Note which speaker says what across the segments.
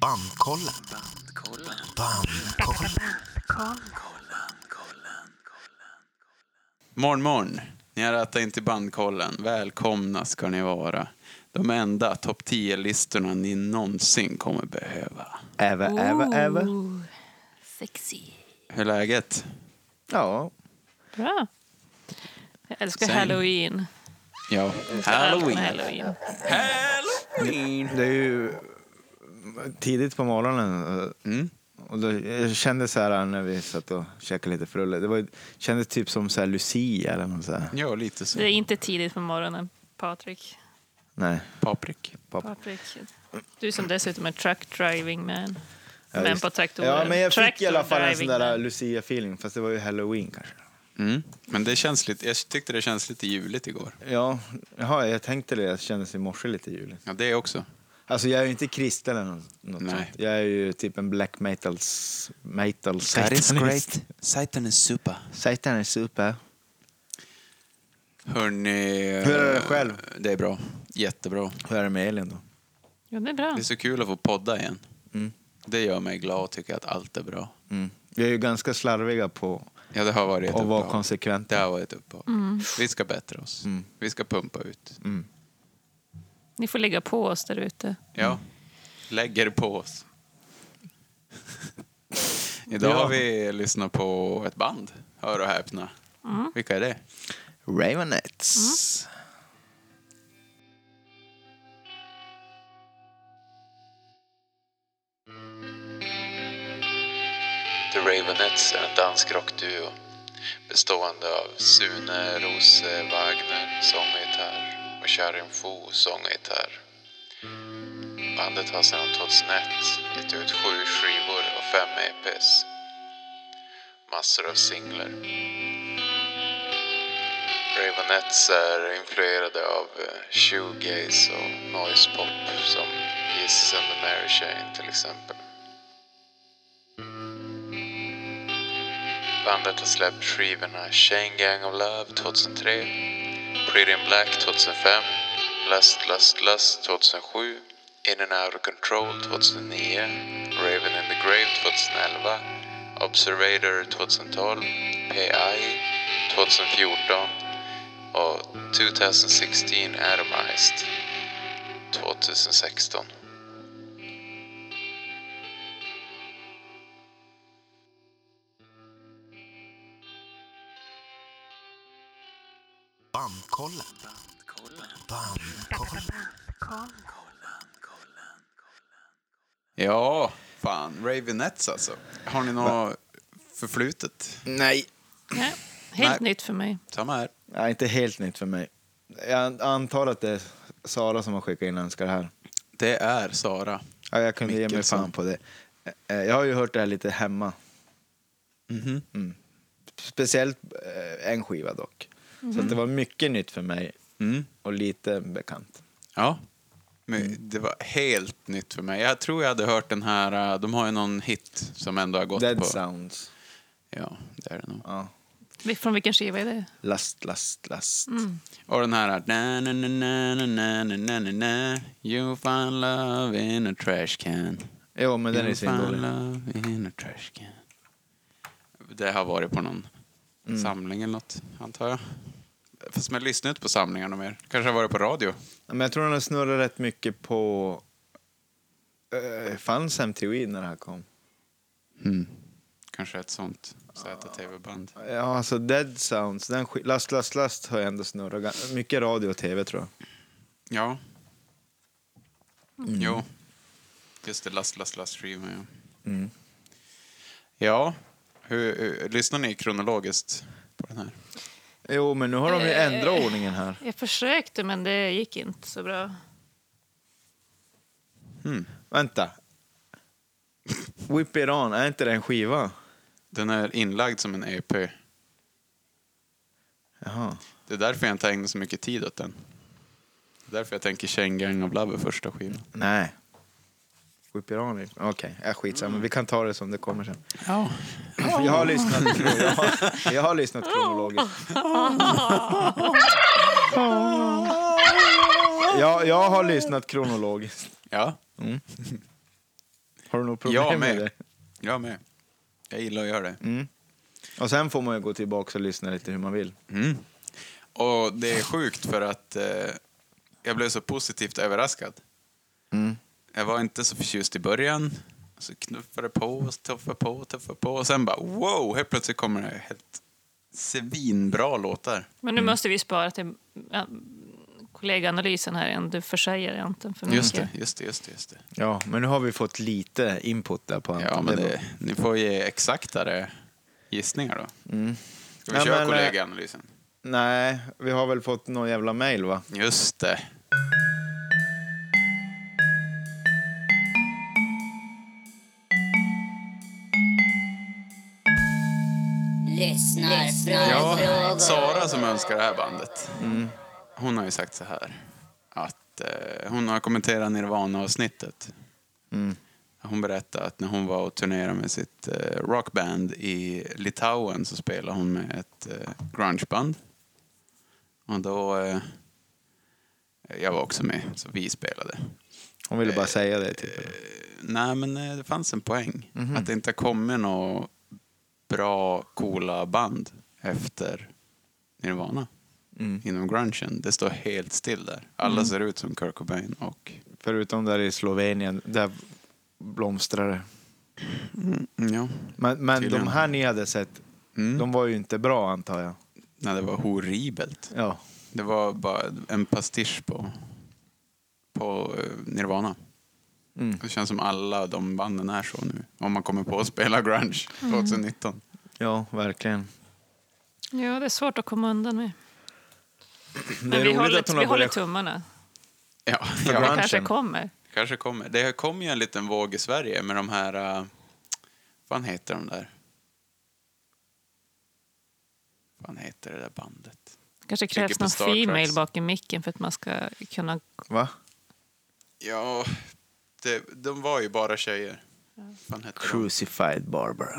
Speaker 1: Bandkollen. Bandkollen.
Speaker 2: Morgon, morgon. Ni har rattat in till Bandkollen. Välkomna ska ni vara. De enda topp 10-listorna ni någonsin kommer behöva.
Speaker 3: Äve, äve, äve.
Speaker 4: Ooh, Sexy.
Speaker 2: Hur är läget?
Speaker 3: Ja.
Speaker 4: Bra. Jag älskar
Speaker 2: Same.
Speaker 4: halloween.
Speaker 2: Ja.
Speaker 4: Jag älskar
Speaker 2: Halloween.
Speaker 4: halloween.
Speaker 3: Det är ju tidigt på morgonen. eh,
Speaker 2: Mm.
Speaker 3: Och då, jag kände så här när vi satt och käkade lite frulle. Det var, ju- kändes typ som så här Lucia eller något så här.
Speaker 2: Ja, lite så.
Speaker 4: Det är inte tidigt på morgonen, Patrik.
Speaker 3: Nej.
Speaker 2: Paprik.
Speaker 4: Patrik. Du som dessutom är truck driving man.
Speaker 3: Ja,
Speaker 4: men
Speaker 3: just-
Speaker 4: på traktorer.
Speaker 3: Ja, men jag fick i alla fall en sån
Speaker 4: Traktor-driving
Speaker 3: där
Speaker 4: man.
Speaker 3: Lucia-feeling. Fast det var ju halloween kanske.
Speaker 2: Mm. Men det känns lite, jag tyckte det känns lite juligt igår.
Speaker 3: Ja, jaha, jag tänkte det. Jag kändes i morse lite juligt.
Speaker 2: Ja, det också.
Speaker 3: Alltså jag är ju inte kristen eller något, något
Speaker 2: Nej.
Speaker 3: sånt. Jag är ju typ en black metal... metal
Speaker 2: Satan is super.
Speaker 3: Satan är super.
Speaker 2: Hörni...
Speaker 3: Hur är det själv?
Speaker 2: eh, Det är bra. Jättebra.
Speaker 3: Hur är det med Elin då?
Speaker 4: Ja, det är bra.
Speaker 2: Det är så kul att få podda igen.
Speaker 3: Mm.
Speaker 2: Det gör mig glad och tycker att allt är bra.
Speaker 3: Mm. Vi är ju ganska slarviga på
Speaker 2: Ja, det har varit ett
Speaker 3: att vara
Speaker 2: uppehåll. Det
Speaker 3: konsekventa.
Speaker 2: har varit ett uppehåll. Vi ska bättra oss.
Speaker 3: Mm.
Speaker 2: Vi ska pumpa ut.
Speaker 3: Mm.
Speaker 4: Ni får lägga på oss där ute.
Speaker 3: Mm.
Speaker 2: Ja, lägger på oss. Idag
Speaker 3: Ja.
Speaker 2: har vi lyssnat på ett band, hör och häpna. Vilka är det?
Speaker 3: Ravenettes.
Speaker 2: The Ravenettes är en dansk rockduo bestående av Sune Rose Wagner, sång och gitarr och Karin Fo, sång och gitarr. Bandet har sedan 2001 gett ut sju skivor och fem EPs. Massor av singlar. Ravenettes är influerade av eh, shoegaze och noise pop som Jesus and the Mary Chain till exempel. Bandet har släppt skivorna Chain Gang of Love 2003, Pretty in Black 2005, Lust Lust Lust 2007, In and Out of Control 2009, Raven in the Grave 2011, Observator 2012, PI 2014 och 2016 Atomized 2016.
Speaker 1: Bandkollen. Bandkollen.
Speaker 2: Ja, fan. Ravenettes alltså. Har ni något förflutet?
Speaker 3: Nej.
Speaker 4: Nej, helt
Speaker 2: Nej.
Speaker 4: nytt för mig.
Speaker 2: Samma här.
Speaker 3: Ja, inte helt nytt för mig. Jag antar att det är Sara som har skickat in önskan här.
Speaker 2: Det är Sara.
Speaker 3: Ja, jag kunde ge mig
Speaker 2: Mickelson.
Speaker 3: fan på det. Eh, Jag har ju hört det här lite hemma. Mm. Speciellt eh, en skiva dock. Så att det var mycket nytt för mig
Speaker 2: Mm.
Speaker 3: och lite bekant.
Speaker 2: Ja.
Speaker 3: Mm.
Speaker 2: Men det var helt nytt för mig. Jag tror jag hade hört den här, eh, de har ju någon hit som ändå har gått
Speaker 3: Dead
Speaker 2: på...
Speaker 3: Sounds.
Speaker 2: Ja, det är det nog.
Speaker 3: Ja.
Speaker 4: Från vilken skiva är det?
Speaker 3: Last, last, last.
Speaker 2: Och den här... Na, na, na, na, na, na, na, na, na, na. You find love in a trash can.
Speaker 3: Jo, men den är
Speaker 2: you find
Speaker 3: svindålig.
Speaker 2: love in a trash can. Det har varit på någon
Speaker 3: Mm.
Speaker 2: samling eller något, antar jag. Fast man lyssnar inte på samlingarna mer. Kanske har varit på radio.
Speaker 3: Ja, Men jag tror den har snurrat rätt mycket på... Uh, fanns MTV när det här kom? Mm.
Speaker 2: Kanske ett sånt ZTV-band.
Speaker 3: Ja, alltså Dead Sounds. Den sk- last, last, last har jag ändå snurrat. ga- Mycket radio och tv tror jag.
Speaker 2: Ja. Jo. Just det, Last Last Last Streamer, ja. Ja. Hur, hur, lyssnar ni kronologiskt på den här?
Speaker 3: Jo, men nu har de ju ändrat ordningen här.
Speaker 4: Jag försökte, men det gick inte så bra.
Speaker 3: Vänta. Whip It On, är inte det en skiva?
Speaker 2: Den är inlagd som en E EP.
Speaker 3: Jaha.
Speaker 2: Det är därför jag inte ägnar så mycket tid åt den. Det är därför jag tänker Chain Gang of Love är första skivan.
Speaker 3: Nej. Whip It On, är- okej. Ja, skitsamma. Vi kan ta det som det kommer sen.
Speaker 2: Ja.
Speaker 3: Jag har lyssnat, jag har, jag har lyssnat kronologiskt. Jag, jag har lyssnat kronologiskt.
Speaker 2: Ja.
Speaker 3: Har du något problem
Speaker 2: Jag
Speaker 3: med
Speaker 2: med.
Speaker 3: det?
Speaker 2: Jag med. Jag gillar att göra det.
Speaker 3: Mm. Och sen får man ju gå tillbaka och lyssna lite hur man vill.
Speaker 2: Mm. Och det är sjukt för att eh, jag blev så positivt överraskad.
Speaker 3: Mm.
Speaker 2: Jag var inte så förtjust i början. Så knuffade på, och tuffade på, och tuffade på. Och sen bara wow, helt plötsligt kommer det helt svinbra låtar.
Speaker 4: Men nu
Speaker 3: Mm.
Speaker 4: måste vi spara till ja, kollegaanalysen här igen. Du försäger Anton
Speaker 3: Mm,
Speaker 4: för mycket.
Speaker 2: Just det, just det, just det. Just det.
Speaker 3: Ja, men nu har vi fått lite input där på
Speaker 2: Ja,
Speaker 3: Anton.
Speaker 2: men
Speaker 3: Det är bra.
Speaker 2: det, ni får ge exaktare gissningar då. Ska vi
Speaker 3: Mm. Ja,
Speaker 2: köra
Speaker 3: men, eh,
Speaker 2: kollegaanalysen?
Speaker 3: Nej, vi har väl fått någon jävla mail va?
Speaker 2: Just det.
Speaker 1: Lyssnar,
Speaker 2: Ja,
Speaker 1: frågor.
Speaker 2: Sara som önskar det här bandet. Hon har ju sagt så här. Att eh, hon har kommenterat Nirvana-avsnittet.
Speaker 3: Mm.
Speaker 2: Hon berättade att när hon var och turnerade med sitt eh, rockband i Litauen så spelade hon med ett eh, grungeband. Och då... Eh, jag var också med, så vi spelade.
Speaker 3: Hon ville bara säga det. Typ.
Speaker 2: Nej, men eh, det fanns en poäng. Att det inte har kommit några bra, coola band efter Nirvana. Inom grungen. Det står helt still där. Alla ser ut som Kurt Cobain och...
Speaker 3: Förutom där i Slovenien, där blomstrar det.
Speaker 2: Ja.
Speaker 3: Men, men de
Speaker 2: Tydligen.
Speaker 3: här ni hade sett,
Speaker 2: Mm.
Speaker 3: de var ju inte bra antar jag.
Speaker 2: Nej, det var horribelt.
Speaker 3: Ja.
Speaker 2: Det var bara en pastisch på, på eh, Nirvana.
Speaker 3: Mm.
Speaker 2: Det känns som alla de banden är så nu. Om man kommer på att spela grunge 2019.
Speaker 3: ja, verkligen.
Speaker 4: Ja, det är svårt att komma undan med.
Speaker 3: Det är
Speaker 4: Men vi
Speaker 3: roligt
Speaker 4: håller,
Speaker 3: att hon
Speaker 4: vi
Speaker 3: har
Speaker 4: håller
Speaker 3: börjat-
Speaker 4: tummarna.
Speaker 2: Ja, ja.
Speaker 4: Det
Speaker 3: grunge.
Speaker 4: kanske
Speaker 3: Branschen.
Speaker 4: kommer.
Speaker 2: Kanske kommer. Det kom ju en liten våg i Sverige med de här... eh, Vad fan heter de där? Vad fan heter det där bandet?
Speaker 4: kanske
Speaker 2: Ligger
Speaker 4: krävs
Speaker 2: på
Speaker 4: någon
Speaker 2: Star
Speaker 4: female
Speaker 2: Treks.
Speaker 4: bakom micken för att man ska kunna...
Speaker 3: Va?
Speaker 2: Ja, det, de var ju bara tjejer. Vad fan heter de?
Speaker 3: Crucified Barbara.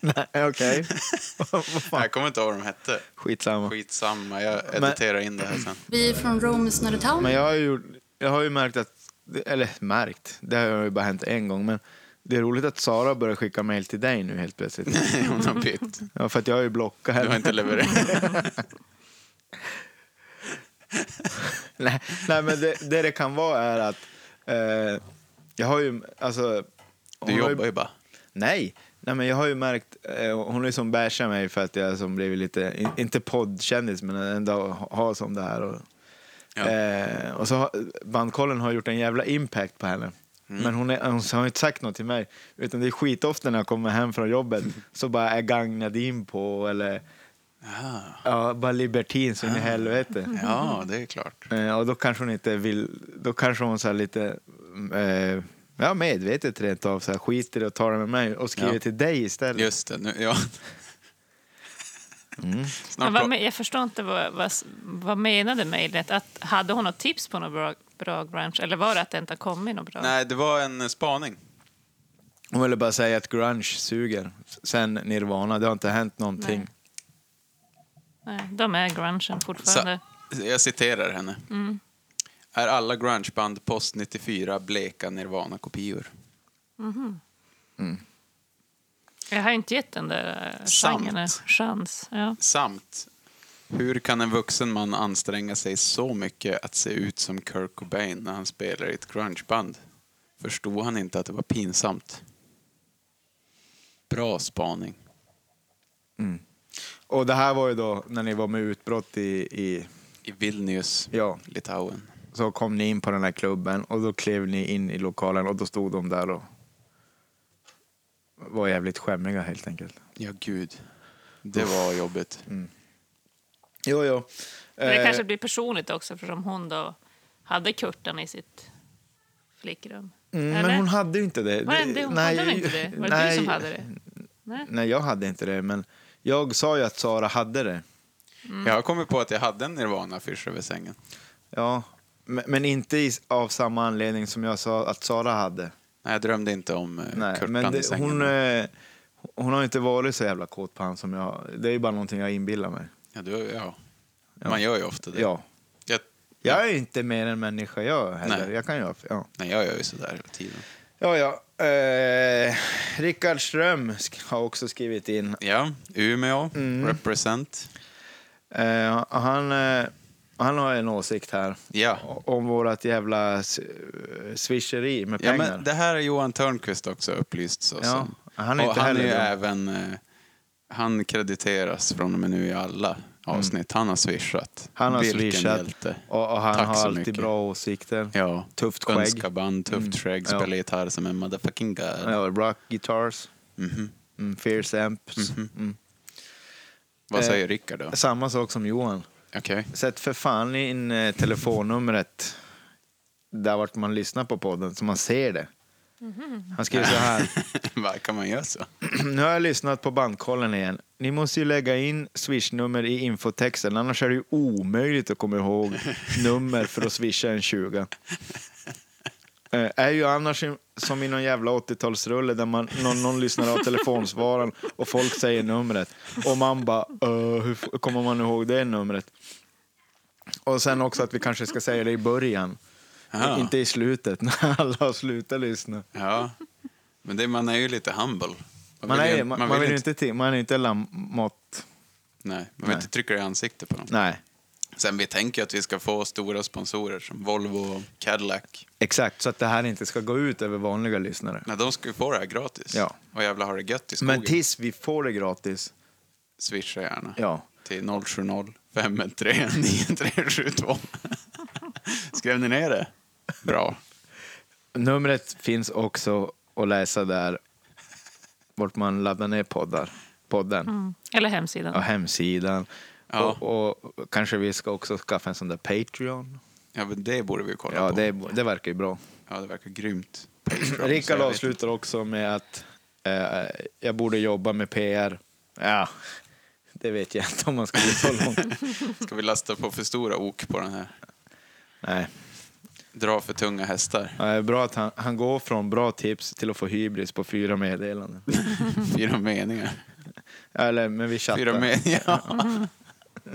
Speaker 3: Nej, okej. Vad fan?
Speaker 2: Jag kommer inte ihåg vad de hette.
Speaker 3: Skitsamma.
Speaker 2: Skitsamma, jag editerar in det här sen.
Speaker 5: Vi är från Roms Norrtälje.
Speaker 3: Men jag har ju, gjort- jag har ju märkt att, eller märkt, det har ju bara hänt en gång, men det är roligt att Sara börjar skicka mail till dig nu helt plötsligt.
Speaker 2: Hon har bytt.
Speaker 3: Ja, för att jag har ju blockat
Speaker 2: Du har
Speaker 3: henne.
Speaker 2: inte levererat.
Speaker 3: Nej, nej, men det, det det kan vara är att eh, jag har ju, alltså... hon
Speaker 2: Du
Speaker 3: har
Speaker 2: jobbar ju bara.
Speaker 3: Nej, nej men jag har ju märkt, eh, hon har ju som bärsat mig för att jag som blivit lite, in, inte poddkändis men ändå ha- har som det här. Och,
Speaker 2: Ja.
Speaker 3: eh, och så har, bandkollen har gjort en jävla impact på henne.
Speaker 2: Mm.
Speaker 3: Men hon, är, hon har inte sagt något till mig. Utan det är skitofta när jag kommer hem från jobbet så bara är Gang Nadine på eller
Speaker 2: Ah,
Speaker 3: ja, bara libertin så in i helvete.
Speaker 2: ja, det är klart.
Speaker 3: Eh, och då kanske hon inte vill, då kanske hon så här lite, eh, ja medvetet rent av så här, skiter i och tar det med mig och skriver
Speaker 2: Ja.
Speaker 3: till dig istället.
Speaker 2: Just det, nu, ja. Snart
Speaker 4: Men vad,
Speaker 2: kom-
Speaker 4: me- jag förstår inte vad, vad, vad menade mejlet. Att, hade hon något tips på något bra, bra grunge? Eller var det att det inte har kommit något bra?
Speaker 2: Nej, det var en eh, spaning.
Speaker 3: Hon ville bara säga att grunge suger. Sen Nirvana, det har inte hänt någonting.
Speaker 4: Nej. Nej, de är grungen fortfarande.
Speaker 2: Så, jag citerar henne. Är alla grungeband post 94 bleka Nirvana-kopior?
Speaker 4: Jag har inte gett den där eh,
Speaker 2: Sant.
Speaker 4: genren en chans. Ja.
Speaker 2: Samt, hur kan en vuxen man anstränga sig så mycket att se ut som Kurt Cobain när han spelar i ett grungeband? Förstod han inte att det var pinsamt? Bra spaning.
Speaker 3: Och det här var ju då när ni var med utbrott i, i
Speaker 2: I Vilnius,
Speaker 3: ja,
Speaker 2: Litauen.
Speaker 3: så kom ni in på den här klubben och då klev ni in i lokalen och då stod de där och var jävligt skämmiga helt enkelt.
Speaker 2: Ja, gud. Det var jobbigt.
Speaker 3: Mm. Jo, jo.
Speaker 4: Men det
Speaker 3: Eh,
Speaker 4: kanske blir personligt också eftersom hon då hade Kurtan i sitt flickrum.
Speaker 3: mm,
Speaker 4: Eller?
Speaker 3: men hon hade ju inte det.
Speaker 4: Var det inte, hon hade väl inte det? Var det du som hade det? Nej.
Speaker 3: Nej, jag hade inte det, men jag sa ju att Sara hade det.
Speaker 2: Jag har kommit på att jag hade en Nirvana-affisch över sängen.
Speaker 3: Ja, men, men inte i, av samma anledning som jag sa att Sara hade.
Speaker 2: Nej, jag drömde inte om eh,
Speaker 3: Nej,
Speaker 2: Kurtan
Speaker 3: men
Speaker 2: i
Speaker 3: det,
Speaker 2: sängen.
Speaker 3: hon, eh, hon har inte varit så jävla kåt på han som jag. Det är ju bara någonting jag inbillar mig.
Speaker 2: Ja, du, ja. Man gör ju ofta det.
Speaker 3: Ja.
Speaker 2: Jag,
Speaker 3: Jag är ju inte mer än människa jag heller.
Speaker 2: Nej.
Speaker 3: Jag kan ju, ja.
Speaker 2: nej, jag gör ju sådär hela tiden.
Speaker 3: Ja, ja. Eh, Rickard Ström sk- har också skrivit in.
Speaker 2: Ja, Umeå,
Speaker 3: Mm.
Speaker 2: represent.
Speaker 3: Eh, han, eh, han har en åsikt här
Speaker 2: Ja.
Speaker 3: O- om vårat jävla s- eh, swisheri med
Speaker 2: Ja,
Speaker 3: pengar.
Speaker 2: men det här är Johan Törnqvist också upplyst så
Speaker 3: Ja,
Speaker 2: som.
Speaker 3: han är
Speaker 2: och
Speaker 3: inte
Speaker 2: han är ju
Speaker 3: heller
Speaker 2: även...
Speaker 3: dum.
Speaker 2: eh, Han krediteras från och med nu i alla avsnitt. Han har swishat.
Speaker 3: Mm. Han har
Speaker 2: Vilken
Speaker 3: swishat
Speaker 2: hjälte.
Speaker 3: och, och han
Speaker 2: Tack
Speaker 3: har
Speaker 2: så
Speaker 3: alltid
Speaker 2: mycket.
Speaker 3: bra åsikter.
Speaker 2: Ja.
Speaker 3: Tufft skägg. Mm.
Speaker 2: Önskar band, tufft skägg,
Speaker 3: Ja.
Speaker 2: spelar gitarr som en motherfucking god.
Speaker 3: Ja, rock guitars,
Speaker 2: Mhm.
Speaker 3: mm, fierce amps. Mm.
Speaker 2: Vad
Speaker 3: Eh,
Speaker 2: säger Rickard då?
Speaker 3: Samma sak som Johan.
Speaker 2: Okej.
Speaker 3: Sätt för fan in eh, telefonnumret där vart man lyssnar på podden så man ser det. Han skriver så här.
Speaker 2: Vad kan man göra så?
Speaker 3: Nu har jag lyssnat på bandkollen igen. Ni måste ju lägga in swishnummer i infotexten, annars är det ju omöjligt att komma ihåg nummer för att swisha en 20. Eh, är ju annars i- som i någon jävla 80-talsrulle där man, någon, någon lyssnar av telefonsvararen och folk säger numret. Och man bara, "Öh, hur f- kommer man ihåg det numret? Och sen också att vi kanske ska säga det i början.
Speaker 2: Ja.
Speaker 3: Inte i slutet, när alla har slutat lyssna.
Speaker 2: Ja. Men det, man är ju lite humble. Man,
Speaker 3: Man,
Speaker 2: vill
Speaker 3: är,
Speaker 2: ju-
Speaker 3: man, man, vill ju inte, till- man är inte lammott.
Speaker 2: Nej, man vill
Speaker 3: Nej.
Speaker 2: inte trycka det i ansiktet på dem.
Speaker 3: Nej,
Speaker 2: Sen vi tänker ju att vi ska få stora sponsorer som Volvo och Cadillac.
Speaker 3: exakt. Så att det här inte ska gå ut över vanliga lyssnare.
Speaker 2: Nej, de ska ju få det här gratis.
Speaker 3: Ja.
Speaker 2: Och jävla har det gött i skogen.
Speaker 3: Men tills vi får det gratis.
Speaker 2: Swisha gärna.
Speaker 3: Ja.
Speaker 2: Till 070 513 9372. Skrev ni ner det? Bra.
Speaker 3: Numret finns också att läsa där. Vart man laddar ner poddar. Podden.
Speaker 4: Eller hemsidan.
Speaker 3: Och hemsidan.
Speaker 2: Ja.
Speaker 3: Och, och kanske vi ska också skaffa en sån där Patreon.
Speaker 2: Ja, men det borde vi ju kolla
Speaker 3: Ja,
Speaker 2: på.
Speaker 3: det, det verkar ju bra.
Speaker 2: Ja, det verkar grymt.
Speaker 3: Rickard avslutar också med att eh, jag borde jobba med PR. Ja, det vet jag inte om man ska gå så långt.
Speaker 2: Ska vi lasta på för stora ok på den här?
Speaker 3: Nej.
Speaker 2: Dra för tunga hästar.
Speaker 3: Ja, det är bra att han, han går från bra tips till att få hybris på fyra meddelanden.
Speaker 2: Fyra meningar.
Speaker 3: Eller, men vi chattar.
Speaker 2: Fyra meningar. Ja.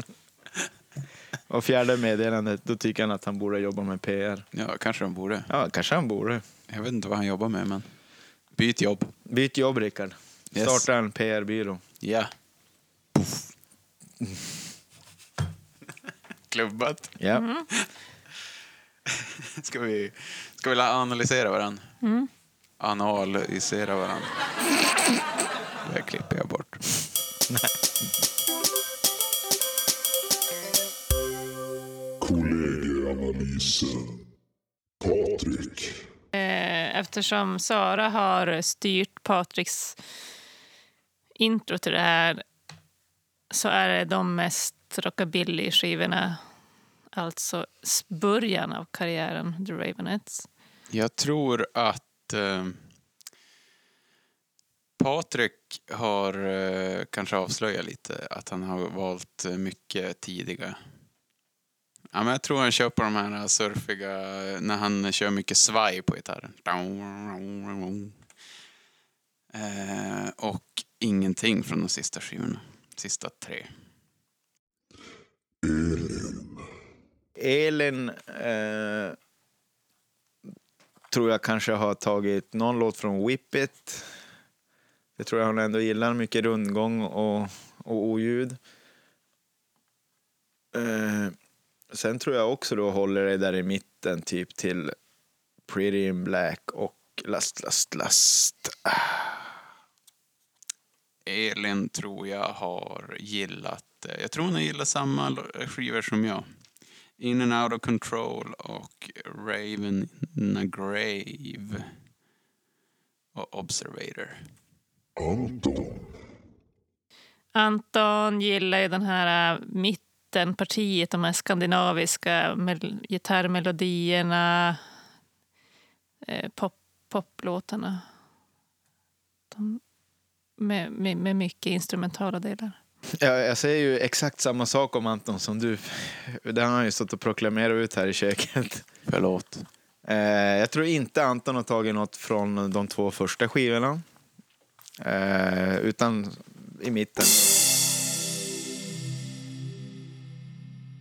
Speaker 3: Och fjärde meddelandet, då tycker han att han borde jobba med PR.
Speaker 2: ja, kanske de borde.
Speaker 3: Ja, kanske han borde.
Speaker 2: Jag vet inte vad han jobbar med, men byt jobb.
Speaker 3: Byt jobb, Rickard.
Speaker 2: Yes.
Speaker 3: Starta en PR-byrå.
Speaker 2: Ja. Klubbat.
Speaker 3: Ja.
Speaker 2: Ska vi, ska vi la- analysera varandra? Analysera varandra. Det här klipper jag bort.
Speaker 5: Kollegieanalysen. Patrik.
Speaker 4: Eh, Eftersom Sara har styrt Patriks intro till det här så är det de mest rockabilly-skivorna. Alltså s- början av karriären, The Ravenettes.
Speaker 2: Jag tror att eh, Patrik har eh, kanske avslöjat lite att han har valt eh, mycket tidiga. Ja, men jag tror han kör på de här surfiga, eh, när han kör mycket svaj på gitarren. Eh, och ingenting från de sista skivorna. Sista tre.
Speaker 3: Elin eh, tror jag kanske har tagit någon låt från Whip It. Det tror jag hon ändå gillar, mycket rundgång och, och oljud. Eh, sen tror jag också då håller det där i mitten, typ till Pretty in Black och Last, Last, Last.
Speaker 2: Elin tror jag har gillat, eh, jag tror hon har gillat samma l- skivor som jag. In and out of control och Raven in a grave. Och Observator.
Speaker 5: Anton.
Speaker 4: Anton gillar ju den här äh, mittenpartiet, de här skandinaviska mel- gitarrmelodierna, eh, pop, poplåtarna. De, med, med, med mycket instrumentala delar.
Speaker 3: Jag, jag säger ju exakt samma sak om Anton som du. Det har han ju stått och proklamerat ut här i köket.
Speaker 2: Förlåt.
Speaker 3: Eh, jag tror inte Anton har tagit något från de två första skivorna. Eh, utan i mitten.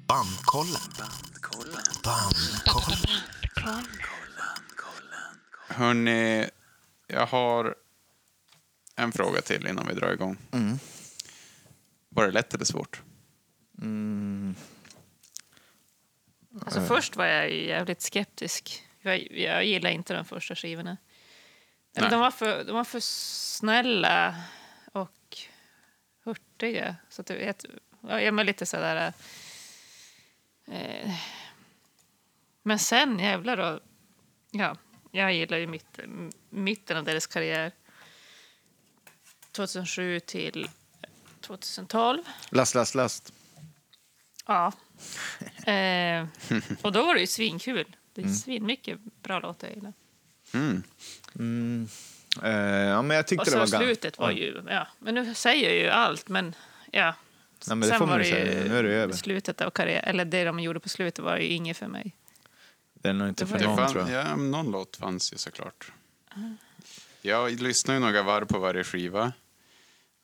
Speaker 2: Har Hörni, jag har en fråga till innan vi drar igång. Var det lätt eller svårt?
Speaker 4: Alltså först var jag ju jävligt skeptisk. Jag, jag gillar inte de första skivorna.
Speaker 2: Nej.
Speaker 4: Eller De, var för, de var för snälla och hurtiga. Så att det- jag, jag, jag var lite sådär... Eh, men sen jävlar då. Ja, jag gillar ju mitt, mitten av deras karriär. 2007 till 2012.
Speaker 3: Last, last, last.
Speaker 4: Ja. Eh, och då var det ju svinkul. Det är
Speaker 3: Mm.
Speaker 4: svinmycket bra låtar jag gillar.
Speaker 3: Eh, ja, men jag tyckte
Speaker 4: Och
Speaker 3: det
Speaker 4: så
Speaker 3: var gan-
Speaker 4: slutet var ju... Ja, men nu säger jag ju allt, men... Ja.
Speaker 3: Nej, men det får man ju säga. Nu är det ju över.
Speaker 4: Slutet av karriär, eller det de gjorde på slutet var ju inget för mig.
Speaker 3: Den är nog inte
Speaker 4: Det
Speaker 3: för
Speaker 4: var-
Speaker 2: Det
Speaker 3: någon,
Speaker 2: fann,
Speaker 3: tror jag.
Speaker 2: ja, någon låt fanns ju såklart. Jag lyssnar ju några varv på varje skiva.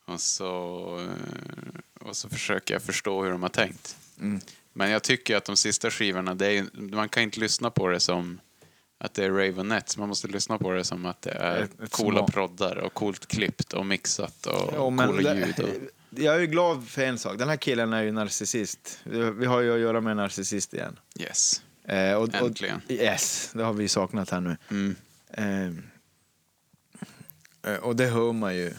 Speaker 2: Och så, eh, och så försöker jag förstå hur de har tänkt.
Speaker 3: Mm.
Speaker 2: Men jag tycker att de sista skivorna, det är, man kan inte lyssna på det som att det är Ravenettes. Man måste lyssna på det som att det är
Speaker 3: Ett- ett
Speaker 2: coola
Speaker 3: små-
Speaker 2: proddar och coolt klippt och mixat och
Speaker 3: Ja, men
Speaker 2: coola
Speaker 3: det- eh,
Speaker 2: ljud. Och,
Speaker 3: Jag är ju glad för en sak. Den här killen är ju narcissist. Vi har ju att göra med en narcissist igen.
Speaker 2: yes.
Speaker 3: Eh, och, och-
Speaker 2: Äntligen.
Speaker 3: yes, det har vi saknat här nu. Ehm, Eh, eh, och det hör man ju.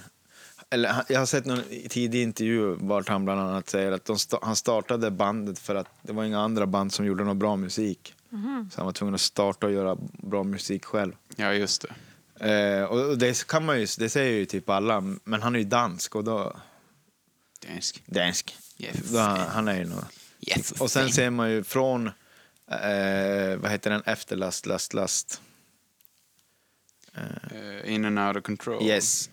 Speaker 3: Eller, han- jag har sett någon tidig intervju vart han bland annat säger att de sta- han startade bandet för att det var inga andra band som gjorde någon bra musik. Så han var tvungen att starta och göra bra musik själv.
Speaker 2: Ja, just det.
Speaker 3: Eh, och och det, kan man ju, det säger ju typ alla, men han är ju dansk och då...
Speaker 2: Dansk.
Speaker 3: Dansk.
Speaker 2: Ja, för
Speaker 3: Då,
Speaker 2: fan.
Speaker 3: han är ju nog...
Speaker 2: Yes.
Speaker 3: Och sen ser man ju från, eh, vad heter den, Efterlast, Last, Last.
Speaker 2: Eh, In and out of control.
Speaker 3: Yes.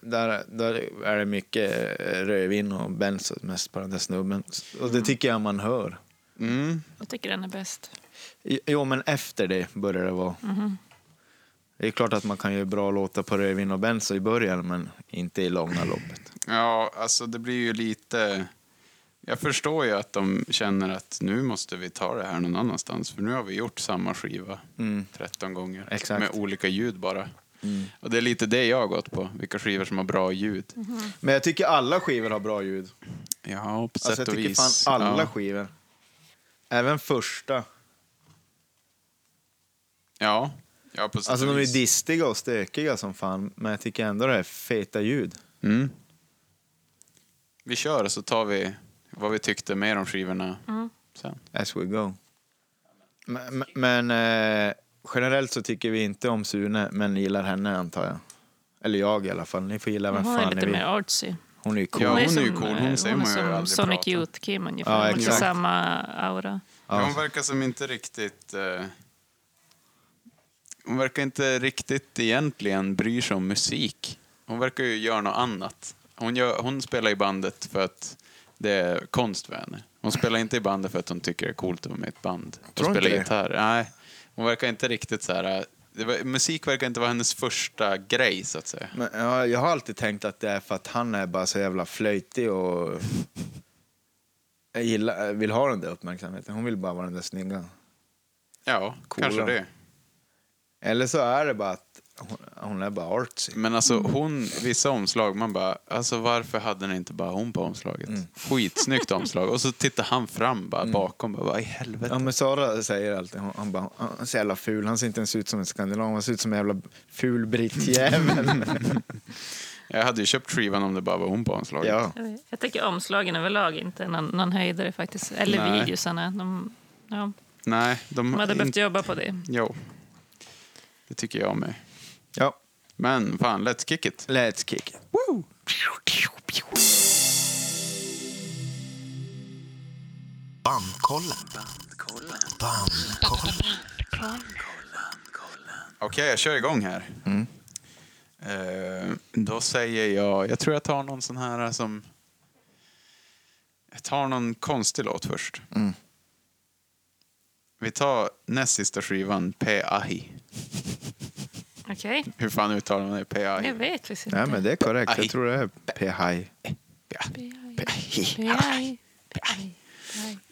Speaker 3: Där, där är det mycket eh, rödvin och benzo mest på den där snubben. Och det tycker jag man hör.
Speaker 2: Mm.
Speaker 4: Jag tycker den är bäst.
Speaker 3: I- Jo, men efter det börjar det vara.
Speaker 2: Mhm.
Speaker 3: Det är klart att man kan göra bra låtar på rödvin och benzo i början, men inte i långa loppet.
Speaker 2: Ja, alltså det blir ju lite... Jag förstår ju att de känner att nu måste vi ta det här någon annanstans för nu har vi gjort samma skiva 13 gånger
Speaker 3: Mm. Exakt. Mm.
Speaker 2: med olika ljud bara. Och det är lite det jag har gått på, vilka skivor som har bra ljud.
Speaker 3: Men jag tycker alla skivor har bra ljud.
Speaker 2: Ja, på sätt
Speaker 3: Alltså, jag
Speaker 2: och
Speaker 3: tycker
Speaker 2: vis.
Speaker 3: fan alla
Speaker 2: ja.
Speaker 3: skivor. Även första.
Speaker 2: Ja. ja, på sätt
Speaker 3: Alltså
Speaker 2: och
Speaker 3: de är
Speaker 2: vis.
Speaker 3: distiga och stökiga som fan, men jag tycker ändå det är feta ljud.
Speaker 2: Mm. Vi kör så tar vi vad vi tyckte mer om skivorna sen.
Speaker 3: As we go. Men, men eh, generellt så tycker vi inte om Sune, men gillar henne antar jag. Eller jag i alla fall. Ni får gilla vem
Speaker 4: Hon är
Speaker 3: fan ni
Speaker 4: lite
Speaker 3: vill.
Speaker 4: mer artsy.
Speaker 3: Hon är ju cool.
Speaker 2: Ja, hon är ju
Speaker 4: som,
Speaker 2: cool. Hon
Speaker 4: eh,
Speaker 2: ser man
Speaker 4: är
Speaker 2: ju
Speaker 4: som
Speaker 2: aldrig
Speaker 4: Sonic
Speaker 2: prata.
Speaker 4: Youth-Kim ungefär.
Speaker 3: Ja,
Speaker 4: hon har lite
Speaker 3: exakt.
Speaker 4: samma aura.
Speaker 2: Ja. Hon verkar som inte riktigt... Eh, hon verkar inte riktigt egentligen bry sig om musik. Hon verkar ju göra något annat. Hon, gör, hon spelar i bandet för att det är konst för henne. Hon spelar inte i bandet för att hon tycker det är coolt att vara med i ett band.
Speaker 3: Tror
Speaker 2: Hon
Speaker 3: inte
Speaker 2: spelar
Speaker 3: det.
Speaker 2: gitarr. Nej, hon verkar inte riktigt så här... eh, Det var, musik verkar inte vara hennes första grej, så att säga.
Speaker 3: Men, ja, jag har alltid tänkt att det är för att han är bara så jävla flöjtig och jag gillar, vill ha den där uppmärksamheten. Hon vill bara vara den där snygga.
Speaker 2: Ja,
Speaker 3: Coola.
Speaker 2: kanske det.
Speaker 3: Eller så är det bara att hon, hon är bara artsy.
Speaker 2: Men alltså
Speaker 4: Mm.
Speaker 2: hon, vissa omslag, man bara, alltså varför hade ni inte bara hon på omslaget? Skitsnyggt omslag. Och så tittar han fram bara bakom, bara, vad i helvete?
Speaker 3: Ja, men Sara säger alltid, hon, han bara, han är så jävla ful, han ser inte ens ut som en skandinav, han ser ut som en jävla ful brittjävel.
Speaker 2: Jag hade ju köpt skivan om det bara var hon på omslaget.
Speaker 3: ja.
Speaker 4: Jag tycker omslagen överlag inte är någon, någon höjdare faktiskt. Eller
Speaker 2: Nej.
Speaker 4: videosarna. De, ja,
Speaker 2: Nej, de
Speaker 4: de hade behövt
Speaker 2: inte-
Speaker 4: jobba på det.
Speaker 2: Jo. Det tycker jag med.
Speaker 3: ja,
Speaker 2: Men fan, let's kick it.
Speaker 3: let's kick it.
Speaker 2: Okej, jag kör igång här. Eh, då säger jag, jag tror jag tar någon sån här som... Jag tar någon konstig låt först. Vi tar näst sista skivan, Pe Ahi.
Speaker 4: Okej,
Speaker 2: Hur fan uttalar man det? Pe Ahi?
Speaker 4: jag vet visst inte.
Speaker 3: Nej, men det är korrekt,
Speaker 2: Aj.
Speaker 3: jag tror det är PH.
Speaker 4: P.I..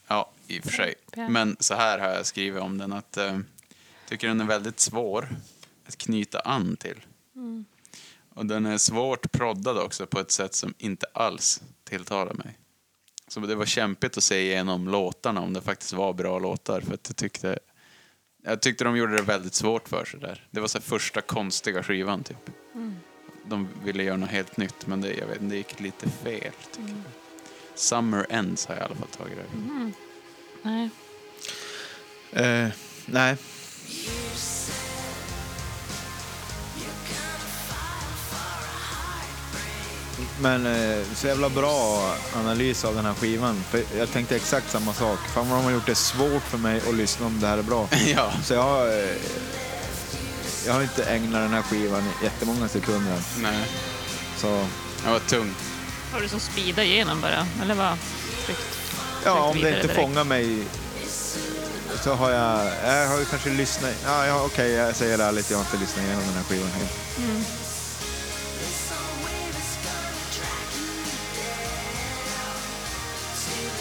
Speaker 2: Ja, i och för sig.
Speaker 4: Pe Ahi.
Speaker 2: Men så här har jag skrivit om den att... eh, tycker den är väldigt svår. knyta an till. Mm. Och den är svårt proddad också på ett sätt som inte alls tilltalar mig. Så det var kämpigt att se igenom låtarna om det faktiskt var bra låtar. För att jag tyckte, jag tyckte de gjorde det väldigt svårt för sig där. Det var så här första konstiga skivan typ. De ville göra något helt nytt men det, jag vet, inte, det gick lite fel. Tycker jag. Summer Ends har jag i alla fall tagit över.
Speaker 4: Nej.
Speaker 3: Eh, nej. Men eh, så jävla bra analys av den här skivan. För jag tänkte exakt samma sak. Fan vad de har gjort det svårt för mig att lyssna om det här är bra.
Speaker 2: ja.
Speaker 3: Så jag har, eh, jag har inte ägnat den här skivan jättemånga sekunder.
Speaker 2: Nej,
Speaker 3: Så
Speaker 2: det var tungt.
Speaker 4: Har du som speeda igenom bara? Eller vad? Tryckt.
Speaker 3: Ja, om det
Speaker 4: vidare
Speaker 3: inte
Speaker 4: direkt.
Speaker 3: fångar mig så har jag... Jag har ju kanske lyssnat... Ja, ja, Okej, jag säger ärligt, jag har inte lyssnat igenom den här skivan helt.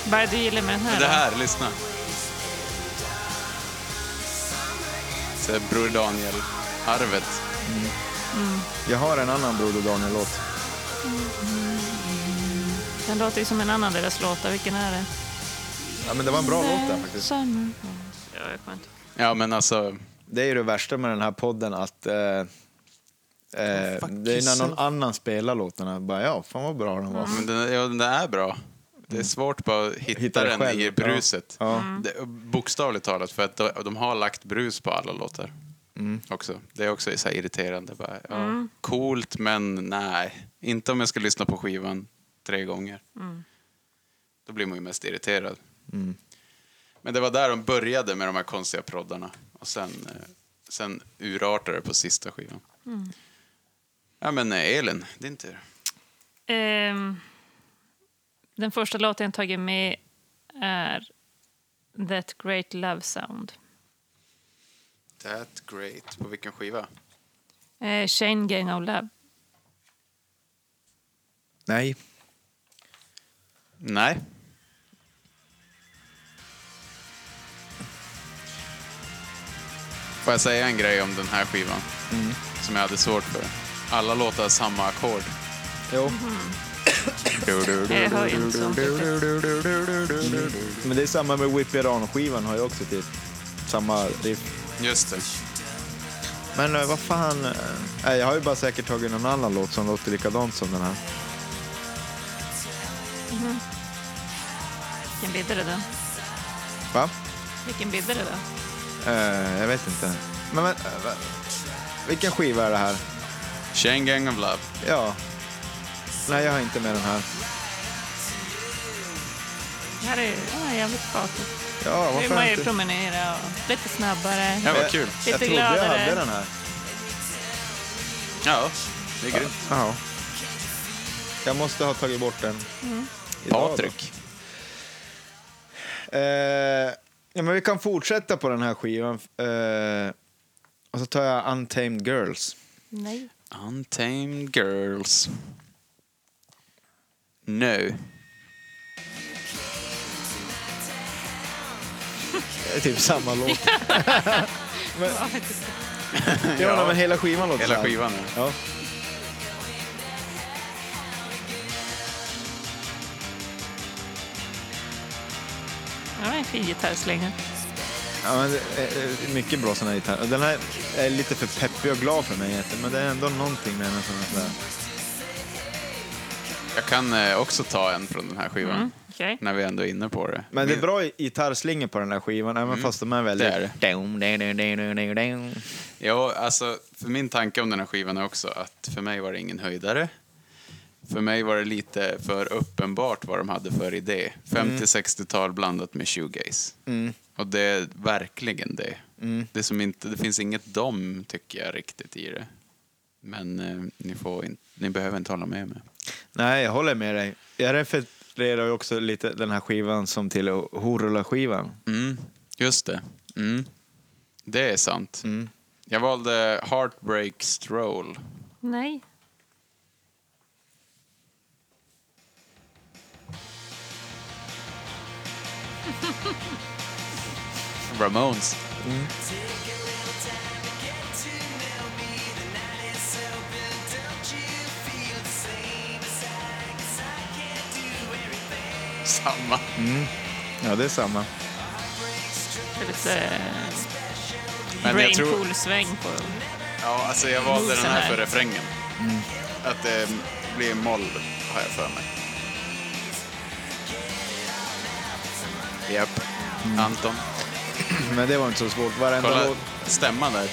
Speaker 4: Vad är det du gillar med den här?
Speaker 2: Det
Speaker 4: då?
Speaker 2: här, lyssna. Så här, Bror Daniel-arvet.
Speaker 3: Jag har en annan Broder Daniel-låt.
Speaker 4: Den låter ju som en annan deras låtar. Vilken är det?
Speaker 3: Ja, men det var en bra låt där faktiskt.
Speaker 4: Summer. Ja, jag kommer inte
Speaker 2: Ja, men alltså...
Speaker 3: Det är ju det värsta med den här podden att... Eh, eh, det är när någon
Speaker 2: yourself.
Speaker 3: annan spelar låtarna. Bara, ja, fan vad bra den var.
Speaker 2: Men den, ja, den är bra. Det är svårt bara att hitta,
Speaker 3: Hitta det
Speaker 2: den
Speaker 3: själv,
Speaker 2: i
Speaker 3: ja.
Speaker 2: bruset.
Speaker 3: Ja.
Speaker 2: Det, bokstavligt talat, för att de, de har lagt brus på alla låtar. Också. Det är också så här irriterande. Bara, ja, Coolt, men nej. Inte om jag ska lyssna på skivan tre gånger. Då blir man ju mest irriterad. Men det var där de började med de här konstiga proddarna. Och sen, eh, sen urartade det på sista skivan. Ja, men eh, Elin, din tur.
Speaker 4: Ehm, den första låten jag tagit med är That Great Love Sound.
Speaker 2: That great. På vilken skiva?
Speaker 4: Eh, Chain Gang of Love.
Speaker 3: Nej.
Speaker 2: Nej. Får jag säga en grej om den här skivan? Som jag hade svårt för. Alla låtar har samma ackord.
Speaker 3: Jo.
Speaker 4: Eh, Jag hör ju inte sånt riktigt.
Speaker 3: Men det är samma med Whippy Ran-skivan har jag också typ samma riff.
Speaker 2: Just det.
Speaker 3: Men eh, vad fan... eh, nej, jag har ju bara säkert tagit någon annan låt som låter likadant som den här.
Speaker 4: Vilken bild är det då?
Speaker 3: Va?
Speaker 4: Vilken bild är det då?
Speaker 3: Eh, jag vet inte. Men, men eh, va? vilken skiva är det här?
Speaker 2: Chain Gang of Love.
Speaker 3: Ja. Nej, jag har inte med den här.
Speaker 4: Det här är ju ja, jävligt fatigt.
Speaker 3: Ja,
Speaker 4: Nu
Speaker 3: varför
Speaker 4: vill
Speaker 3: har
Speaker 4: man
Speaker 3: jag
Speaker 4: ju
Speaker 3: inte?
Speaker 4: promenera och lite snabbare.
Speaker 2: Ja, vad kul.
Speaker 3: Jag
Speaker 4: Lite
Speaker 3: trodde jag
Speaker 4: gladare.
Speaker 3: hade den här.
Speaker 2: Ja, det är grymt.
Speaker 3: Ja. Jag måste ha tagit bort den.
Speaker 4: Mm.
Speaker 3: Idag då.
Speaker 2: Patrik.
Speaker 3: Eh, ja, men vi kan fortsätta på den här skivan. Eh, och så tar jag Untamed Girls.
Speaker 4: Nej.
Speaker 2: Untamed Girls. No.
Speaker 3: Det är typ samma låt. men, ja, men hela skivan låter
Speaker 2: Hela
Speaker 3: så här.
Speaker 2: skivan, ja.
Speaker 3: Ja.
Speaker 4: Det var en fin gitarrslinga.
Speaker 3: Ja, men, det är- det är mycket bra såna här gitarrer. Den här är lite för peppig och glad för mig egentligen, men det är ändå någonting med den som är sådär.
Speaker 2: Jag kan eh, också ta en från den här skivan.
Speaker 4: Mm, Okej.
Speaker 2: När vi ändå är inne på det.
Speaker 3: Men det är bra gitarrslingor på den här skivan, även fast de är väldigt...
Speaker 2: Mm. Det är det. Ja, alltså för min tanke om den här skivan är också att för mig var det ingen höjdare. För mig var det lite för uppenbart vad de hade för idé. 50-60-tal blandat med shoegaze. Och det är verkligen det. Det, är som inte, det finns inget dom tycker jag riktigt i det. Men eh, ni, får in, ni behöver inte hålla med mig.
Speaker 3: Nej, jag håller med dig. Jag refererar ju också lite den här skivan som till Horula-skivan.
Speaker 2: Mm, just det. Mm. Det är sant. Jag valde Heartbreak Stroll.
Speaker 4: Nej.
Speaker 2: Ramones. samma.
Speaker 3: Ja, det är samma.
Speaker 4: För lite
Speaker 2: Men jag tror,
Speaker 4: brainpool-sväng på...
Speaker 2: ja, alltså jag valde den
Speaker 4: Så
Speaker 2: här
Speaker 4: här.
Speaker 2: för refrängen. Att det blir moll, har jag för mig.
Speaker 3: Japp.
Speaker 2: Anton,
Speaker 3: Men det var inte så svårt. Varenda
Speaker 2: kolla
Speaker 3: låt.
Speaker 2: stämman där.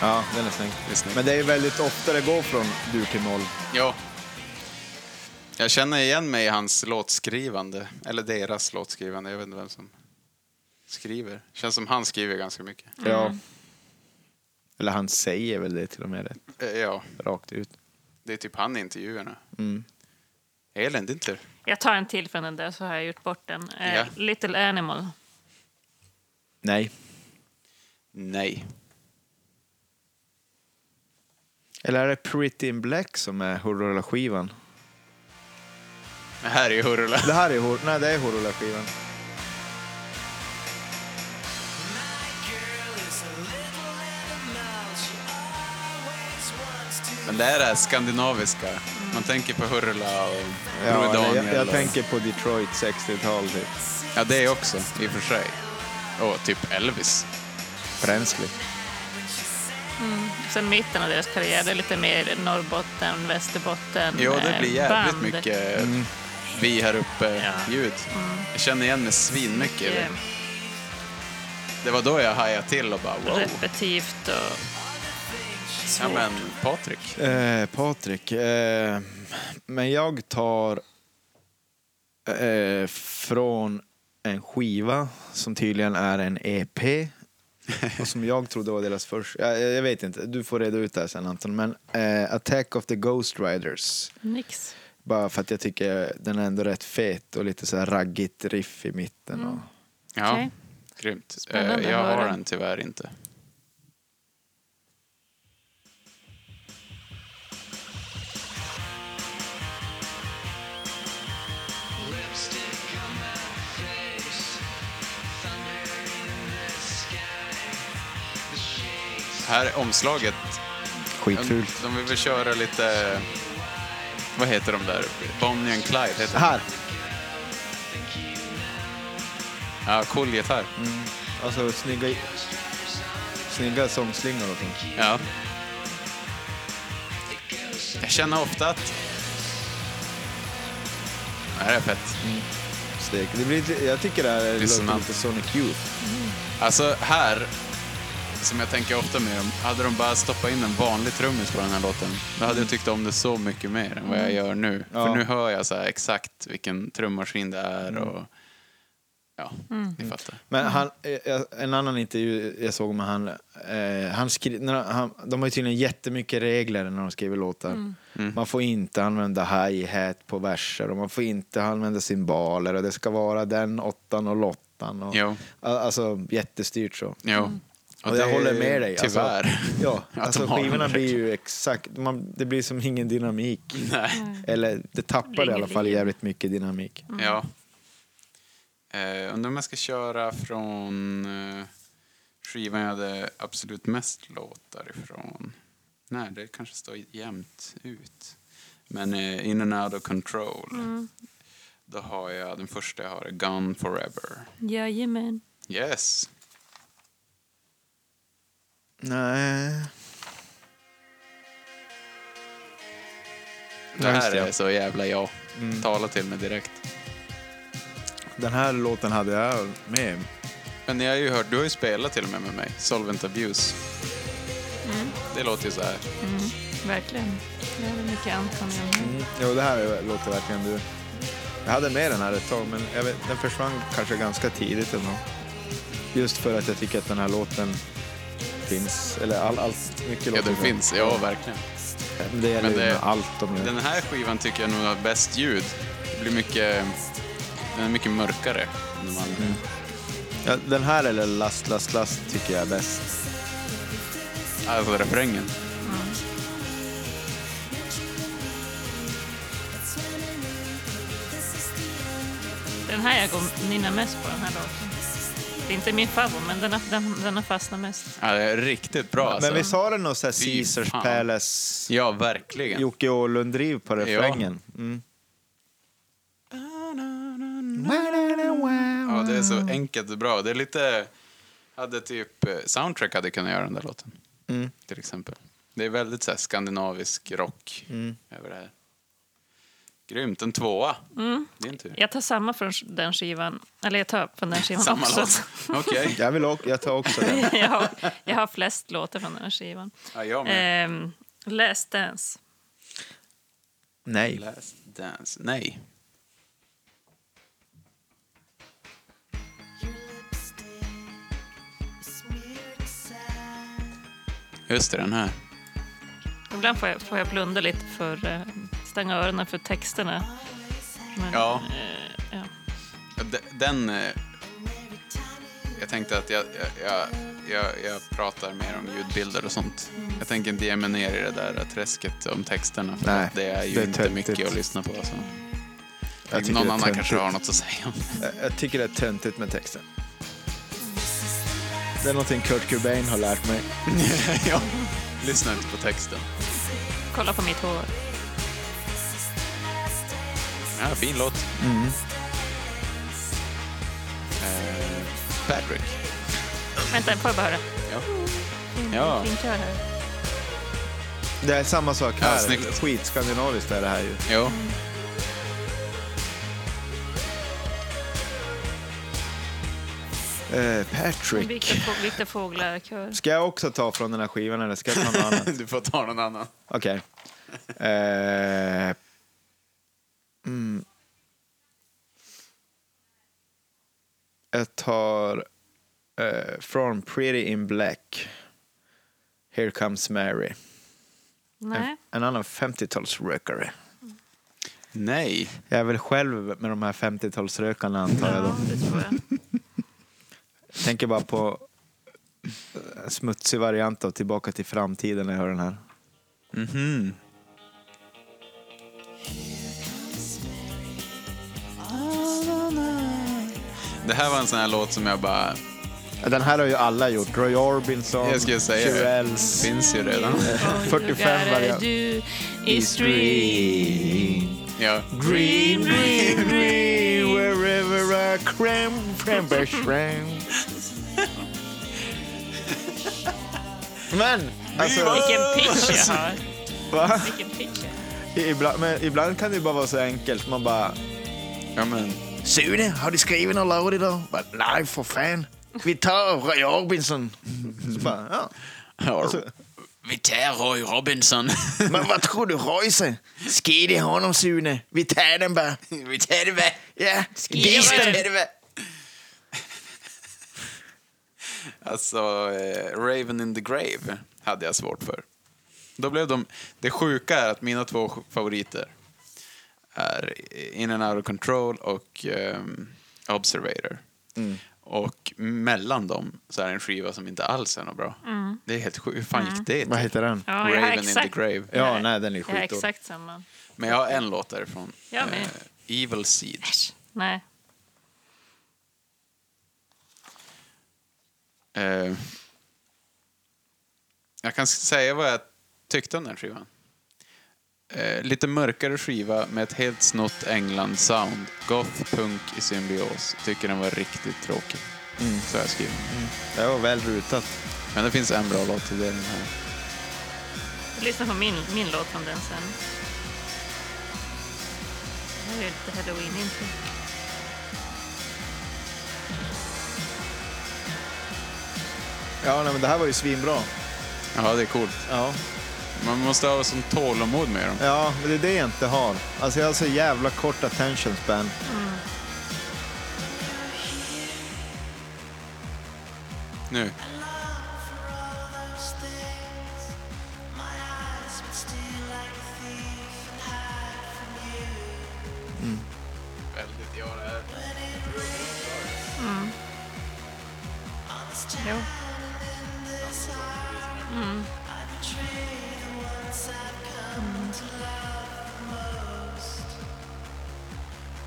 Speaker 3: Ja, den är snygg.
Speaker 2: Det är snyggt.
Speaker 3: Men det är ju väldigt ofta det går från dur till moll.
Speaker 2: Ja. Jag känner igen mig i hans låtskrivande. Eller deras låtskrivande. Jag vet inte vem som skriver. Känns som han skriver ganska mycket.
Speaker 3: Ja. Eller han säger väl det till och med rätt
Speaker 2: Eh, Ja,
Speaker 3: rakt ut.
Speaker 2: det är typ han i intervjuerna.
Speaker 3: Mm.
Speaker 2: Elin, din tur.
Speaker 4: Jag tar en till från den där så har jag gjort bort den. Eh,
Speaker 2: Ja.
Speaker 4: Little Animal.
Speaker 3: Nej.
Speaker 2: Nej.
Speaker 3: Eller är det Pretty in Black som är Horula-skivan?
Speaker 2: Det här är ju Hurula.
Speaker 3: Det här är Hor... Nej, det är Horula-skivan.
Speaker 2: Men det är det här skandinaviska. Man tänker på Hurula och Bror
Speaker 3: Ja,
Speaker 2: Daniel.
Speaker 3: jag, jag
Speaker 2: och-
Speaker 3: tänker på Detroit 60-tal, typ.
Speaker 2: Ja, det också i och för sig. Och typ Elvis.
Speaker 3: Bränsle.
Speaker 4: Sen mitten av deras karriär det är lite mer Norrbotten, Västerbotten.
Speaker 2: Jo, det
Speaker 4: eh,
Speaker 2: blir jävligt
Speaker 4: band.
Speaker 2: mycket
Speaker 3: Mm.
Speaker 2: vi här uppe-ljud. Jag känner igen mig svinmycket. i det.
Speaker 4: Mycket
Speaker 2: Det var då jag hajade till och bara wow.
Speaker 4: Repetitivt och
Speaker 2: Ja,
Speaker 4: svårt.
Speaker 2: men Patrik.
Speaker 3: Eh, Patrik. Eh, men jag tar eh, från en skiva som tydligen är en EP. Och som jag trodde var deras första. Jag, jag vet inte, du får reda ut det här sen Anton. Men eh, Attack of the Ghost Riders.
Speaker 4: Nix.
Speaker 3: Bara för att jag tycker den är ändå rätt fet och lite så här raggigt riff i mitten. Och...
Speaker 2: Ja,
Speaker 4: Okej.
Speaker 2: grymt. Eh,
Speaker 4: Spännande
Speaker 2: jag
Speaker 4: att höra.
Speaker 2: har den tyvärr inte. Här är omslaget. De,
Speaker 3: Skitfult.
Speaker 2: de vill väl köra lite... Vad heter de där? Bonnie and Clyde heter de.
Speaker 3: Här!
Speaker 2: Ja, cool gitarr.
Speaker 3: Alltså snygga, snygga sångslingor och sånt.
Speaker 2: Ja. Jag känner ofta att... Det här är fett.
Speaker 3: Steg. Det blir, lite- jag tycker det här låter
Speaker 2: Dissonant.
Speaker 3: lite Sonic Youth.
Speaker 2: Alltså här, som jag tänker ofta med dem, hade de bara stoppat in en vanlig trummis på den här låten, då hade jag tyckt om det så mycket mer än vad jag gör nu. För
Speaker 3: Ja.
Speaker 2: nu hör jag så här exakt vilken trummaskin det är och... Ja, ni fattar.
Speaker 3: Men han, eh, en annan intervju jag såg med han, eh, han, skri, när han de har ju tydligen jättemycket regler när de skriver låtar. Man får inte använda hi-hat på verser och man får inte använda cymbaler och det ska vara den åttan och lottan. Och,
Speaker 2: Jo.
Speaker 3: Al- Alltså jättestyrt så.
Speaker 2: Jo.
Speaker 3: Och jag
Speaker 2: det-
Speaker 3: håller med dig.
Speaker 2: Tyvärr.
Speaker 3: Alltså, ja,
Speaker 2: Att
Speaker 3: alltså
Speaker 2: de har
Speaker 3: skivorna
Speaker 2: den
Speaker 3: blir ju exakt, man, det blir som ingen dynamik.
Speaker 2: Nej.
Speaker 3: Eller det tappar i alla fall jävligt mycket dynamik.
Speaker 2: Ja. Eh, undrar om jag ska köra från eh, skivan jag hade absolut mest låtar ifrån. Nej, det kanske står jämnt ut. Men eh, In and Out of Control. Då har jag, den första jag har är Gone Forever.
Speaker 4: Jajamän.
Speaker 2: Yes!
Speaker 3: Nej.
Speaker 2: Det
Speaker 3: Ja, just
Speaker 2: här
Speaker 3: det. Mm.
Speaker 2: är så jävla jag. Tala till mig direkt.
Speaker 3: Den här låten hade jag med.
Speaker 2: Men ni har ju hört, du har ju spelat till och med med mig, Solvent Abuse. Det låter ju så här.
Speaker 4: Verkligen. Mm. Det är mycket Anton i den här.
Speaker 3: Jo, det här låter verkligen du. Jag hade med den här ett tag, men jag vet, den försvann kanske ganska tidigt ändå. Just för att jag tycker att den här låten finns. Eller all, allt, mycket
Speaker 2: Ja,
Speaker 3: låtar.
Speaker 2: den finns. Ja, verkligen.
Speaker 3: Det gäller
Speaker 2: Men
Speaker 3: ju
Speaker 2: det-
Speaker 3: med allt de gör.
Speaker 2: Den här skivan tycker jag nog har bäst ljud. Det blir mycket, den är mycket mörkare än de andra.
Speaker 3: Mm. Ja, den här eller Last, Last, Last tycker jag är bäst.
Speaker 2: Alltså refrängen.
Speaker 4: Den här jag går nynnar mest på den här låten. Det är inte min favorit, men den har, den, den har fastnat mest.
Speaker 2: Ja, det är riktigt bra alltså.
Speaker 3: Men vi sa det nog såhär
Speaker 2: Fy
Speaker 3: Caesars
Speaker 2: fan.
Speaker 3: Palace,
Speaker 2: Ja, verkligen.
Speaker 3: Jocke Åhlund-driv på refrängen. Mm.
Speaker 2: Ja, det är så enkelt och bra. Det är lite... Hade typ, eh, soundtrack hade kunnat göra den där låten.
Speaker 3: Mm.
Speaker 2: Till exempel. Det är väldigt så här, skandinavisk rock
Speaker 3: Mm.
Speaker 2: över det här. Grymt. En tvåa. Din tur.
Speaker 4: Jag tar samma från den skivan. Eller jag tar från den skivan
Speaker 2: Samma
Speaker 4: också.
Speaker 2: låt. Okej.
Speaker 3: Jag, vill också, jag tar också den.
Speaker 4: jag, har, jag har flest låtar från den här skivan.
Speaker 2: Ja, jag med.
Speaker 4: Ehm, Last Dance.
Speaker 3: Nej.
Speaker 2: Last Dance. Nej. Just det, den här.
Speaker 4: Ibland får jag, får jag blunda lite för eh, stänga öronen för texterna. Men,
Speaker 2: Ja.
Speaker 4: eh, ja.
Speaker 2: D- Den... eh, Jag tänkte att jag, jag, jag, jag, jag pratar mer om ljudbilder och sånt. Jag tänker inte ge mig ner i det där träsket om texterna. För
Speaker 3: Nej,
Speaker 2: att det är ju
Speaker 3: det är
Speaker 2: inte
Speaker 3: töntigt.
Speaker 2: mycket att lyssna på. Så.
Speaker 3: Jag tycker
Speaker 2: Någon
Speaker 3: det är
Speaker 2: annan kanske
Speaker 3: töntigt.
Speaker 2: har något att säga om det.
Speaker 3: Jag- Jag tycker det är töntigt med texten. Det är någonting Kurt Cobain har lärt mig.
Speaker 2: ja. Lyssna inte på texten.
Speaker 4: Kolla på mitt hår.
Speaker 2: Ja, fin låt. Eh, Patrick.
Speaker 4: Vänta, får jag bara höra?
Speaker 2: Ja. Ja.
Speaker 4: Vinkör här.
Speaker 3: Det är samma sak här.
Speaker 2: snyggt.
Speaker 3: Skitskandinaviskt är det här ju.
Speaker 2: Jo.
Speaker 3: Eh, Patrick.
Speaker 4: Viktor Få- Viktor Fåglar-kör.
Speaker 3: Ska jag också ta från den här skivan eller ska jag ta något annat?
Speaker 2: Du får ta någon annan.
Speaker 3: Okej. Eh, mm. Jag tar eh, From Pretty in Black. Here comes Mary.
Speaker 4: Nej.
Speaker 3: En, en annan 50-talsrökare.
Speaker 2: Nej.
Speaker 3: Jag är väl själv med de här 50-talsrökarna antar jag. Då.
Speaker 4: Ja, det tror jag.
Speaker 3: Tänker bara på en smutsig variant av Tillbaka till framtiden när jag hör den här.
Speaker 2: Det här var en sån här låt som jag bara...
Speaker 3: Den här har ju alla gjort. Roy Orbison,
Speaker 2: Jag skulle säga det.
Speaker 3: Shirelles.
Speaker 2: Finns ju redan.
Speaker 3: 45 variant.
Speaker 4: Du is dream.
Speaker 2: Ja.
Speaker 3: Green, green, green, wherever I cram, cram, cram. Men, alltså,
Speaker 4: Vilken pitch jag har.
Speaker 3: va?
Speaker 4: Vilken pitch jag har.
Speaker 3: Ibland, men ibland kan det ju bara vara så enkelt. Man bara...
Speaker 2: ja men.
Speaker 3: Sune, har du skrivit någon låt idag? Bara, Nej, för fan. Vi tar Roy Orbison. Så bara, ja.
Speaker 2: Alltså, Vi tar Roy Robinson.
Speaker 3: Men vad tror du Royce? Skid i honom Sune. Vi tar den bara.
Speaker 2: Vi tar det med.
Speaker 3: Ja,
Speaker 4: Skid i
Speaker 2: Alltså, eh, Raven in the Grave hade jag svårt för. Då blev de... Det sjuka är att mina två favoriter är In and Out of Control och ehm, Observator. Och mellan dem så är det en skiva som inte alls är något bra. Det är helt sjukt. Hur fan gick det
Speaker 3: Vad
Speaker 2: till?
Speaker 3: heter den?
Speaker 4: Ja, jag har
Speaker 2: Raven in the
Speaker 4: exakt,
Speaker 2: Grave.
Speaker 3: Ja, nej, den är
Speaker 4: jag har
Speaker 3: skitdålig.
Speaker 4: exakt samma.
Speaker 2: Men jag har en låt därifrån.
Speaker 4: Jag med.
Speaker 2: Eh, Evil Seed.
Speaker 4: Nej.
Speaker 2: Eh, jag kan säga vad jag tyckte om den skivan. Eh, lite mörkare skiva med ett helt snott England-sound. Goth, punk i symbios. Tycker den var riktigt tråkig. Så har jag skrivit.
Speaker 3: Det var väl rutat.
Speaker 2: Men det finns en bra låt och det är den här.
Speaker 4: Lyssna på min, min låt från den sen. Det är ju lite halloween inte.
Speaker 3: Ja, nej, men det här var ju svinbra.
Speaker 2: Ja, det är coolt.
Speaker 3: Ja.
Speaker 2: Man måste ha sån tålamod med dem.
Speaker 3: ja, men det är det jag inte har. Alltså jag har så jävla kort attention span.
Speaker 2: Nu. Väldigt, ja, det är-
Speaker 4: Jo.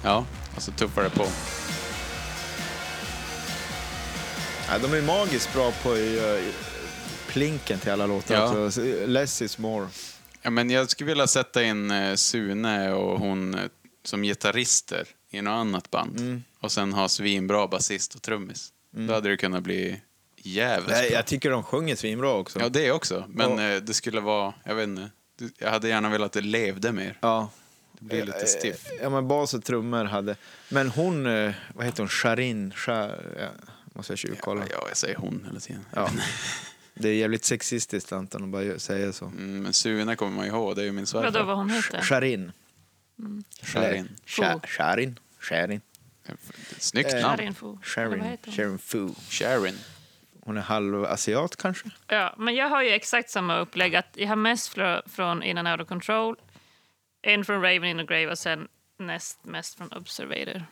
Speaker 2: Ja, och så tuffar det på.
Speaker 3: Ja, de är magiskt bra på eh, plinken till alla låtar.
Speaker 2: Ja.
Speaker 3: Alltså, less is more.
Speaker 2: Ja, men jag skulle vilja sätta in eh, Sune och hon eh, som gitarrister i något annat band.
Speaker 3: Mm.
Speaker 2: Och sen ha svinbra basist och trummis. Då hade det kunnat bli jävligt
Speaker 3: Nej,
Speaker 2: bra.
Speaker 3: jag tycker de sjunger svinbra också.
Speaker 2: Ja, det också. Men
Speaker 3: Ja.
Speaker 2: eh, det skulle vara, jag vet inte. det- Jag hade gärna velat att det levde mer.
Speaker 3: Ja.
Speaker 2: Det blir lite stiff.
Speaker 3: Eh, Ja, men bas och trummor hade... Men hon, eh, vad heter hon, Sharin? Sha... Ja, måste jag tjuvkolla.
Speaker 2: Ja, ja, jag säger hon hela tiden.
Speaker 3: Ja. Det är jävligt sexistiskt, Anton, att bara säga så.
Speaker 2: Mm, men Sune kommer man ihåg, det är ju min svärfar.
Speaker 4: Vadå vad hon Mm. heter?
Speaker 3: Sharin.
Speaker 2: Sharin.
Speaker 3: Sharin.
Speaker 4: Fu.
Speaker 3: Sharin. Sharin.
Speaker 2: Snyggt
Speaker 3: Eh,
Speaker 2: namn.
Speaker 4: Karin Fo. Eller vad
Speaker 3: Sharin.
Speaker 4: heter hon?
Speaker 3: Sharin Fu.
Speaker 2: Sharin.
Speaker 3: Hon är halvasiat kanske?
Speaker 4: Ja, men jag har ju exakt samma upplägg. Att jag har mest fr- från In and Out of Control, en från Raven in the Grave och sen näst mest från Observator.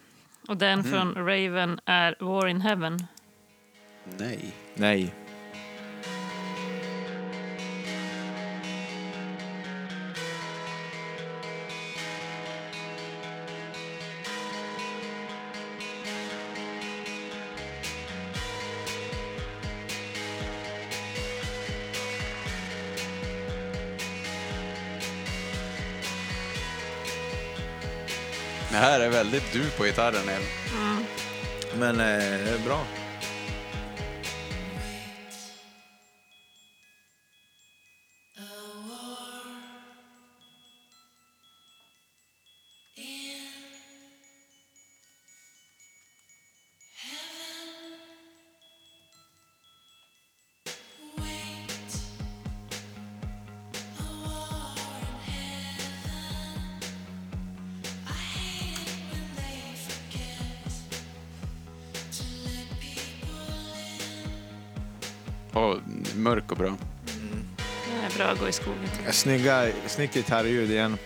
Speaker 4: Och den
Speaker 2: Mm.
Speaker 4: från Raven är War in Heaven.
Speaker 2: Nej.
Speaker 3: Nej.
Speaker 2: Det här är väldigt du på gitarren, Elin.
Speaker 3: Men eh, bra.
Speaker 2: Åh, mörk och bra.
Speaker 4: Det är bra att gå i skogen till.
Speaker 3: Snygga, snyggt gitarrljud igen.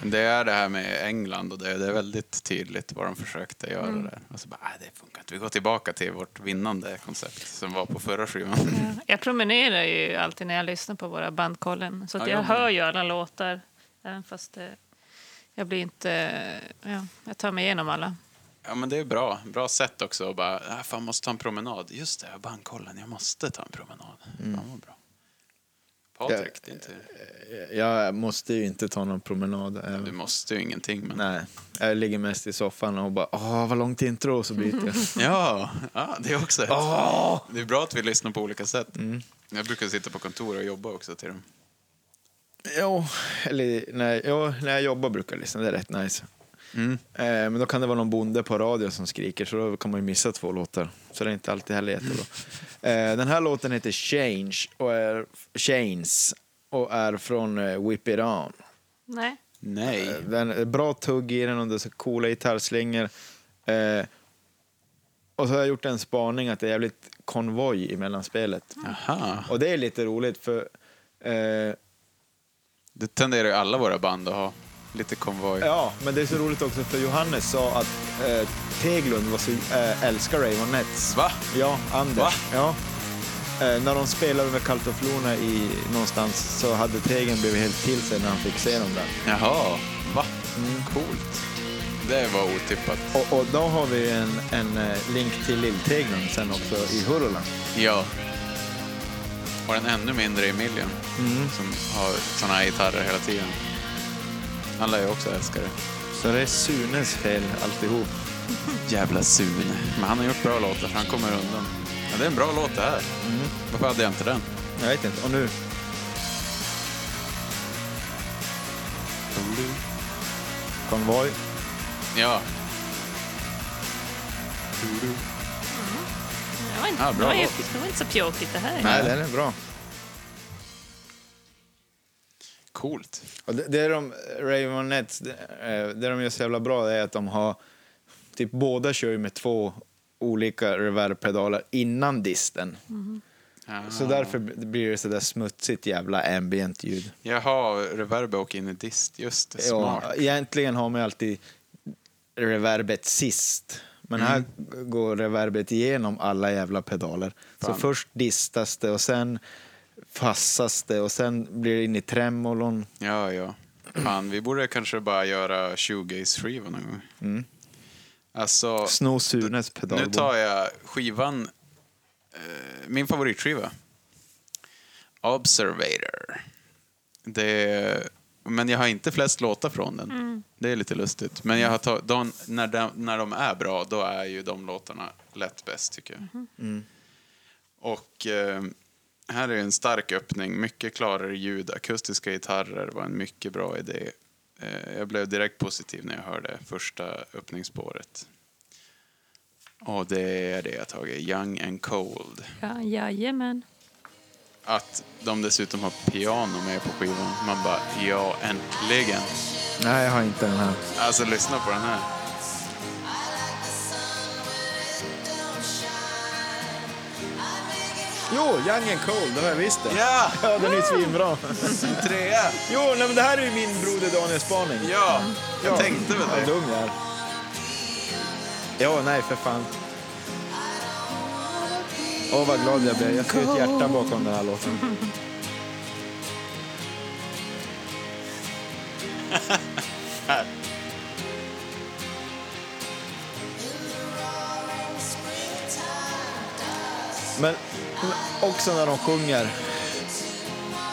Speaker 2: Men Det är det här med England och det, det är väldigt tydligt vad de försökte göra
Speaker 3: Mm.
Speaker 2: där. Och så bara, "Ah, det funkar inte. Vi går tillbaka till vårt vinnande koncept som var på förra skivan.
Speaker 3: Mm.
Speaker 4: Jag promenerar ju alltid när jag lyssnar på våra bandkollen. Så att
Speaker 2: Ja,
Speaker 4: jag
Speaker 2: jag med.
Speaker 4: hör ju alla låtar. Även fast det, jag blir inte... eh, Ja, jag tar mig igenom alla.
Speaker 2: Ja, men det är bra. Bra sätt också att bara, ah, fan måste ta en promenad. Just det, jag bandkollen, jag måste ta en promenad.
Speaker 3: Mm.
Speaker 2: Fan vad bra. Patrik, det är inte...
Speaker 3: Jag måste ju inte ta någon promenad. eh,
Speaker 2: Du måste ju ingenting, men...
Speaker 3: Nej, jag ligger mest i soffan och bara åh vad långt intro och så byter jag.
Speaker 2: Ja, ja, det är också ett.
Speaker 3: Åh! Mm.
Speaker 2: Det är bra att vi lyssnar på olika sätt. Jag brukar sitta på kontor och jobba också till dem.
Speaker 3: Jo, eller nej, jo, när jag jobbar brukar jag lyssna, det är rätt nice. Eh, men då kan det vara någon bonde på radio som skriker så då kan man ju missa två låtar. Så det är inte alltid heller jättebra. Eh, den här låten heter Change och är, Chains och är från eh, Whip It On.
Speaker 4: Nej.
Speaker 2: Nej.
Speaker 3: Eh, Den är bra tugg i den och det är så coola gitarrslingor. Eh, och så har jag gjort en spaning att det är jävligt konvoj i mellanspelet.
Speaker 2: Aha.
Speaker 3: Och det är lite roligt för eh,
Speaker 2: Det tenderar ju alla våra band att ha. Lite konvoj.
Speaker 3: Ja, men det är så roligt också för Johannes sa att eh, Teglund var så, eh, älskar Ravenettes.
Speaker 2: Va?
Speaker 3: Ja, Anders.
Speaker 2: Va?
Speaker 3: Ja. Eh, när de spelade med Cult of Luna i, någonstans så hade Tegen blivit helt till sig när han fick se dem där.
Speaker 2: Jaha. Va? Coolt. Mm. Det var otippat.
Speaker 3: Och, och då har vi en, en eh, länk till Lill-Teglund sen också i Hurula.
Speaker 2: Ja. Och den ännu mindre Emilian. Som har såna här gitarrer hela tiden. Han lär ju också älska det.
Speaker 3: Så det är Sunes fel alltihop.
Speaker 2: Jävla Sune. Men han har gjort bra låtar så han kommer undan. Ja, det är en bra låt det här. Varför hade jag inte den?
Speaker 3: Jag vet inte. Och nu? Konvoj.
Speaker 2: Ja.
Speaker 4: Det var inte,
Speaker 2: Ja,
Speaker 4: det
Speaker 2: bra
Speaker 4: var, ju-
Speaker 2: låt.
Speaker 4: det var inte så pjåkigt det här.
Speaker 3: Nej, den är bra.
Speaker 2: Coolt.
Speaker 3: Och det, det är de, Ravenettes, det, eh, det de gör så jävla bra är att de har, typ båda kör ju med två olika reverbpedaler innan disten.
Speaker 2: Ja.
Speaker 3: Så därför b- blir det sådär smutsigt jävla ambient ljud.
Speaker 2: Jaha, reverb och in i dist. Just det, smart.
Speaker 3: Ja, egentligen har man ju alltid reverbet sist. Men här g- går reverbet igenom alla jävla pedaler.
Speaker 2: Fan.
Speaker 3: Så först distas det och sen fassas det och sen blir det in i tremolon.
Speaker 2: Ja, ja. Fan, vi borde kanske bara göra shoegaze-skivan någon gång. Alltså,
Speaker 3: Sno Sunes pedalbord.
Speaker 2: nu tar jag skivan eh, min favoritskiva. Observator. Det, men jag har inte flest låtar från den. Det är lite lustigt. Men jag har tag, de, när, de, när de är bra, då är ju de låtarna lätt bäst tycker jag. Mm. Och eh, här är en stark öppning. Mycket klarare ljud. Akustiska gitarrer var en mycket bra idé. Eh, jag blev direkt positiv när jag hörde första öppningsspåret. Och det är det jag tagit. Young and Cold.
Speaker 4: Ja, jajamän.
Speaker 2: Att de dessutom har piano med på skivan. Man bara, ja äntligen.
Speaker 3: Nej, jag har inte den här.
Speaker 2: Alltså lyssna på den här.
Speaker 3: Jo, Young and Cold, det har jag visst det.
Speaker 2: Ja!
Speaker 3: Ja, den är ju svinbra.
Speaker 2: Trea!
Speaker 3: Jo, nej, men det här är ju min broder Daniels spaning.
Speaker 2: Ja! Jag tänkte väl
Speaker 3: Vad
Speaker 2: det.
Speaker 3: dum jag är. Ja, nej för fan. Åh, vad glad jag blev. Jag skrev ett hjärta bakom den här låten. Men men också när de sjunger.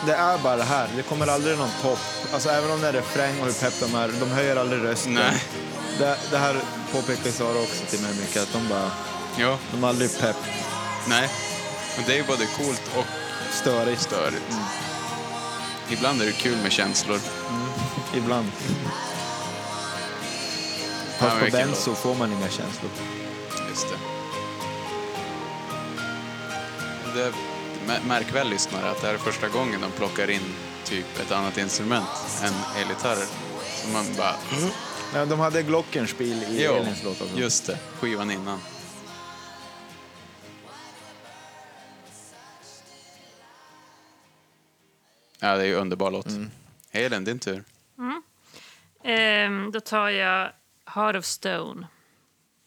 Speaker 3: Det är bara det här. Det kommer aldrig någon topp. Alltså även om det är refräng och hur pepp de är. De höjer aldrig rösten.
Speaker 2: Nej.
Speaker 3: Det, det här påpekar Sara också till mig mycket. Att de bara,
Speaker 2: Ja,
Speaker 3: de är aldrig pepp.
Speaker 2: nej. Men det är både coolt och
Speaker 3: Störigt.
Speaker 2: störigt. Ibland är det kul med känslor.
Speaker 3: Ibland.
Speaker 2: men
Speaker 3: Fast på
Speaker 2: vilken
Speaker 3: Benzo får man inga känslor.
Speaker 2: Just det. det mä- märk väl lyssnare att det här är första gången de plockar in typ ett annat instrument än elgitarrer. Så man bara...
Speaker 3: Nej, de hade Glockenspiel i
Speaker 2: Jo,
Speaker 3: Elins låt också.
Speaker 2: just det. Skivan innan. Ja, det är ju underbar låt.
Speaker 3: Mm.
Speaker 2: Elin, din tur.
Speaker 4: Ehm, då tar jag Heart of Stone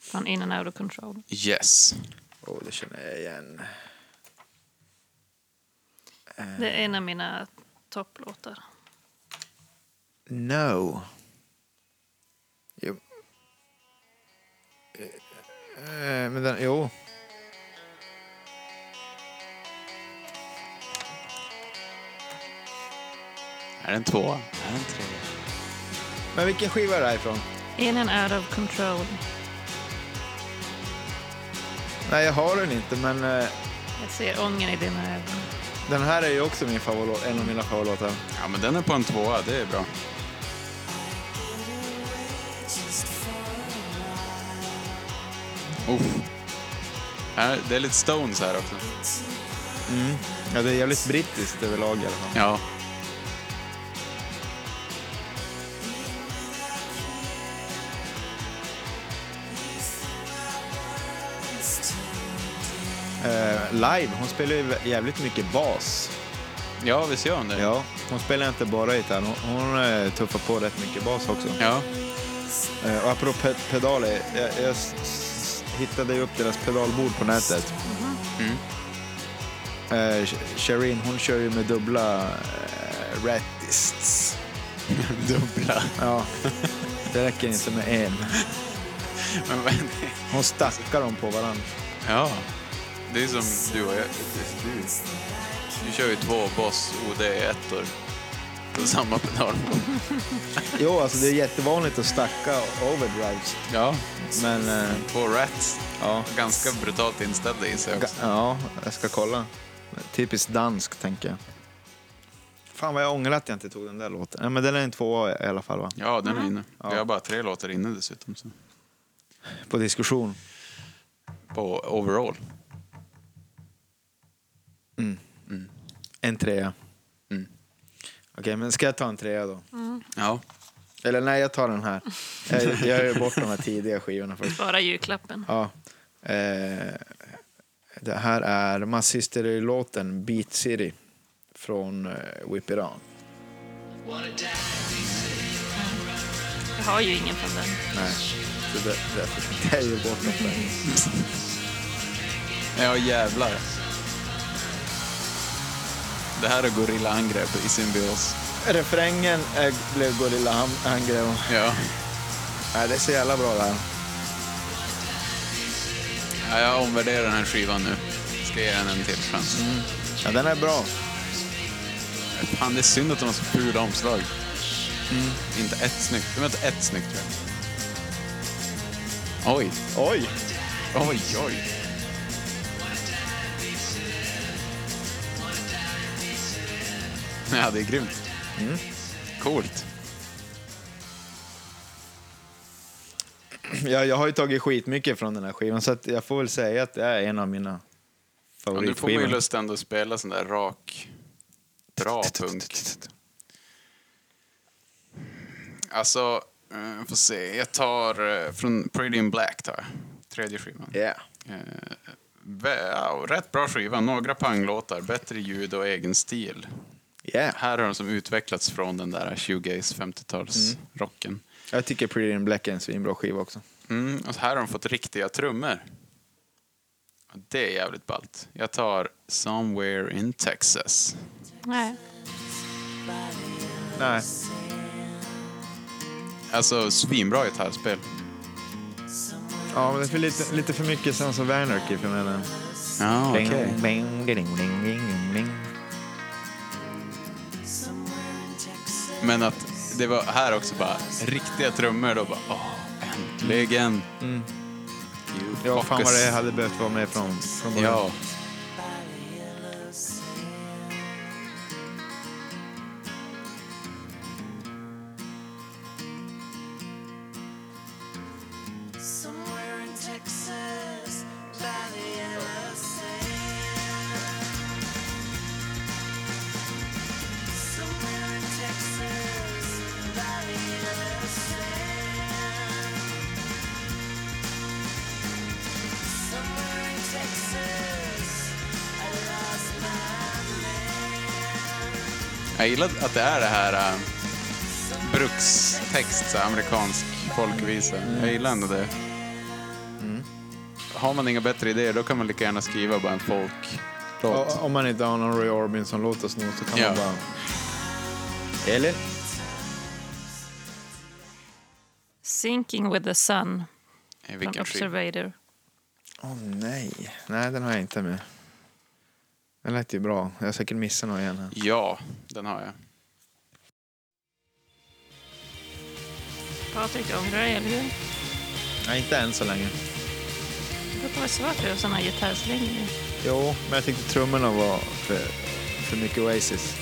Speaker 4: från In and Out of Control.
Speaker 2: Yes.
Speaker 3: Åh, Oh, det känner jag igen.
Speaker 4: Det är en av mina topplåtar.
Speaker 3: No. Jo. Eh, eh, Men den, jo.
Speaker 2: Är det en tvåa? Är det en trea?
Speaker 3: Men vilken skiva är det här ifrån?
Speaker 4: In and Out of Control.
Speaker 3: Nej, jag har den inte, men eh,
Speaker 4: Jag ser ången i dina ögon.
Speaker 3: den här är ju också min favoritlåt, en av mina favoritlåtar.
Speaker 2: Ja, men den är på en tvåa. Det är bra. Uff. Här- Det är lite Stones här också.
Speaker 3: Ja, det är jävligt brittiskt överlag i alla fall.
Speaker 2: Ja.
Speaker 3: Eh, live, hon spelar ju jävligt mycket bas.
Speaker 2: ja, visst gör hon det?
Speaker 3: Ja, hon spelar inte bara gitarr, hon, hon eh, tuffar på rätt mycket bas också.
Speaker 2: ja.
Speaker 3: Eh, och apropå pe- pedaler, jag, jag s- s- hittade ju upp deras pedalbord på nätet.
Speaker 2: Mm-hmm. Mm.
Speaker 3: Eh, Sh- Sherin, hon kör ju med dubbla eh, rattists.
Speaker 2: Dubbla.
Speaker 3: Ja, det räcker inte med en.
Speaker 2: Men vad är det?
Speaker 3: Hon stackar dem på varandra.
Speaker 2: Ja. Det är som du och jag. Du, du kör ju två Boss OD-ettor på samma pedal.
Speaker 3: Jo, alltså det är jättevanligt att stacka overdrives,
Speaker 2: Ja.
Speaker 3: men eh,
Speaker 2: Två Rats.
Speaker 3: ja.
Speaker 2: Ganska brutalt inställda i sig också.
Speaker 3: Ga- Ja, jag ska kolla. Typiskt dansk, tänker jag. Fan vad jag ångrar att jag inte tog den där låten. Nej, men den är en tvåa i alla fall, va?
Speaker 2: Mm. Ja, den är inne.
Speaker 3: Ja.
Speaker 2: Vi har bara tre låtar inne dessutom. Så.
Speaker 3: På diskussion.
Speaker 2: På overall.
Speaker 3: En trea.
Speaker 2: Mm.
Speaker 3: Okej, men ska jag ta en trea då?
Speaker 2: Ja.
Speaker 3: Eller nej, jag tar den här. Jag, jag gör bort de här tidiga skivorna först.
Speaker 4: Bara julklappen.
Speaker 3: Ja. Eh, det här är Massistery-låten Beat City från eh, Whip It On.
Speaker 4: Jag har ju ingen från den.
Speaker 3: Nej, så det, det, det är ju bort dem där.
Speaker 2: Ja, jävlar. Det här är gorilla-angrepp i symbios.
Speaker 3: Refrängen eh, blev Gorilla Ham- Angrev.
Speaker 2: Ja.
Speaker 3: Nej, det är så jävla bra det här.
Speaker 2: ja, jag omvärderar den här skivan nu. ska ge den en till chans.
Speaker 3: Ja, den är bra.
Speaker 2: Fan, det är synd att de har så fula omslag. Inte ett snyggt. De har inte ett snyggt tror jag. Oj,
Speaker 3: Oj!
Speaker 2: oj, oj. Ja, det är grymt. Mm. Coolt.
Speaker 3: Jag, jag har ju tagit skitmycket från den här skivan så att jag får väl säga att det är en av mina
Speaker 2: Ja, nu får man ju
Speaker 3: favoritskivor.
Speaker 2: lust ändå att spela sån där rak, bra punk. Alltså, eh, får se. Jag tar eh, från Pretty in Black, tar jag. Tredje skivan.
Speaker 3: Yeah.
Speaker 2: Eh, vä- ja, rätt bra skiva, några panglåtar, bättre ljud och egen stil.
Speaker 3: Yeah.
Speaker 2: Här har de som utvecklats från den där shoegaze 50-talsrocken.
Speaker 3: Jag tycker Pretty in Black är en svinbra skiva också.
Speaker 2: Mm, och här har de fått riktiga trummor. Och Det är jävligt ballt. Jag tar Somewhere in Texas.
Speaker 4: Nej.
Speaker 3: Nej.
Speaker 2: Alltså svinbra gitarrspel.
Speaker 3: Ja, men det är för lite, lite för mycket Sons of Anarchy för mig. den.
Speaker 2: Ja, okej.
Speaker 3: Bing, ding, ding, ding, ding, ding.
Speaker 2: Men att det var här också bara riktiga trummor då bara åh, äntligen. You
Speaker 3: Mm. Ja, fan vad
Speaker 2: fuckers.
Speaker 3: det hade behövt vara med från, från början.
Speaker 2: Ja. Jag gillar att det är det här äh, brukstext, så här, amerikansk folkvisa. Jag gillar ändå det. Har man inga bättre idéer då kan man lika gärna skriva bara en folklåt.
Speaker 3: O- Om man inte har någon Roy Orbison-låt att sno så kan
Speaker 2: Ja.
Speaker 3: man bara... Eller?
Speaker 4: Sinking with the sun
Speaker 2: I
Speaker 4: från
Speaker 2: vilken skiva?
Speaker 4: Observator.
Speaker 3: Åh oh, nej. Nej, den har jag inte med. Den lät ju bra. Jag har säkert missat någon igen här.
Speaker 2: Ja, den har jag.
Speaker 4: Patrik ångrar dig, eller hur?
Speaker 3: Nej, inte än så länge.
Speaker 4: Det brukar vara svårt att göra sådana gitarrslingor.
Speaker 3: Jo, men jag tyckte trummorna var för, för mycket Oasis.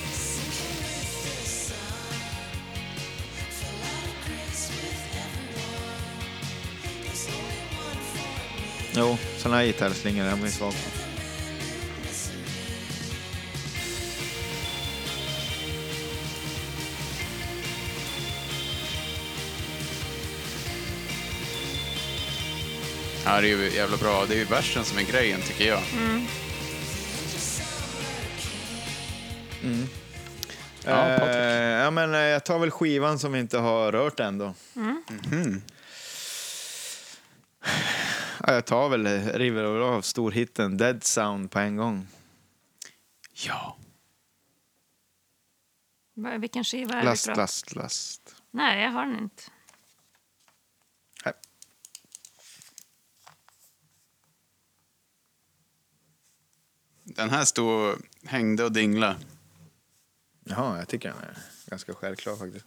Speaker 3: Jo, såna här gitarrslingor är man ju svag på.
Speaker 2: Ja, det är ju jävla bra. Det är ju versen som är grejen tycker jag. Ja, Patrik.
Speaker 3: Eh, ja, men eh, jag tar väl skivan som vi inte har rört än då.
Speaker 4: Mm.
Speaker 3: Mhm. Ja, jag tar väl, eh, river väl av storhitten Dead Sound på en gång.
Speaker 2: Ja.
Speaker 4: Vad- Vilken skiva är
Speaker 3: Last,
Speaker 4: det? bra?
Speaker 3: last, last.
Speaker 4: Nej, jag har den inte.
Speaker 3: Här.
Speaker 2: Den här stod och hängde och dingla.
Speaker 3: Jaha, jag tycker den är ganska självklar faktiskt.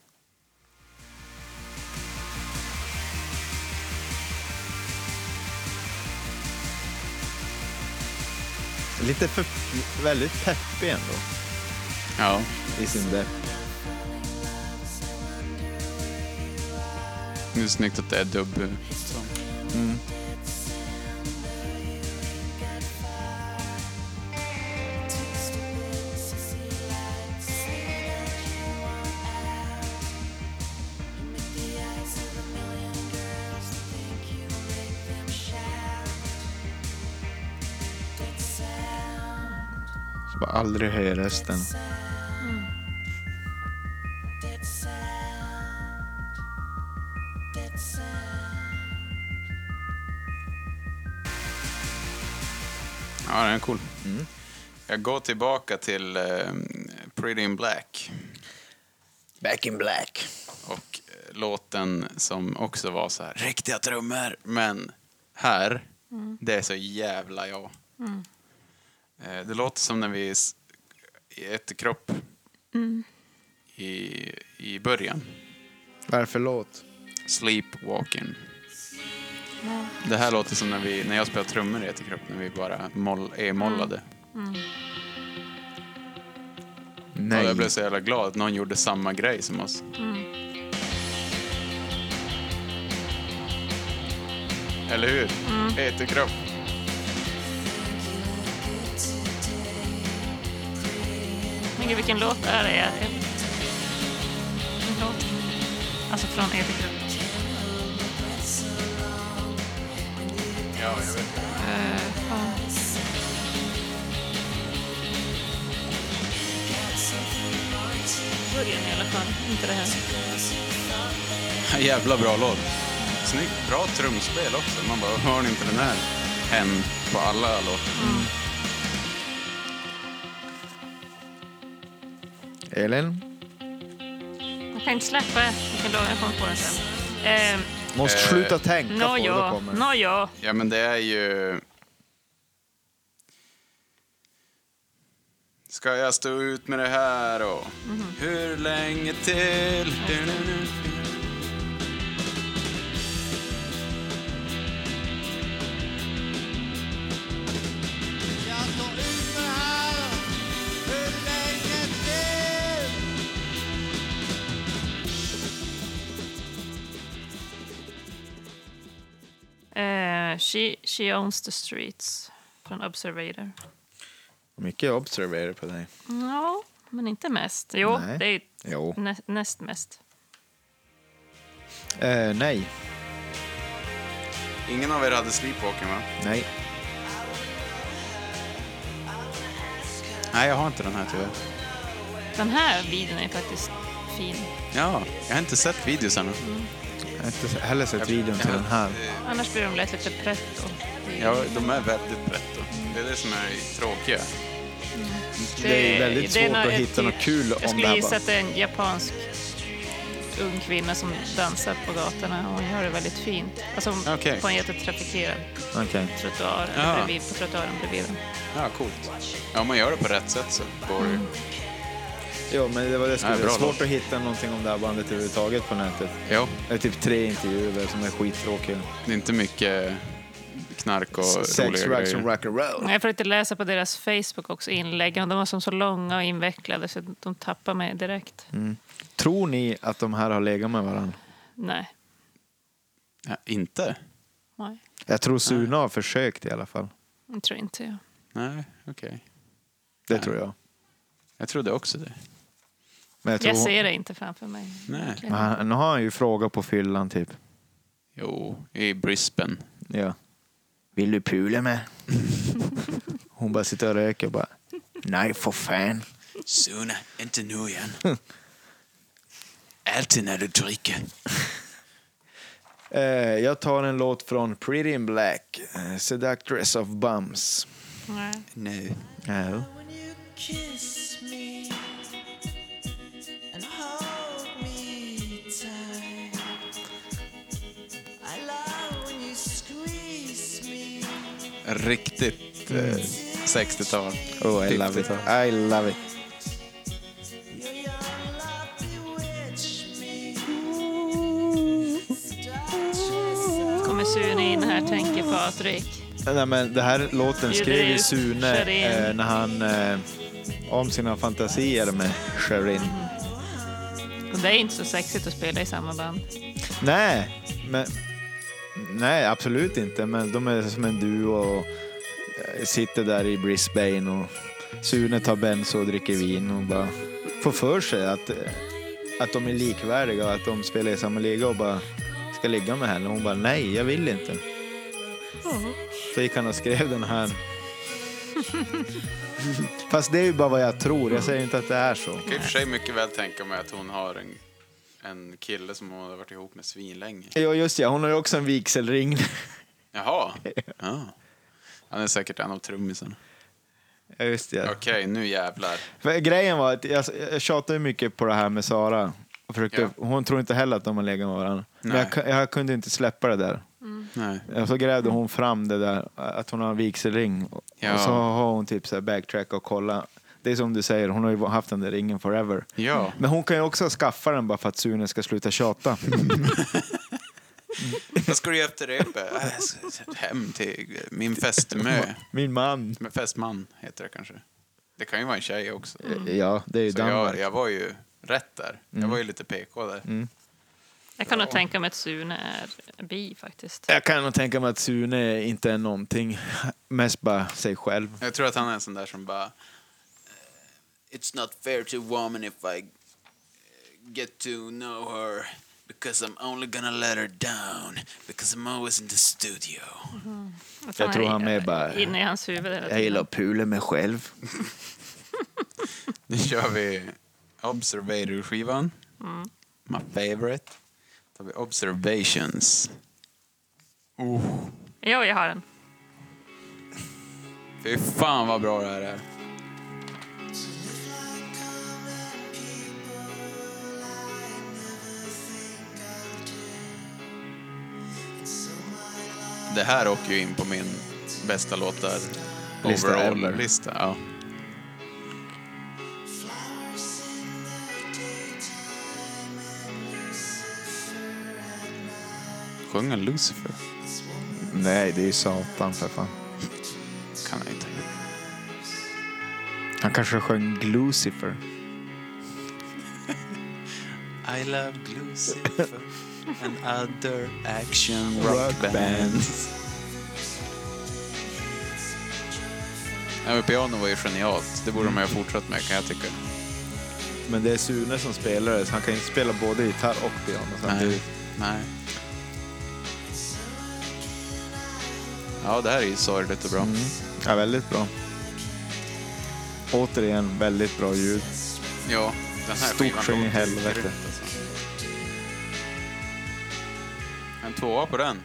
Speaker 3: Lite för, väldigt peppig ändå
Speaker 2: Ja.
Speaker 3: i sin depp.
Speaker 2: Det är snyggt att det är dubb.
Speaker 3: Så bara aldrig höja rösten.
Speaker 2: Ja, den är cool.
Speaker 3: Mm.
Speaker 2: Jag går tillbaka till eh, Pretty in Black
Speaker 3: Back in black.
Speaker 2: och eh, låten som också var så här riktiga trummor. Men här, det är så jävla jag. Eh, Det låter som när vi s- i Ätterkropp i, i början.
Speaker 3: Vad är det för låt?
Speaker 2: Sleepwalking. Det här låter som när, vi, när jag spelar trummor i Ätterkropp, när vi bara moll, e-mollade. Och
Speaker 3: Nej.
Speaker 2: jag blev så jävla glad att någon gjorde samma grej som oss. Eller hur? Mm. Ätterkropp.
Speaker 4: Men gud, vilken låt är det? Jag- jag- Vilken låt? Alltså från Epic
Speaker 2: Ja, jag vet.
Speaker 4: Eh, Början i alla fall, inte det här.
Speaker 2: Jävla bra låt. Snyggt. Bra trumspel också. Man bara, hör ni inte den här? En på alla låtar.
Speaker 3: Elin?
Speaker 4: Jag kan inte släppa vilken låt, jag kommer på den sen. Eh,
Speaker 3: Måste
Speaker 2: Eh,
Speaker 3: sluta tänka på det, då
Speaker 4: Nåja,
Speaker 3: kommer det.
Speaker 4: nåja.
Speaker 2: Ja, men det är ju... Ska jag stå ut med det här och hur länge till?
Speaker 4: Eh, she, she owns the streets från Observator.
Speaker 3: Mycket observerar på dig.
Speaker 4: Ja, men inte mest. Jo,
Speaker 3: Nej.
Speaker 4: det är
Speaker 3: Jo.
Speaker 4: nä, näst mest.
Speaker 3: Eh, nej.
Speaker 2: Ingen av er hade sleepwalking, va?
Speaker 3: Nej.
Speaker 2: Nej, jag har inte den här tyvärr.
Speaker 4: Den här videon är faktiskt fin.
Speaker 2: Ja, jag har inte sett videosarna.
Speaker 3: Jag har inte heller sett videon till den här.
Speaker 4: Annars blir de lätt lite pretto.
Speaker 2: Ja, de är väldigt pretto. Det är det som är tråkiga.
Speaker 3: Det är väldigt svårt
Speaker 4: nå-
Speaker 3: att hitta
Speaker 4: ett-
Speaker 3: något kul om
Speaker 4: typ- Jag
Speaker 3: det
Speaker 4: skulle
Speaker 3: här
Speaker 4: gissa
Speaker 3: bara.
Speaker 4: att det är en japansk ung kvinna som dansar på gatorna. Hon gör det väldigt fint. Alltså hon-
Speaker 2: Okej.
Speaker 4: på en jättetrafikerad
Speaker 3: Okej.
Speaker 4: trottoar,
Speaker 2: Ja.
Speaker 4: bredvid, på trottoaren bredvid. den.
Speaker 2: Ja, coolt. Mm. Ja, om man gör det på rätt sätt så går det ju.
Speaker 3: Jo, men det var det skulle
Speaker 2: Nej,
Speaker 3: det är
Speaker 2: bra
Speaker 3: svårt
Speaker 2: låt.
Speaker 3: att hitta någonting om det här bandet överhuvudtaget på nätet.
Speaker 2: Ja,
Speaker 3: Det är typ tre intervjuer som är skittråkiga.
Speaker 2: det är inte mycket knark och
Speaker 3: Sex,
Speaker 2: roliga
Speaker 3: drugs
Speaker 2: grejer.
Speaker 3: and rock'n'roll.
Speaker 4: Jag försökte läsa på deras Facebook också inlägg. och De var som så långa och invecklade så de tappade mig direkt.
Speaker 3: Mm. Tror ni att de här har legat med varandra?
Speaker 4: Nej.
Speaker 2: Ja, inte?
Speaker 4: Nej,
Speaker 3: Jag tror Sune har försökt i alla fall.
Speaker 4: det tror inte jag.
Speaker 2: Nej, okej.
Speaker 3: Det tror jag.
Speaker 2: Jag trodde också det.
Speaker 3: Men jag tror
Speaker 4: Jag
Speaker 3: hon-
Speaker 4: ser det inte framför mig.
Speaker 2: Nej.
Speaker 3: Men han- Nu har han ju frågat på fyllan typ.
Speaker 2: Jo, i Brisbane.
Speaker 3: Ja. Vill du pula med? Hon bara sitter och röker och bara. Nej för fan.
Speaker 2: Sune, inte nu igen. Alltid när du dricker.
Speaker 3: Eh, jag tar en låt från Pretty in Black. Eh, Seductress of Bums.
Speaker 4: Nej.
Speaker 2: Nej.
Speaker 3: Ja.
Speaker 6: When you kiss me and hold me tight, I love when you squeeze me.
Speaker 2: Riktigt eh, 60-tal.
Speaker 3: Oh, I love it.
Speaker 2: 50-tal.
Speaker 3: I love it.
Speaker 6: Your young love bewitch me. Seductress
Speaker 4: Kommer Sune in här, tänker Patrik.
Speaker 3: Nej, men det här låten
Speaker 4: Bjuder
Speaker 3: skrev ju
Speaker 4: ut,
Speaker 3: Sune
Speaker 4: kör in.
Speaker 3: eh, när han eh, om sina fantasier med Sherin.
Speaker 4: Och det är inte så sexigt att spela i samma band.
Speaker 3: Nej, men, nej, absolut inte. Men de är som en duo och eh, sitter där i Brisbane och Sune tar benzo och dricker vin och bara får för sig att, eh, att de är likvärdiga och att de spelar i samma liga och bara ska ligga med henne. Och hon bara nej, jag vill inte. Så gick han och skrev den här. Fast det är ju bara vad jag tror. Jag säger inte att det är så.
Speaker 2: Jag kan i och för sig mycket väl tänka mig att hon har en, en kille som hon har varit ihop med svinlänge.
Speaker 3: Ja, just ja. Hon har ju också en vigselring.
Speaker 2: Jaha. Ja. Han är säkert en av trummisarna.
Speaker 3: Ja, just ja.
Speaker 2: Okej, nu jävlar.
Speaker 3: För grejen var att jag, jag tjatade ju mycket på det här med Sara. Och försökte,
Speaker 2: Ja.
Speaker 3: Hon tror inte heller att de har legat med varandra. Men
Speaker 2: Nej.
Speaker 3: jag, ku- jag kunde inte släppa det där.
Speaker 2: Nej.
Speaker 3: Och så grävde hon fram det där, att hon har en vigselring.
Speaker 2: Ja.
Speaker 3: Och så har hon typ så här backtrack och kolla. Det är som du säger, hon har ju haft den där ringen forever.
Speaker 2: Ja.
Speaker 3: Men hon kan ju också skaffa den bara för att Sune ska sluta tjata.
Speaker 2: Vad ska du göra efter repet? Äh, jag ska Hem till min fästmö.
Speaker 3: Min man.
Speaker 2: Men Fästman heter det kanske. Det kan ju vara en tjej också.
Speaker 3: Ja, det är ju
Speaker 2: Så jag,
Speaker 3: Danmark.
Speaker 2: jag var ju rätt där. Jag var ju lite PK där.
Speaker 4: Jag kan nog tänka mig att Sune är bi faktiskt.
Speaker 3: Jag kan nog tänka mig att Sune inte är någonting, mest bara sig själv.
Speaker 2: Jag tror att han är en sån där som bara... eh,
Speaker 7: It's not fair to woman if I get to know her because I'm only gonna let her down because I'm always in the studio.
Speaker 4: Att
Speaker 3: Jag tror han
Speaker 4: är
Speaker 3: är bara-
Speaker 4: Inne i hans huvud hela
Speaker 3: Jag
Speaker 4: tiden.
Speaker 3: gillar att pula mig själv.
Speaker 2: Nu kör vi Observator-skivan. My favorite. Då tar vi Observations. Oh,
Speaker 4: Jo, jag har den.
Speaker 2: fy fan vad bra det här är. Det här åker ju in på min bästa låtar
Speaker 3: Lista ever.
Speaker 2: overall-lista. Ja. Sjunger Lucifer?
Speaker 3: Nej, det är ju Satan för fan.
Speaker 2: Kan jag inte.
Speaker 3: Han kanske sjöng Lucifer.
Speaker 2: I love Lucifer and other action rock bands. Ja, men piano var ju genialt. Det borde de ha fortsatt med kan jag tycka.
Speaker 3: Men det är Sune som spelar det, så han kan ju inte spela både gitarr och piano
Speaker 2: Nej.
Speaker 3: samtidigt.
Speaker 2: Nej. Ja, det här är ju sorgligt och bra.
Speaker 3: Ja, väldigt bra. Återigen, väldigt bra ljud.
Speaker 2: Ja, den här
Speaker 3: Stort
Speaker 2: skivan
Speaker 3: skäng i
Speaker 2: låter
Speaker 3: helvete.
Speaker 2: grymt, alltså. En tvåa på den.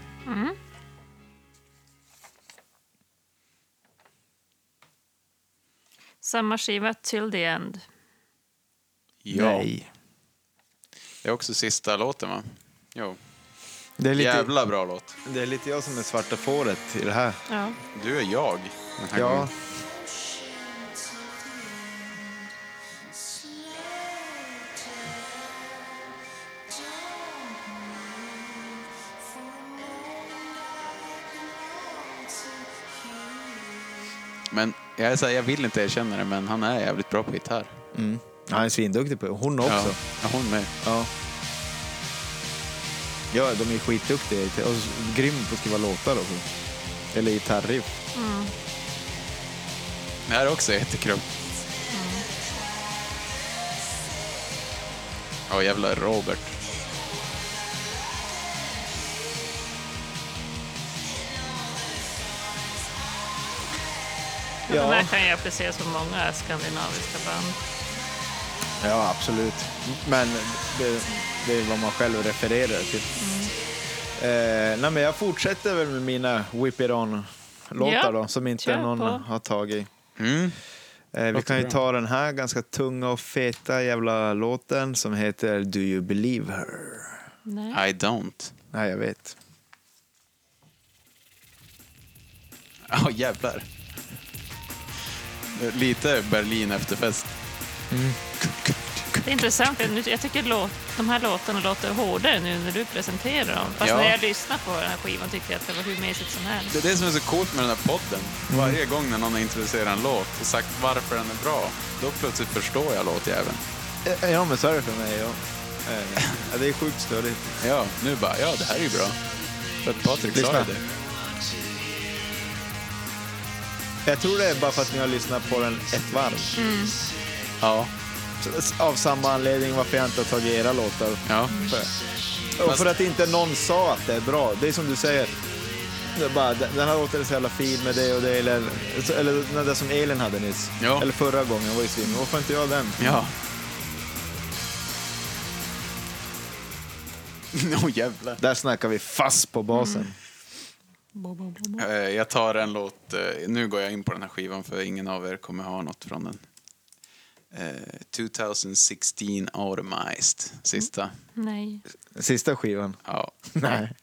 Speaker 4: Samma skiva, Till the End.
Speaker 2: Ja. Det är också sista låten, va? Jo.
Speaker 3: Det är, lite,
Speaker 2: Jävla bra låt.
Speaker 3: det är lite jag som är svarta fåret i det här.
Speaker 4: Ja.
Speaker 2: Du är jag. Den här
Speaker 3: Ja,
Speaker 2: gången. Men jag, är så här, jag vill inte erkänna det, men han är jävligt bra på gitarr.
Speaker 3: han är svinduktig på det. Hon
Speaker 2: Ja,
Speaker 3: också.
Speaker 2: ja, hon med.
Speaker 3: Ja. ja, de är skitduktiga. Och så- grym på att skriva låtar också. Eller gitarriff.
Speaker 2: Det här är också jättekul. Ja, jävla Robert.
Speaker 4: Ja. Den här kan jag applicera på många skandinaviska band.
Speaker 3: Ja, absolut. Men det, det är vad man själv refererar till.
Speaker 4: Mm.
Speaker 3: Eh, nej, men jag fortsätter väl med mina Whip It On-låtar
Speaker 4: Ja,
Speaker 3: då, som inte
Speaker 4: kör
Speaker 3: någon
Speaker 4: på.
Speaker 3: har tagit.
Speaker 2: Mm.
Speaker 3: Eh, vi
Speaker 2: Låter
Speaker 3: kan ju
Speaker 2: bra.
Speaker 3: ta den här ganska tunga och feta jävla låten som heter Do You Believe Her?
Speaker 4: Nej.
Speaker 2: I don't.
Speaker 3: Nej, jag vet.
Speaker 2: Ja, jävlar. Lite Berlin efterfest.
Speaker 4: Det är intressant. Jag- nu- Jag tycker låt, de här låtarna låter hårdare nu när du presenterar dem. Fast
Speaker 2: Ja.
Speaker 4: när jag lyssnar på den här skivan tycker jag att det var hur mesigt som helst.
Speaker 2: Det är det som är så coolt med den här podden.
Speaker 3: Mm.
Speaker 2: Varje gång när någon introducerar en låt och sagt varför den är bra, då plötsligt förstår jag låtjäveln.
Speaker 3: Eh, Ja, men så är det för mig. Ja. Eh, ja, det är sjukt stödigt.
Speaker 2: Ja, nu bara, ja det här är ju bra. För att Patrik sa
Speaker 3: Lyssna.
Speaker 2: ju det.
Speaker 3: Jag tror det är bara för att ni har lyssnat på den ett varv.
Speaker 2: Ja,
Speaker 3: Så- Av samma anledning varför jag inte har tagit era låtar.
Speaker 2: ja.
Speaker 3: Och för att inte någon sa att det är bra. Det är som du säger. Det är bara, den den här låten är så jävla fin med det och det. Eller, eller den där som Elin hade nyss.
Speaker 2: Ja.
Speaker 3: Eller förra gången var ju svin. Varför inte jag den?
Speaker 2: ja. Åh jävlar.
Speaker 3: Där snackar vi fast på basen.
Speaker 2: Mm. Eh, Jag tar en låt, eh, nu går jag in på den här skivan för ingen av er kommer ha något från den. Eh, 2016 Automized, sista.
Speaker 4: Nej.
Speaker 3: Sista skivan.
Speaker 2: Ja.
Speaker 3: Nej.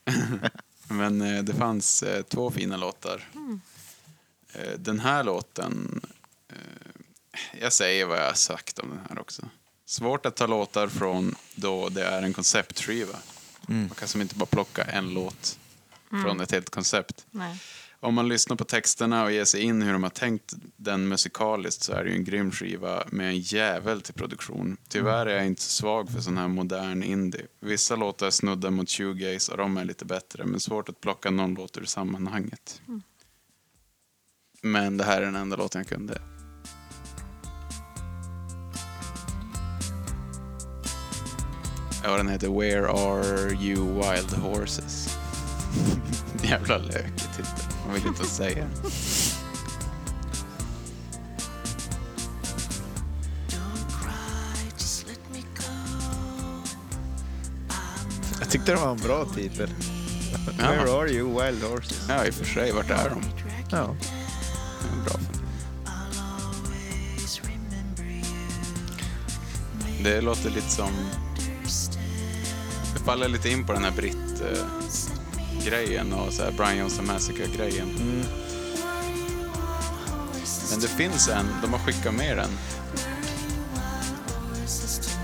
Speaker 2: Men eh, det fanns eh, två fina låtar. Eh, Den här låten... eh, Jag säger vad jag har sagt om den här också. Svårt att ta låtar från då det är en konceptskiva. Man kan som inte bara plocka en låt från ett helt koncept.
Speaker 4: Nej.
Speaker 2: Om man lyssnar på texterna och ger sig in hur de har tänkt den musikaliskt så är det ju en grym skiva med en jävel till produktion. Tyvärr är jag inte så svag för sån här modern indie. Vissa låtar snuddar mot shoegaze och de är lite bättre men svårt att plocka någon låt ur sammanhanget. Men det här är den enda låten jag kunde. Ja, den heter Where Are You Wild Horses. Jävla lökig titel. Man vill inte säga.
Speaker 3: Jag tyckte det var en bra titel. Where
Speaker 2: Ja,
Speaker 3: are you wild horses?
Speaker 2: ja i och för sig. Vart är de?
Speaker 3: Ja.
Speaker 2: Bra. Det låter lite som... Det faller lite in på den här britt-grejen och så här Brian Johnson Massacre-grejen. Men det finns en, de har skickat med den.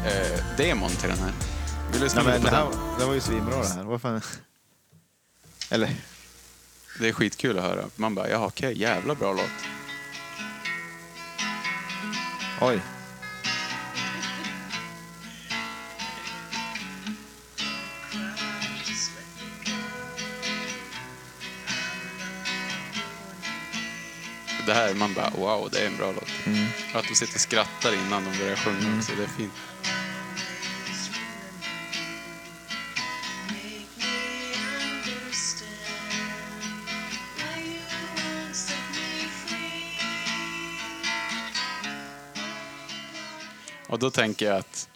Speaker 2: Eh, demon till den här. Vi lyssnar
Speaker 3: Nej, men
Speaker 2: lite
Speaker 3: det,
Speaker 2: på
Speaker 3: här,
Speaker 2: den.
Speaker 3: det var ju svinbra det här. Vad fan? Eller?
Speaker 2: Det är skitkul att höra. Man bara, ja okej, jävla bra låt.
Speaker 3: Oj.
Speaker 2: Det här, man bara wow, det är en bra låt. Och att de sitter och skrattar innan de börjar sjunga också, det är fint. Och då tänker jag att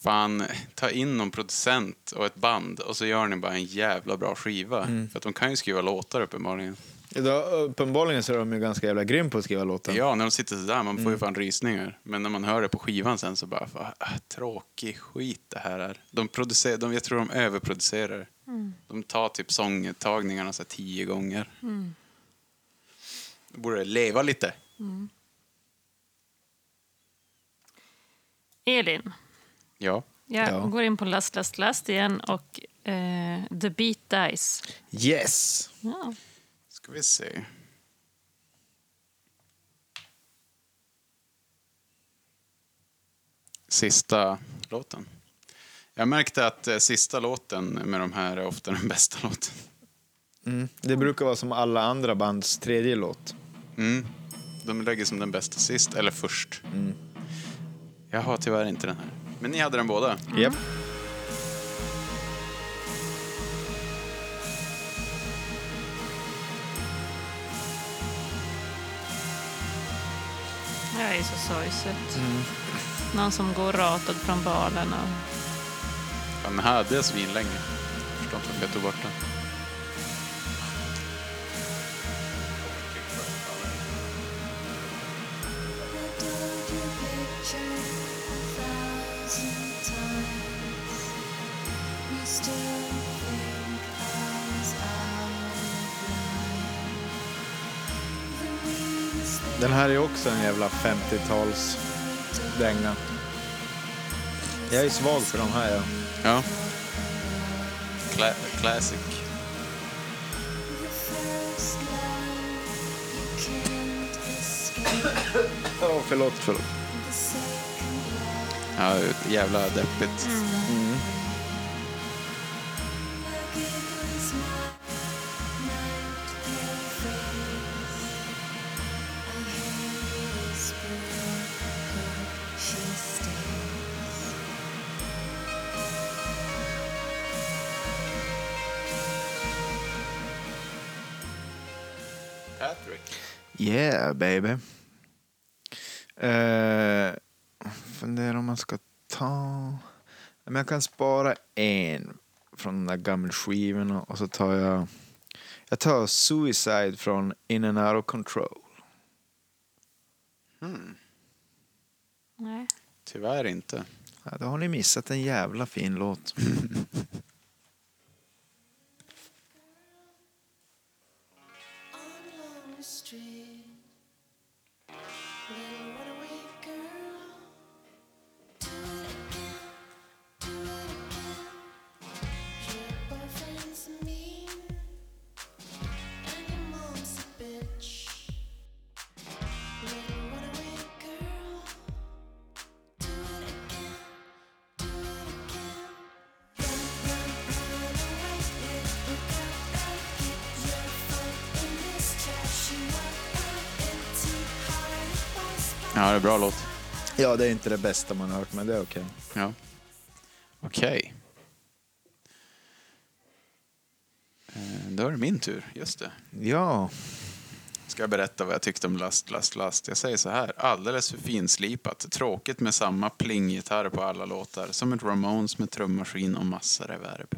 Speaker 2: fan, ta in någon producent och ett band och så gör ni bara en jävla bra skiva. För att de kan ju skriva låtar uppenbarligen.
Speaker 3: Då, uppenbarligen så är de ju ganska jävla grym på att skriva låtar.
Speaker 2: Ja, när de sitter sådär, man får ju fan rysningar. Men när man hör det på skivan sen så bara, fan, ah, tråkig skit det här är. De producerar, de, jag tror de överproducerar. De tar typ sångtagningarna så här tio gånger. Då borde det leva lite.
Speaker 4: Elin,
Speaker 2: Ja.
Speaker 4: jag
Speaker 3: Ja.
Speaker 4: går in på Last, Last, Last igen och eh, The Beat Dies.
Speaker 3: Yes!
Speaker 4: Ja.
Speaker 2: Ska vi se. Sista låten. Jag märkte att eh, sista låten med de här är ofta den bästa låten.
Speaker 3: Det brukar vara som alla andra bands tredje låt.
Speaker 2: Mm. De lägger som den bästa sist, eller först. Jag har tyvärr inte den här. Men ni hade den båda.
Speaker 3: Japp.
Speaker 4: Jag är så sorgset.
Speaker 2: Mm.
Speaker 4: Någon som går ratad från balen. Och...
Speaker 2: Den hade jag svinlänge. Förstår inte varför jag tog bort den.
Speaker 3: Den här är också en jävla 50-tals dänga. Jag är svag för de här. Ja.
Speaker 2: Ja. Cla- classic.
Speaker 3: Oh, förlåt, förlåt.
Speaker 2: Ja, jävla deppigt. Patrick.
Speaker 3: Yeah, baby. Uh, funderar om man ska ta... Men jag kan spara en från de där gamla skivorna och så tar jag... Jag tar Suicide från In and Out of Control.
Speaker 4: Nej.
Speaker 2: Tyvärr inte.
Speaker 3: Ja, då har ni missat en jävla fin låt.
Speaker 2: Ja, det är en bra låt.
Speaker 3: Ja, det är inte det bästa man har hört, men det är okej.
Speaker 2: Ja. Okej. Eh, Då är det min tur. Just det.
Speaker 3: Ja.
Speaker 2: Ska jag berätta vad jag tyckte om Last, Last, Last? Jag säger så här. Alldeles för finslipat. Tråkigt med samma plinggitarr på alla låtar. Som ett Ramones med trummaskin och massa reverb.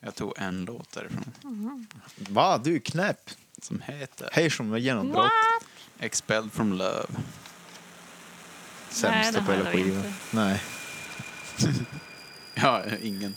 Speaker 2: Jag tog en låt därifrån.
Speaker 3: Va, du är knäpp.
Speaker 2: Som heter
Speaker 3: Hej som var genombrott.
Speaker 2: Expelled from Love.
Speaker 4: Nej, det
Speaker 3: Sämsta på hela
Speaker 4: hade vi
Speaker 3: skivan.
Speaker 4: inte.
Speaker 3: Nej.
Speaker 2: Ja, ingen.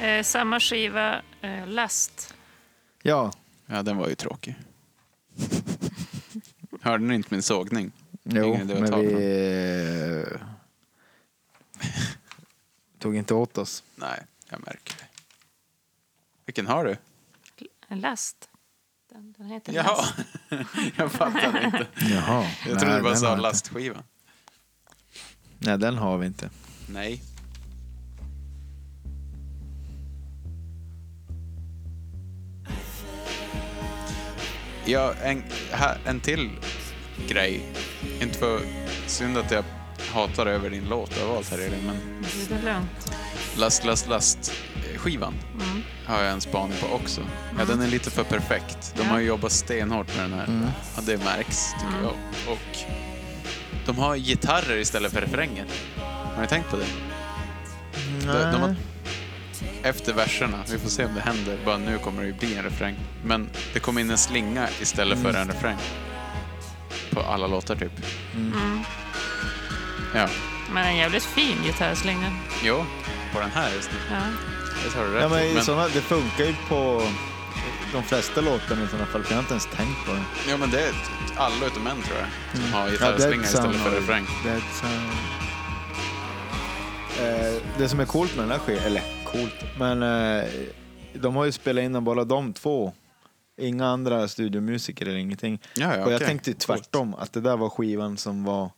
Speaker 4: Eh, samma skiva, eh, Last.
Speaker 3: Ja.
Speaker 2: Ja, den var ju tråkig. Hörde ni inte min sågning?
Speaker 3: Jo,
Speaker 2: Ingen idé att ta
Speaker 3: men vi...
Speaker 2: den.
Speaker 3: eh, Tog inte åt oss.
Speaker 2: Nej, jag märker det. Vilken har du?
Speaker 4: Last. Den, den heter
Speaker 2: Jaha,
Speaker 4: Last.
Speaker 2: jag fattade inte.
Speaker 3: Jaha.
Speaker 2: Jag trodde du bara
Speaker 3: den har
Speaker 2: sa
Speaker 3: jag inte.
Speaker 2: lastskiva.
Speaker 3: Nej, den har vi inte.
Speaker 2: Nej. Ja, en, här, en till grej. Inte för synd att jag hatar över din låt du har valt här Elin, men
Speaker 4: Det är lugnt.
Speaker 2: Last Last Last-skivan har jag en spaning på också. Ja, den är lite för perfekt. De
Speaker 4: Ja.
Speaker 2: har ju jobbat stenhårt med den här. Ja, det märks, tycker jag. Och de har gitarrer istället för refrängen. Har ni tänkt på det? De, de har, efter verserna, vi får se om det händer, bara nu kommer det ju bli en refräng. Men det kommer in en slinga istället för en
Speaker 3: Mm.
Speaker 2: refräng. På alla låtar typ.
Speaker 3: Mm.
Speaker 2: Ja,
Speaker 4: Men en jävligt fin gitarrslinga.
Speaker 2: jo, på den här just nu.
Speaker 4: Ja.
Speaker 2: Det har du rätt
Speaker 3: Ja,
Speaker 2: i,
Speaker 3: men Såna, det funkar ju på de flesta låtarna i sådana fall. Jag har inte ens tänkt på det.
Speaker 2: Ja, men det är t- alla utom en tror jag som har
Speaker 3: Mm. Ja, Dead
Speaker 2: gitarrslinga istället
Speaker 3: Sound
Speaker 2: för
Speaker 3: har ju-
Speaker 2: refräng.
Speaker 3: Dead Sound. Eh, det som är coolt med den här skivan, eller coolt, men eh, de har ju spelat in den bara de två. Inga andra studiomusiker eller ingenting.
Speaker 2: Ja, ja,
Speaker 3: och jag
Speaker 2: okej.
Speaker 3: tänkte ju tvärtom, att det där var skivan som var,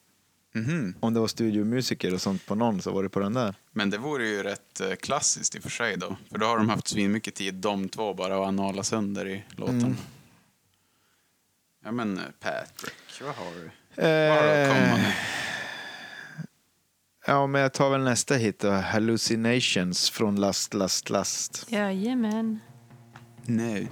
Speaker 2: Mhm.
Speaker 3: om det var studiomusiker och sånt på någon så var det på den där.
Speaker 2: Men det vore ju rätt eh, klassiskt i och för sig då. För då har de haft svinmycket tid de två bara att anala sönder i låten.
Speaker 3: Mm.
Speaker 2: Ja men eh, Patrick, vad har du? Vad har du att komma
Speaker 3: Eh,
Speaker 2: med?
Speaker 3: ja, men jag tar väl nästa hit då, Hallucinations från Last, Last, Last.
Speaker 4: Jajamän.
Speaker 2: Nej.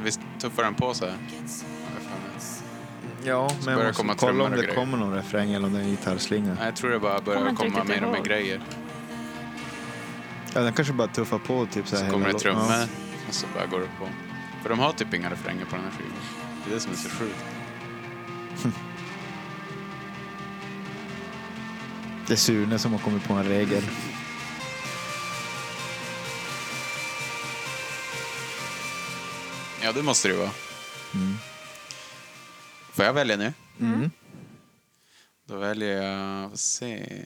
Speaker 2: Visst tuffar den på sig? Vad fan är det?
Speaker 3: Ja, men jag
Speaker 2: börjar
Speaker 3: måste
Speaker 2: komma
Speaker 3: kolla
Speaker 2: trummor
Speaker 3: om
Speaker 2: och
Speaker 3: det
Speaker 2: grejer.
Speaker 3: kommer någon refräng eller om det är en gitarrslinga.
Speaker 2: Nej, jag tror det bara
Speaker 4: Kommer
Speaker 2: börjar
Speaker 4: inte
Speaker 2: komma
Speaker 4: riktigt
Speaker 2: mer och mer
Speaker 4: ihåg.
Speaker 2: grejer.
Speaker 3: Ja, den kanske bara tuffar på typ så
Speaker 2: Så
Speaker 3: här hela
Speaker 2: kommer det
Speaker 3: låten.
Speaker 2: trummor
Speaker 3: Ja.
Speaker 2: och så bara går det på. För de har typ inga refränger på den här skivan. Det är det som är så sjukt.
Speaker 3: Det är Sune som har kommit på en regel.
Speaker 2: Ja, det måste det ju vara. Får jag välja nu? Då väljer jag... Vad se.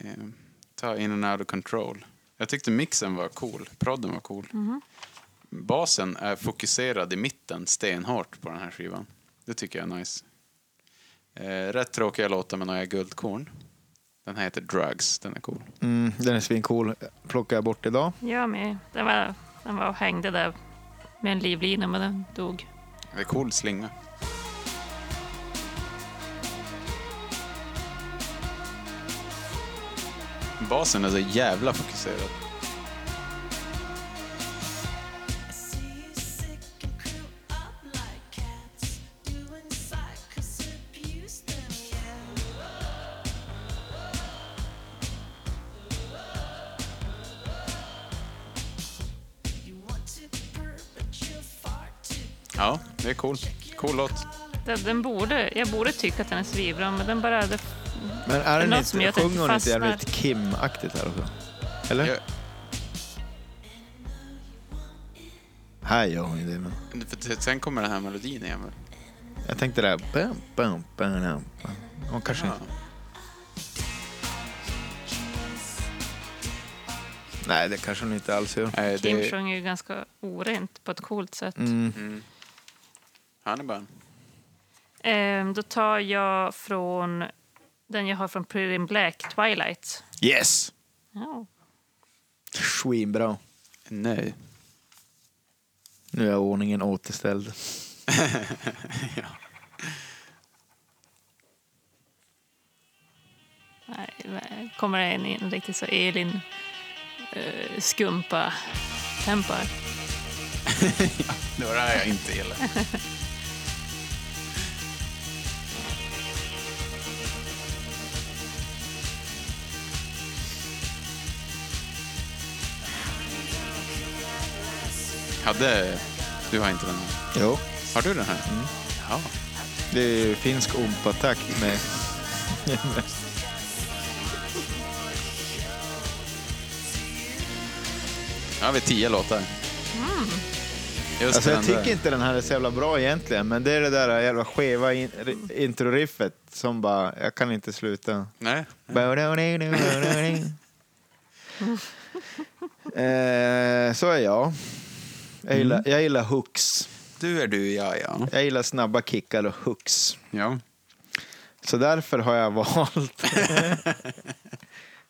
Speaker 2: Ta In and out of control. Jag tyckte mixen var cool. Prodden var cool. Basen är fokuserad i mitten stenhårt på den här skivan. Det tycker jag är nice. Eh, rätt tråkiga låtar med några guldkorn. Den här heter Drugs, den är cool.
Speaker 3: Mm, den är svincool. Plockade jag bort idag.
Speaker 4: Jag med. Den var, den var och hängde där med en livlina, men den dog.
Speaker 2: Det är cool slinga. Basen är så jävla fokuserad. Ja, det är cool. Cool låt.
Speaker 4: Den, den borde, jag borde tycka att den är svinbra, men den bara... Det,
Speaker 3: Men är den
Speaker 4: något
Speaker 3: inte,
Speaker 4: som gör att jag
Speaker 3: sjunger hon inte
Speaker 4: fastnar?
Speaker 3: jävligt Kim-aktigt här också? Eller?
Speaker 2: Jag,
Speaker 3: Här gör hon ju det. Men
Speaker 2: för sen kommer den här melodin igen. väl?
Speaker 3: jag tänkte det här. Bam, bam, bam, bam. Hon kanske
Speaker 2: Ja.
Speaker 3: inte... Nej, det kanske hon inte alls gör.
Speaker 2: Nej,
Speaker 4: Kim
Speaker 2: Eh, det Mm. är
Speaker 4: sjunger ju ganska orent på ett coolt sätt.
Speaker 2: Hannibal.
Speaker 4: Ehm, då tar jag från den jag har från Pretty in Black, Twilight.
Speaker 3: Yes!
Speaker 4: Ja.
Speaker 3: Svinbra.
Speaker 2: Nej.
Speaker 3: Nu är ordningen återställd.
Speaker 4: Nej, nej. Kommer det en, en riktigt så Elin eh, skumpa tempar.
Speaker 2: Det var det här jag inte gillade. Hade... Du har inte den här.
Speaker 3: Jo.
Speaker 2: Har du den här? Mm. Ja.
Speaker 3: Det är ju finsk ompatakt med...
Speaker 2: Nu har vi tio låtar. Just
Speaker 3: Alltså jag
Speaker 2: den där.
Speaker 3: tycker inte den här är så jävla bra egentligen, men det är det där jävla skeva in- ri- introriffet som bara, jag kan inte sluta.
Speaker 2: Nej.
Speaker 3: eh, så är jag. Jag gillar, jag gillar hooks.
Speaker 2: Du är du, ja, ja.
Speaker 3: Jag gillar snabba kickar och hooks.
Speaker 2: Ja.
Speaker 3: Så därför har jag valt.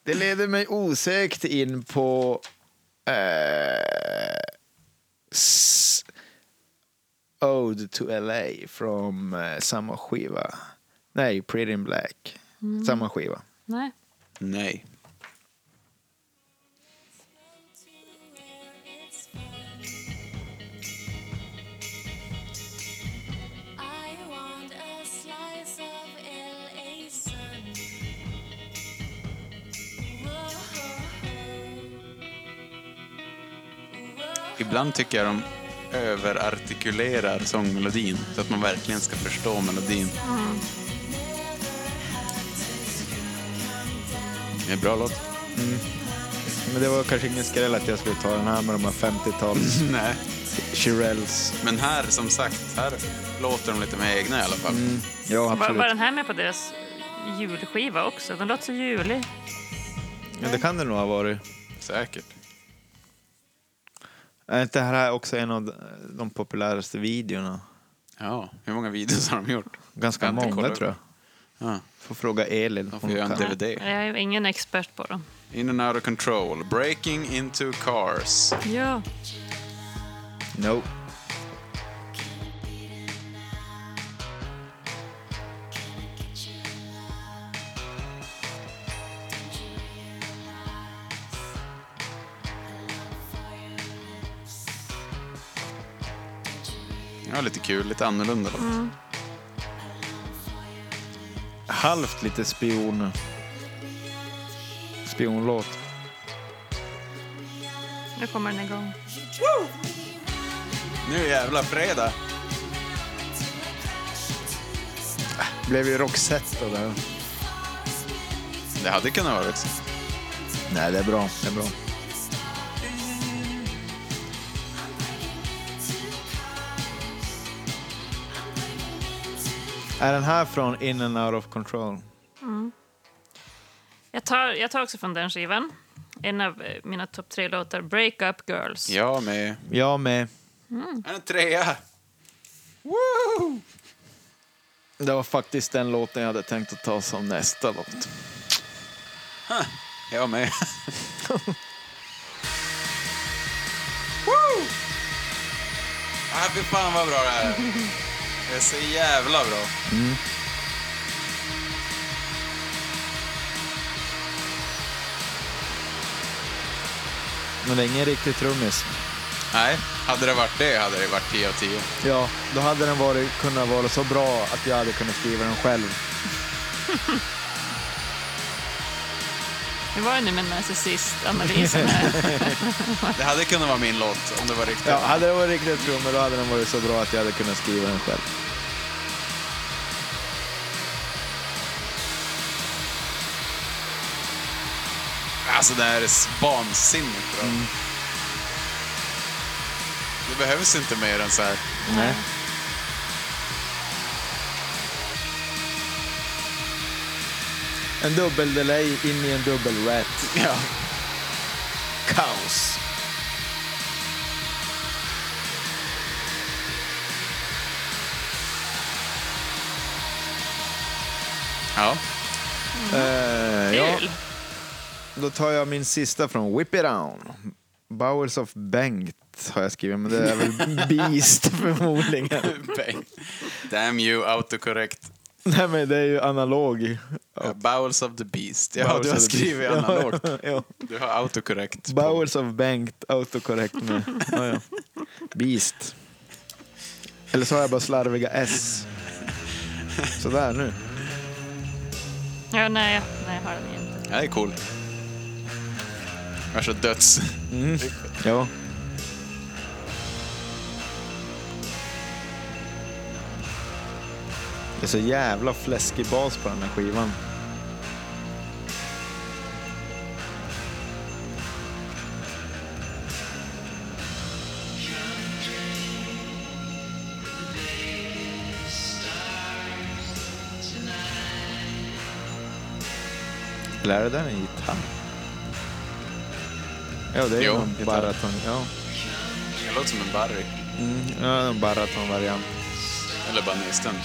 Speaker 3: det leder mig osökt in på... Eh, s- Ode to LA från eh, samma skiva. Nej, Pretty in Black. Samma skiva.
Speaker 4: Nej.
Speaker 2: Nej.
Speaker 8: I want a slice of LA sun.
Speaker 2: Ibland tycker jag de överartikulerar sångmelodin så att man verkligen ska förstå melodin. Det är en bra låt.
Speaker 3: Men det var kanske ingen skräll att jag skulle ta den här med de här 50-tals
Speaker 2: Nej.
Speaker 3: Shirelles.
Speaker 2: Men här, som sagt, här låter de lite med egna i alla fall.
Speaker 3: Ja,
Speaker 4: Var,
Speaker 3: absolut.
Speaker 4: var den här med på deras julskiva också? Den låter så julig.
Speaker 3: Men det kan det nog ha varit.
Speaker 2: Säkert.
Speaker 3: Är inte Äh, det här också en av de populäraste videorna?
Speaker 2: Ja, hur många videos har de gjort?
Speaker 3: Ganska
Speaker 2: Jag har inte
Speaker 3: många
Speaker 2: kollat.
Speaker 3: tror jag.
Speaker 2: Ja.
Speaker 3: Får fråga Elin.
Speaker 2: De
Speaker 3: Hon
Speaker 2: får göra en
Speaker 3: kan.
Speaker 2: DVD.
Speaker 4: Jag är ju ingen expert på dem.
Speaker 2: In and out of control. Breaking into cars.
Speaker 4: Ja.
Speaker 3: No.
Speaker 2: Ja, lite kul. Lite annorlunda låt.
Speaker 3: Halvt lite spion... Spionlåt.
Speaker 4: Nu kommer den igång.
Speaker 2: Nu jävla fredag!
Speaker 3: Blev ju Roxette av det här.
Speaker 2: Det hade kunnat vara också.
Speaker 3: Nej, det är bra. Det är bra. Är den här från In and Out of Control?
Speaker 4: Jag tar, jag tar också från den skivan. En av eh, mina topp tre låtar, Break Up Girls.
Speaker 2: Ja, med...
Speaker 3: Jag med.
Speaker 2: Han är trea!
Speaker 3: Det var faktiskt den låten jag hade tänkt att ta som nästa låt.
Speaker 2: Jag med. Woo! Ah, fy fan vad bra det här är. Det är så jävla bra.
Speaker 3: Men det är ingen riktig trummis.
Speaker 2: Nej, hade det varit det hade det varit 10 av 10.
Speaker 3: Ja, då hade den varit, kunnat vara så bra att jag hade kunnat skriva den själv.
Speaker 4: Hur var det nu med narcissistanalysen här?
Speaker 2: Det hade kunnat vara min låt om det var riktigt.
Speaker 3: Ja, hade det varit riktiga trummor då hade den varit så bra att jag hade kunnat skriva den själv.
Speaker 2: Alltså det här är s- vansinnigt bra.
Speaker 3: Mm.
Speaker 2: Det behövs inte mer än så här.
Speaker 3: Nej. En dubbel delay in i en dubbel rat.
Speaker 2: Ja.
Speaker 3: Kaos.
Speaker 2: ja.
Speaker 3: Eh, ja,
Speaker 4: Kul!
Speaker 3: då tar jag min sista från Whip It On. Bowers of Bengt har jag skrivit, men det är väl Beast förmodligen.
Speaker 2: Bang. Damn you, autocorrect.
Speaker 3: Nej, men det är ju analog.
Speaker 2: Bowels of the beast. Ja,
Speaker 3: Bowers
Speaker 2: du
Speaker 3: of
Speaker 2: har
Speaker 3: the
Speaker 2: skrivit
Speaker 3: Beast.
Speaker 2: analogt.
Speaker 3: Ja, ja.
Speaker 2: Du har autocorrect. på-
Speaker 3: Bowers of Bengt, autocorrect med. Ja, ja. Beast. Eller så har jag bara slarviga S. Sådär nu.
Speaker 4: Ja, nej, jag- nej, jag har den inte.
Speaker 2: Det här är cool. Jag är så döds...
Speaker 3: Ja. Det är så jävla fläskig bas på den här skivan. Eller är det där en gitarr? Ja, det är ju
Speaker 2: Jo,
Speaker 3: någon
Speaker 2: gitarr.
Speaker 3: baraton. Ja.
Speaker 2: Det låter som en Barry.
Speaker 3: Mm, ja, en baratonvariant.
Speaker 2: Eller banisten.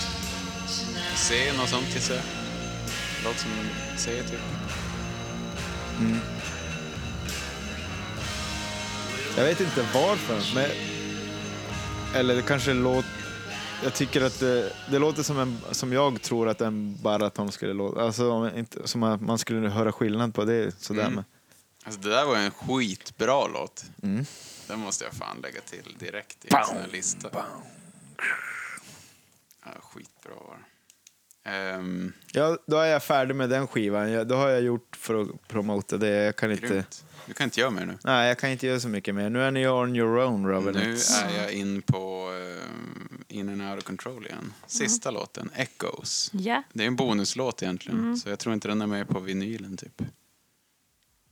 Speaker 2: C, något sånt gissar jag. Låter som en C, typ.
Speaker 3: Jag vet inte varför, men... Eller det kanske låter... Jag tycker att det, det låter som, en, som jag tror att en baraton skulle låta. Alltså, om inte, som att man skulle höra skillnad på det. Sådär.
Speaker 2: Mm.
Speaker 3: Men,
Speaker 2: Alltså, det där var ju en skitbra låt. Den måste jag fan lägga till direkt i en sån här lista. Ja, skitbra var det. Ehm,
Speaker 3: ja, då är jag färdig med den skivan. Jag, då har jag gjort för att promota det. Jag kan inte...
Speaker 2: grymt. Du kan inte göra mer nu.
Speaker 3: Nej, jag kan inte göra så mycket mer. Nu är ni on your own, Robin.
Speaker 2: Nu är jag in på ehm, In and out of control igen. Sista låten, Echoes.
Speaker 4: Ja,
Speaker 2: Det är en bonuslåt egentligen, så jag tror inte den är med på vinylen typ.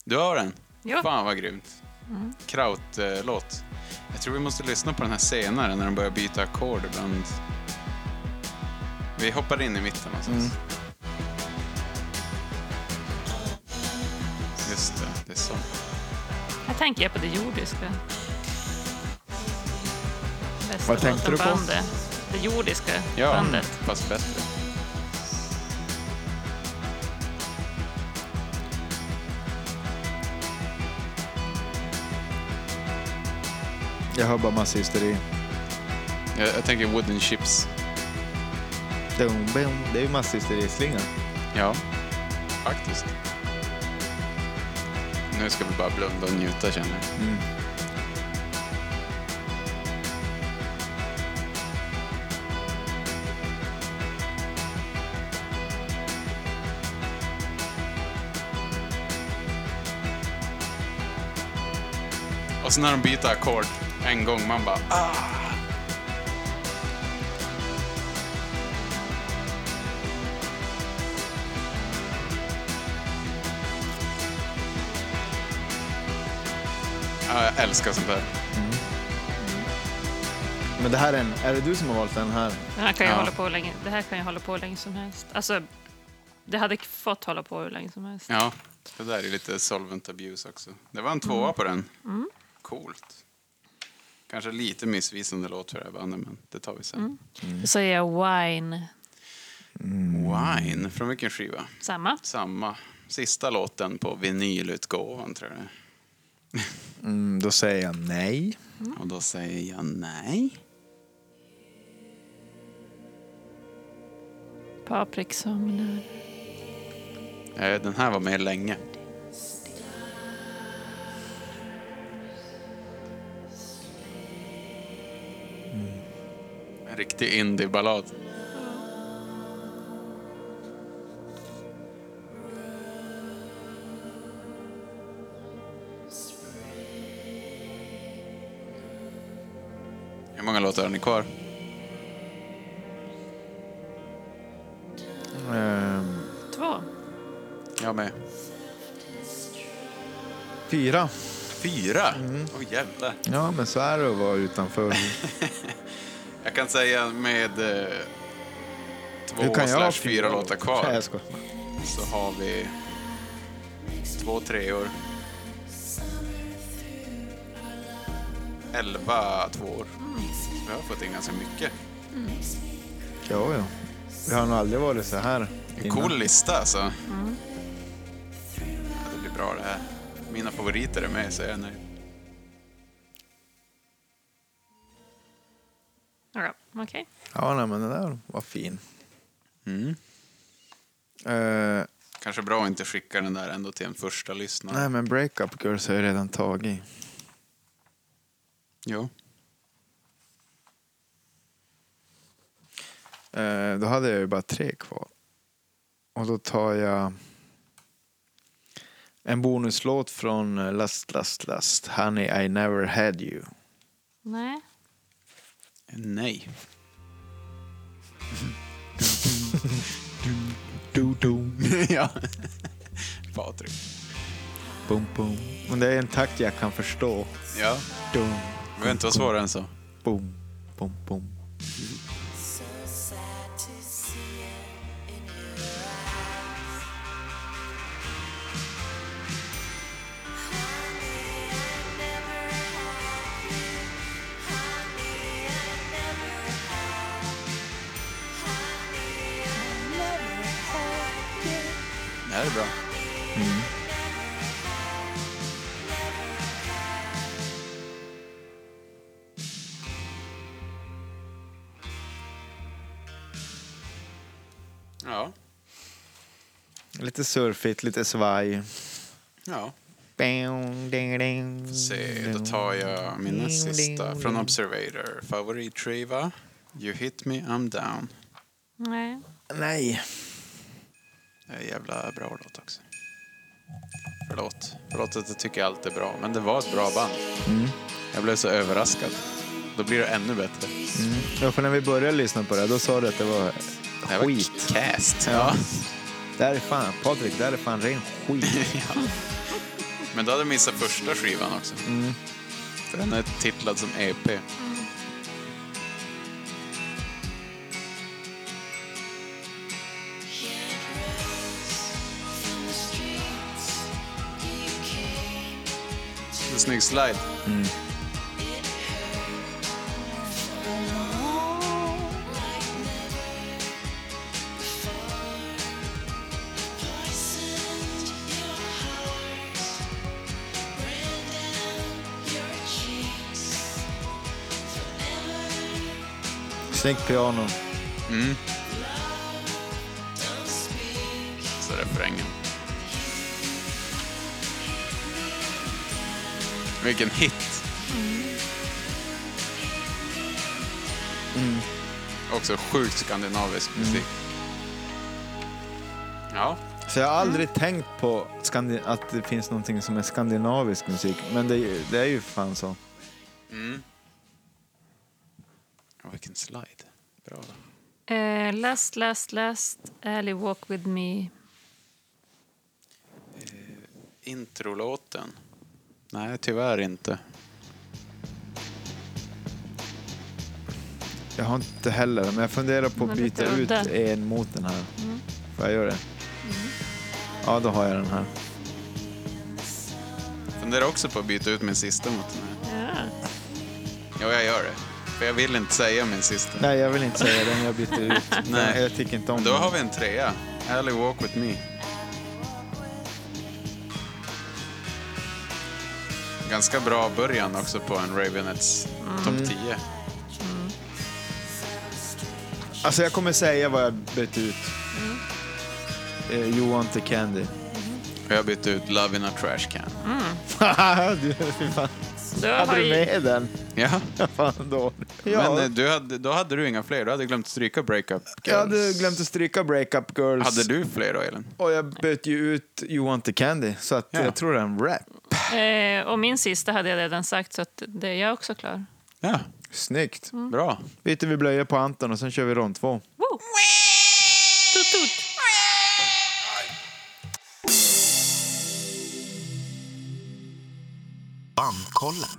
Speaker 2: Du har den?
Speaker 4: Ja.
Speaker 2: Fan vad grymt. Krautlåt. Jag tror vi måste lyssna på den här senare när de börjar byta ackord ibland. Vi hoppar in i mitten någonstans. Just det, det är så.
Speaker 4: här tänker jag på det jordiska. Bästa
Speaker 3: Vad tänkte du på?
Speaker 4: låtenbandet. Det jordiska
Speaker 2: Ja,
Speaker 4: bandet.
Speaker 2: fast bättre.
Speaker 3: Jag hör bara massa hysteri.
Speaker 2: Jag, jag tänker Wooden Chips.
Speaker 3: Dum, bum. Det är ju massa hysterislingar.
Speaker 2: Ja, faktiskt. Nu ska vi bara blunda och njuta känner jag. Och sen när de byter ackord en gång, man bara ah. Ja, Jag älskar sånt där.
Speaker 3: Men det här är en... Är det du som har valt den här?
Speaker 4: Den här kan jag
Speaker 2: Ja.
Speaker 4: hålla på länge. Det här kan jag hålla på länge som helst. Alltså, det hade fått hålla på hur länge som helst.
Speaker 2: Ja, det där är lite solvent abuse också. Det var en tvåa på den. Coolt. Kanske lite missvisande låt för det här bandet, men det tar vi sen.
Speaker 3: Mm.
Speaker 4: Då säger jag wine.
Speaker 2: Wine, från vilken skiva?
Speaker 4: Samma.
Speaker 2: Samma. Sista låten på vinylutgåvan, tror jag.
Speaker 3: Mm, då säger jag nej.
Speaker 2: Och då säger jag nej.
Speaker 4: Patrik somnar.
Speaker 2: Eh, Den här var med länge. Mm. En riktig indieballad. Hur många låtar har ni kvar?
Speaker 3: Ehm,
Speaker 4: Två.
Speaker 2: Jag med.
Speaker 3: fyra.
Speaker 2: Fyra? Åh jävlar.
Speaker 3: Ja, men så är det att vara utanför.
Speaker 2: Jag kan säga med eh,
Speaker 3: Hur
Speaker 2: två
Speaker 3: kan jag
Speaker 2: slash
Speaker 3: ha
Speaker 2: fyra låtar
Speaker 3: Nej,
Speaker 2: kvar
Speaker 3: jag skojar.
Speaker 2: så har vi två treor. Elva tvåor. Vi har fått in ganska mycket.
Speaker 3: Jo, jo. Det har nog aldrig varit så här.
Speaker 2: En
Speaker 3: innan. Mm.
Speaker 2: cool lista alltså. Ja, det blir bra det här. Mina favoriter är med så jag är nöjd.
Speaker 4: Ja, okej.
Speaker 3: Ja, nej, men den där var fin.
Speaker 2: Mm.
Speaker 3: Eh,
Speaker 2: Kanske bra att inte skicka den där ändå till en första lyssnare.
Speaker 3: nej, men Breakup Girls har jag redan tagit.
Speaker 2: Jo.
Speaker 3: Eh, då hade jag ju bara tre kvar. Och då tar jag en bonuslåt från eh, Last Last Last, Honey I Never Had You.
Speaker 4: Nej.
Speaker 2: Nej.
Speaker 3: Do, do.
Speaker 2: ja. Patrik.
Speaker 3: Boom, boom. Men det är en takt jag kan förstå.
Speaker 2: Ja.
Speaker 3: Dum,
Speaker 2: Det behöver inte vara svårare än så.
Speaker 3: boom, boom, boom.
Speaker 2: Det här är bra. Ja,
Speaker 3: Lite surfigt, lite svaj.
Speaker 2: ja.
Speaker 3: Bang, ding, ding,
Speaker 2: Se, då
Speaker 3: ding.
Speaker 2: tar jag mina sista från Observator. Favoritskiva? You hit me, I'm down.
Speaker 4: Nej.
Speaker 3: Nej.
Speaker 2: Det är en jävla bra låt också. Förlåt. Förlåt att jag tycker allt är bra, men det var ett bra band.
Speaker 3: Mm.
Speaker 2: Jag blev så överraskad. Då blir det ännu bättre.
Speaker 3: Mm. Ja, för när vi började lyssna på det här, då sa du att det var
Speaker 2: Det här var
Speaker 3: skit.
Speaker 2: cast.
Speaker 3: Ja. Det här är fan, Patrik, det här är fan ren skit.
Speaker 2: Men då hade jag missat första skivan också.
Speaker 3: Mm.
Speaker 2: För den är titlad som E EP. En snygg slide.
Speaker 3: Snyggt piano.
Speaker 2: Så refrängen. Vilken hit! Mm. Också sjukt skandinavisk musik. Ja,
Speaker 3: Så jag har aldrig tänkt på skandi- att det finns någonting som är skandinavisk musik, men det, är ju- det är ju fan så.
Speaker 2: och vilken slide. Bra. då.
Speaker 4: Eh, last, last, last. Ally walk with me.
Speaker 2: Introlåten? Nej, tyvärr inte.
Speaker 3: Jag har inte heller, men jag funderar på att
Speaker 4: Men lite
Speaker 3: byta ut
Speaker 4: udda. Mm.
Speaker 3: en mot den här. Får jag göra det? Ja, då har jag den här.
Speaker 2: Funderar också på att byta ut min sista mot den här.
Speaker 4: Ja.
Speaker 2: Jo, jag gör det. För jag vill inte säga min sista.
Speaker 3: Nej, jag vill inte säga den, jag byter ut.
Speaker 2: Nej.
Speaker 3: Jag tycker inte om
Speaker 2: Då
Speaker 3: den.
Speaker 2: har vi en trea. Ally Walk With Me. ganska bra början också på en Ravenets
Speaker 3: Mm.
Speaker 2: topp 10.
Speaker 3: Alltså jag kommer säga vad jag bytt ut. Mm. Eh, you want the candy.
Speaker 2: Och jag bytte ut Love in a trash can.
Speaker 3: du, fy fan.
Speaker 4: Du har
Speaker 3: Hade du
Speaker 4: ju-
Speaker 3: med den?
Speaker 2: Ja.
Speaker 3: fan då.
Speaker 2: Men eh,
Speaker 3: Ja,
Speaker 2: du hade, då hade du inga fler, du hade glömt stryka breakup girls.
Speaker 3: jag hade glömt att stryka Breakup Girls.
Speaker 2: Hade du fler då Elin?
Speaker 3: Och jag bytte ju ut You want the candy, så att
Speaker 2: Ja.
Speaker 3: jag tror det är en rap.
Speaker 4: Eh, och min sista hade jag redan sagt, så att det är jag också klar.
Speaker 2: Ja,
Speaker 3: Snyggt.
Speaker 2: bra.
Speaker 3: Byter vi blöjor på Anton och sen kör vi rond två.
Speaker 4: Woo! Tut, tut.
Speaker 9: Bandkollen.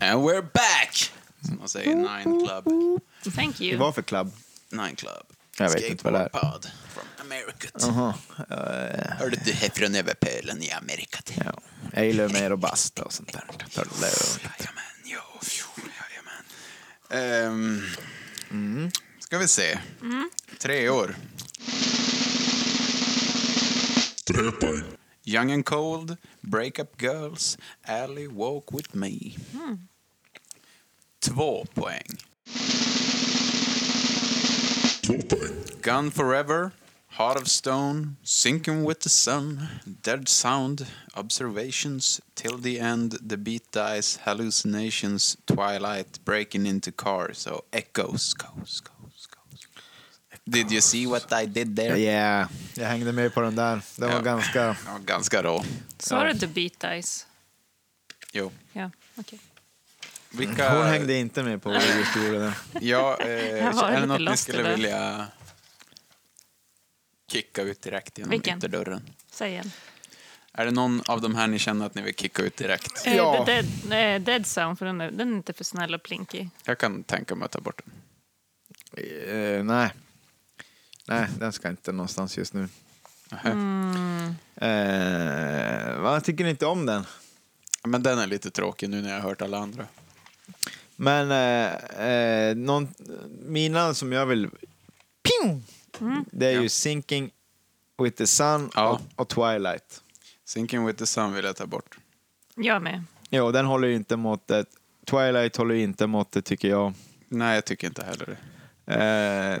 Speaker 7: And we're back!
Speaker 2: Som man säger, Nine Club.
Speaker 4: Thank
Speaker 3: Det
Speaker 4: you.
Speaker 3: var för klubb.
Speaker 7: Nine Club.
Speaker 3: Jag vet inte vad det är.
Speaker 7: Skateboardpod From America.
Speaker 3: Jaha.
Speaker 7: Hörde du här från överpölen i Amerika?
Speaker 3: Ja. Jag gillar ju mer och basta och sånt där. Pölle och-
Speaker 7: Jajamän, jo, jo, jajamän. Ehm,
Speaker 2: Ehm, Ska vi se. Tre år.
Speaker 5: Träpoäng.
Speaker 2: Young and cold, breakup girls, alley walk with me. Två poäng.
Speaker 5: Två poäng.
Speaker 2: Gone Forever, Heart of Stone, Sinking with the Sun, Dead Sound, Observations, Till the End, The Beat Dies, Hallucinations, Twilight, Breaking into Cars, so Echoes, Goes, Goes, Goes. Did you see what I did there?
Speaker 3: Yeah. Jag hängde med på den där. Den var
Speaker 2: Ja.
Speaker 3: ganska...
Speaker 2: Ja, ganska rå.
Speaker 4: Sa du The Beat Dice?
Speaker 2: Jo.
Speaker 4: Ja, okej.
Speaker 2: Vilka...
Speaker 3: Hon hängde inte med på vad vi just gjorde där.
Speaker 2: Ja, eh,
Speaker 4: var
Speaker 2: är
Speaker 4: lite
Speaker 2: det något ni
Speaker 4: lost i
Speaker 2: skulle
Speaker 4: det.
Speaker 2: vilja kicka ut direkt genom
Speaker 4: Vilken?
Speaker 2: ytterdörren?
Speaker 4: Säg igen.
Speaker 2: Är det någon av de här ni känner att ni vill kicka ut direkt?
Speaker 4: Eh,
Speaker 3: Ja.
Speaker 4: The dead, nej, dead Sound, för den är, den är inte för snäll och plinkig.
Speaker 2: Jag kan tänka mig att ta bort den.
Speaker 3: Eh, nej. Nej, den ska inte någonstans just nu.
Speaker 4: Mm.
Speaker 3: Eh, vad tycker ni inte om den?
Speaker 2: Men den är lite tråkig nu när jag har hört alla andra.
Speaker 3: Men eh, eh, någon, mina som jag vill... Ping! Det är ju Sinking with the Sun
Speaker 2: Ja.
Speaker 3: och, och Twilight.
Speaker 2: Sinking with the sun vill jag ta bort.
Speaker 4: Jag med.
Speaker 3: Jo, den håller ju inte måttet. Twilight håller ju inte måttet tycker jag.
Speaker 2: Nej, jag tycker inte heller det.
Speaker 3: Eh,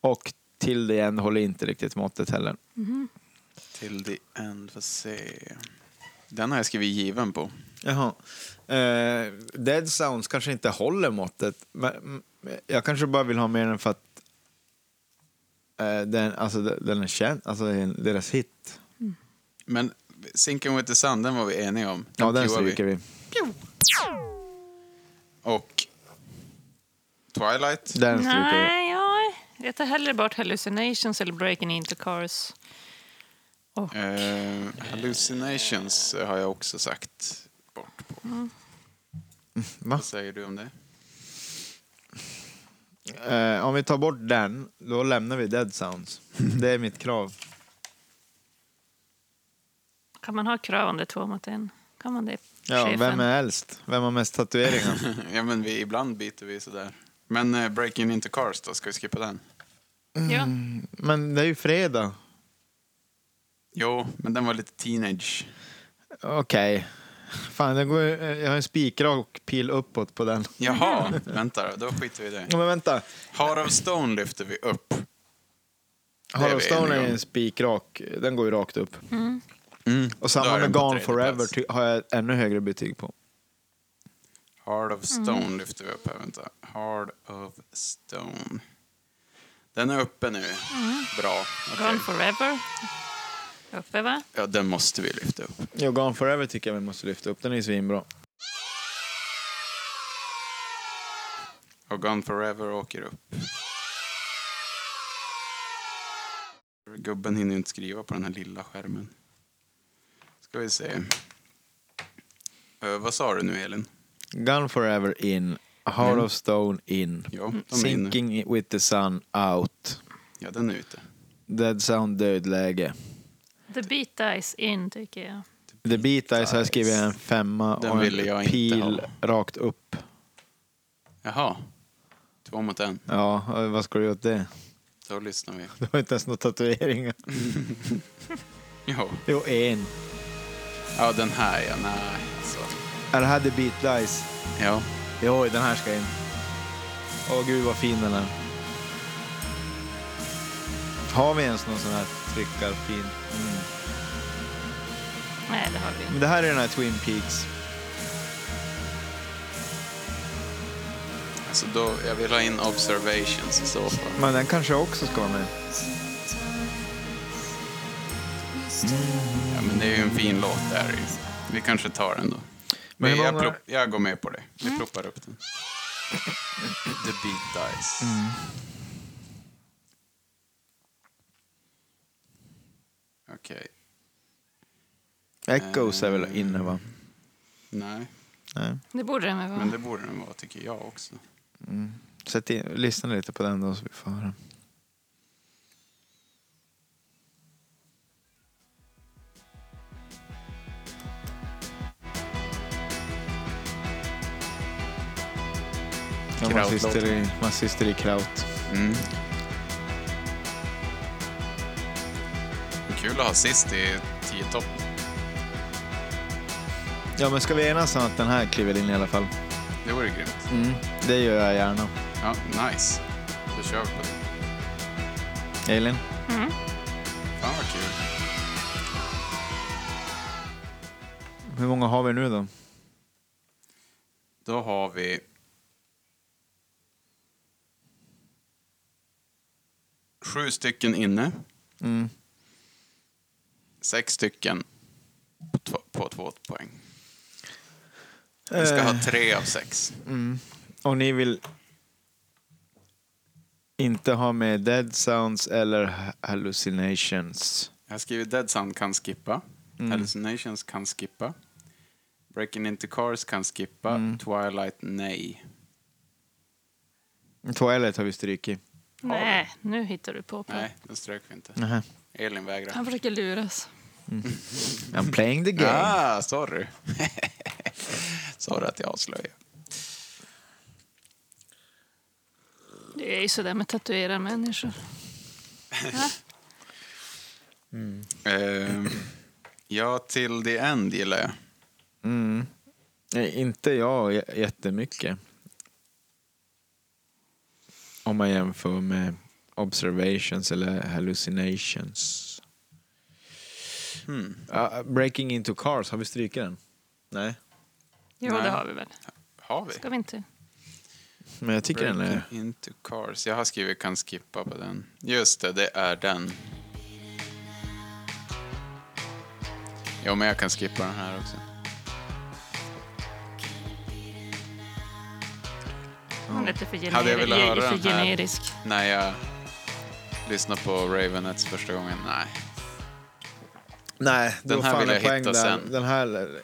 Speaker 3: och Till the End håller inte riktigt måttet heller.
Speaker 2: Till the end, får se. Den har jag skrivit given på.
Speaker 3: Jaha. Eh, Dead Sounds kanske inte håller måttet. Men mm, jag kanske bara vill ha med den för att eh, den, alltså, de- den är känd. Alltså det är en- deras hit.
Speaker 2: Men Sinking with the sun, den var vi eniga om.
Speaker 3: Ja, den
Speaker 2: cuear vi.
Speaker 3: stryker vi.
Speaker 2: Och Twilight.
Speaker 3: Den stryker vi.
Speaker 4: Nej, ja. jag tar hellre bort Hallucinations eller Breaking Into Cars. Och
Speaker 2: Eh, hallucinations har jag också sagt bort på.
Speaker 3: Va?
Speaker 2: Vad säger du om det?
Speaker 3: Eh, om vi tar bort den, då lämnar vi Dead Sounds. Det är mitt krav.
Speaker 4: kan man ha krav om det är två mot en? Kan man det?
Speaker 3: Ja,
Speaker 4: chefen?
Speaker 3: vem är äldst? Vem har mest tatueringar?
Speaker 2: ja, men vi, ibland byter vi sådär. Men eh, Breaking Into Cars då, ska vi skippa den?
Speaker 4: Ja.
Speaker 3: Men det är ju fredag.
Speaker 2: Jo, men den var lite teenage.
Speaker 3: Okej. Fan, den går, ju- eh, jag har en spikrak pil uppåt på den.
Speaker 2: Jaha, vänta då, då skiter vi i det.
Speaker 3: Ja, Men vänta.
Speaker 2: Heart of Stone lyfter vi upp. är
Speaker 3: Hollow
Speaker 2: vi
Speaker 3: Stone
Speaker 2: eniga
Speaker 3: är
Speaker 2: om.
Speaker 3: en spikrak. Den går ju rakt upp. Mm. Och
Speaker 2: Då
Speaker 3: samma
Speaker 2: är den
Speaker 3: med
Speaker 2: på
Speaker 3: Gone
Speaker 2: tredje
Speaker 3: Forever typ.
Speaker 2: plats.
Speaker 3: ty- har jag ännu högre betyg på.
Speaker 2: Heart of
Speaker 3: Mm.
Speaker 2: Stone lyfter vi upp här, vänta. Heart of Stone. Den är uppe nu.
Speaker 3: Mm.
Speaker 2: Bra. okej.
Speaker 4: Gone Forever. Uppe, va?
Speaker 2: Ja, den måste vi lyfta upp.
Speaker 3: Ja, Gone Forever tycker jag vi måste lyfta upp. Den är ju svinbra.
Speaker 2: Och Gone Forever åker upp. Gubben hinner ju inte skriva på den här lilla skärmen. Ska vi se. Eh, vad sa du nu, Elin?
Speaker 3: Gone Forever in. Heart of Stone in.
Speaker 2: Ja, de är inne.
Speaker 3: Mm, Sinking with the Sun out.
Speaker 2: Ja, den är ute.
Speaker 3: Dead Sound dödläge.
Speaker 4: The Beat Dice in, tycker jag.
Speaker 3: The Beat Eyes har jag skrivit en femma
Speaker 2: Den
Speaker 3: och
Speaker 2: ville jag
Speaker 3: en
Speaker 2: inte
Speaker 3: pil rakt upp.
Speaker 2: Jaha. Två mot en.
Speaker 3: Ja, vad ska du göra åt det?
Speaker 2: Då lyssnar vi.
Speaker 3: Du har inte ens några tatueringar.
Speaker 2: Jo.
Speaker 3: Jo, en.
Speaker 2: Ja, den här ja. Nej. Så.
Speaker 3: Eller hade Beat Lies.
Speaker 2: Ja.
Speaker 3: Jo, den här ska in. Åh gud vad fin den är. Har vi ens någon sån här tryckarfin? Mm.
Speaker 4: Nej, det har vi inte.
Speaker 3: Men det här är den här Twin Peaks.
Speaker 2: Alltså då, jag vill ha in observations i så fall.
Speaker 3: Men den kanske också ska vara med.
Speaker 2: Ja, men det är ju en fin låt där. ju. Vi kanske tar den då. Men
Speaker 3: Men hur
Speaker 2: jag,
Speaker 3: många-
Speaker 2: plopp, jag går med på det. Vi ploppar upp den. The beat dies. Okej.
Speaker 3: Echoes är väl inne va?
Speaker 2: Nej,
Speaker 3: Nej.
Speaker 4: Det borde den väl vara.
Speaker 2: men det borde den vara tycker jag också.
Speaker 3: Sätt in, lyssna lite på den då så vi får höra. Ja, man,
Speaker 2: Krautlåt.
Speaker 3: syster i, man syster i kraut.
Speaker 2: Mm. Kul att ha sist i tio topp.
Speaker 3: Ja, men ska vi enas om att den här kliver in i alla fall?
Speaker 2: Det vore grymt.
Speaker 3: Det gör jag gärna.
Speaker 2: Ja, nice. Då kör vi på det.
Speaker 3: Elin?
Speaker 2: Fan vad kul.
Speaker 3: Hur många har vi nu då?
Speaker 2: Då har vi... Sju stycken inne.
Speaker 3: Mm.
Speaker 2: Sex stycken på två, på två poäng. Vi ska ha tre av sex.
Speaker 3: Och ni vill inte ha med Dead Sounds eller ha- Hallucinations?
Speaker 2: Jag har skrivit Dead Sound kan skippa. Hallucinations kan skippa. Breaking Into Cars kan skippa. Twilight, nej.
Speaker 3: Twilight har vi strykit.
Speaker 4: Nej, nu hittar du på. på.
Speaker 2: Nej, den strök vi inte.
Speaker 3: Nähä.
Speaker 2: Elin vägrar.
Speaker 4: Han försöker luras.
Speaker 3: I'm playing the game.
Speaker 2: Ah, sorry. sorry att jag avslöjar.
Speaker 4: Det är ju sådär med tatuerade människor.
Speaker 2: Ehm, ja, till the end gillar jag.
Speaker 3: Nej, inte jag j- jättemycket. Om man jämför med observations eller hallucinations.
Speaker 2: Hmm.
Speaker 3: Ah, breaking into cars, har vi strykit den? Nej,
Speaker 4: Jo,
Speaker 2: Nej.
Speaker 4: det har vi väl.
Speaker 2: Har vi?
Speaker 4: Ska vi inte?
Speaker 3: men jag tycker den är...
Speaker 2: Breaking Into Cars. Jag har skrivit kan skippa på den. Just det, det är den. Jo, men jag kan skippa den här också.
Speaker 4: Hon är lite för, gener-
Speaker 2: Hade jag velat höra
Speaker 4: för
Speaker 2: den här?
Speaker 4: generisk.
Speaker 2: När jag lyssnar på Ravenettes första gången, nej.
Speaker 3: Nej,
Speaker 2: Den
Speaker 3: då
Speaker 2: här
Speaker 3: fan
Speaker 2: vill
Speaker 3: en
Speaker 2: jag
Speaker 3: poäng
Speaker 2: hitta
Speaker 3: där.
Speaker 2: sen.
Speaker 3: Den här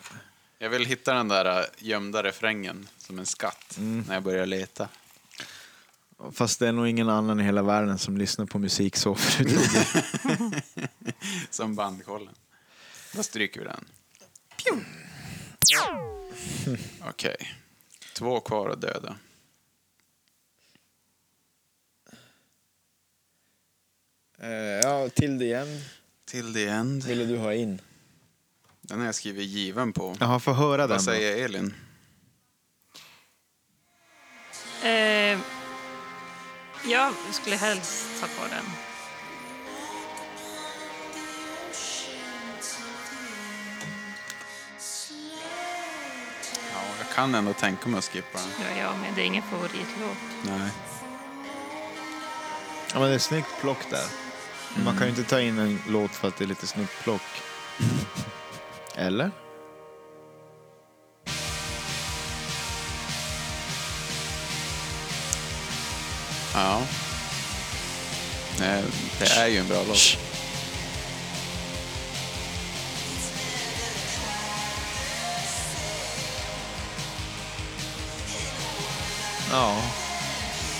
Speaker 2: Jag vill hitta den där äh, gömda refrängen som en skatt när jag börjar leta.
Speaker 3: Fast det är nog ingen annan i hela världen som lyssnar på musik så förutom du.
Speaker 2: Som bandkollen. Då stryker vi den. Pju! Okej. Två kvar att döda.
Speaker 3: Eh, ja, till det igen.
Speaker 2: Till the end.
Speaker 3: Ville du ha in?
Speaker 2: Den har jag skrivit given på.
Speaker 3: Jaha, får höra den
Speaker 2: Vad
Speaker 3: då.
Speaker 2: säger Elin?
Speaker 4: Eh, jag skulle helst ta på den.
Speaker 2: Ja, jag kan ändå tänka mig att skippa den.
Speaker 4: Ja, jag med. Det är ingen favoritlåt.
Speaker 2: Nej.
Speaker 3: Ja, men det är snyggt plock där. Men Man kan ju inte ta in en låt för att det är lite snyggt plock. Eller?
Speaker 2: Ja. Nej, det är ju en bra låt.
Speaker 3: Ja.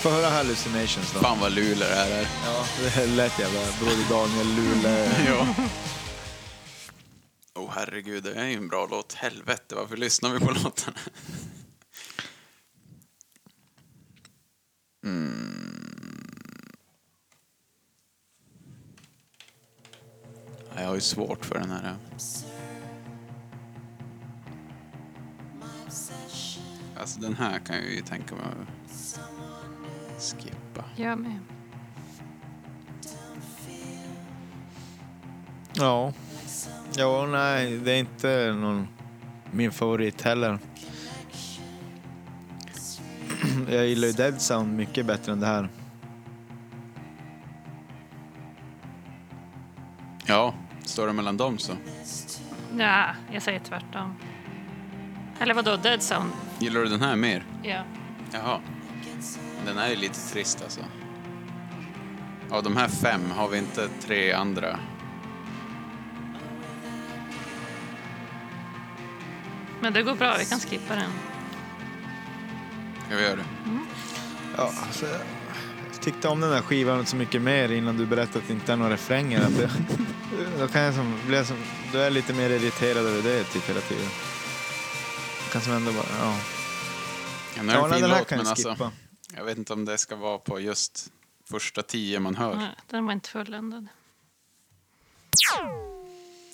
Speaker 3: Får höra Hallucinations då.
Speaker 2: Fan vad luler det här är.
Speaker 3: Ja, det lät jävla Broder Daniel Lule.
Speaker 2: Ja. Åh oh, herregud, det är ju en bra låt. Helvete, varför lyssnar vi på låtarna? Mm. ju svårt för den här. Alltså den här kan jag ju tänka mig att skippa.
Speaker 4: Jag med.
Speaker 3: Ja. Ja, nej, det är inte någon min favorit heller. Jag gillar ju Dead Sound mycket bättre än det här.
Speaker 2: Ja, står det mellan dem så.
Speaker 4: Ja, jag säger tvärtom. Eller vadå, Dead Sound?
Speaker 2: Gillar du den här mer?
Speaker 4: Ja.
Speaker 2: Jaha. Den är ju lite trist alltså. Av de här fem har vi inte tre andra.
Speaker 4: Men det går bra, vi kan skippa den.
Speaker 2: Ska vi göra det?
Speaker 3: Ja, alltså, jag tyckte om den här skivan så mycket mer innan du berättade att det inte är några refränger. Att det, då kan jag som, blir jag som, då är jag lite mer irriterad över det typ hela tiden. Jag kan som ändå bara, ja.
Speaker 2: Ja, nu är det
Speaker 3: Ja,
Speaker 2: en
Speaker 3: nej,
Speaker 2: fin
Speaker 3: den här
Speaker 2: låt,
Speaker 3: kan
Speaker 2: men
Speaker 3: jag
Speaker 2: alltså,
Speaker 3: skippa.
Speaker 2: jag vet inte om det ska vara på just första tio man hör.
Speaker 4: Nej, Den var inte fulländad.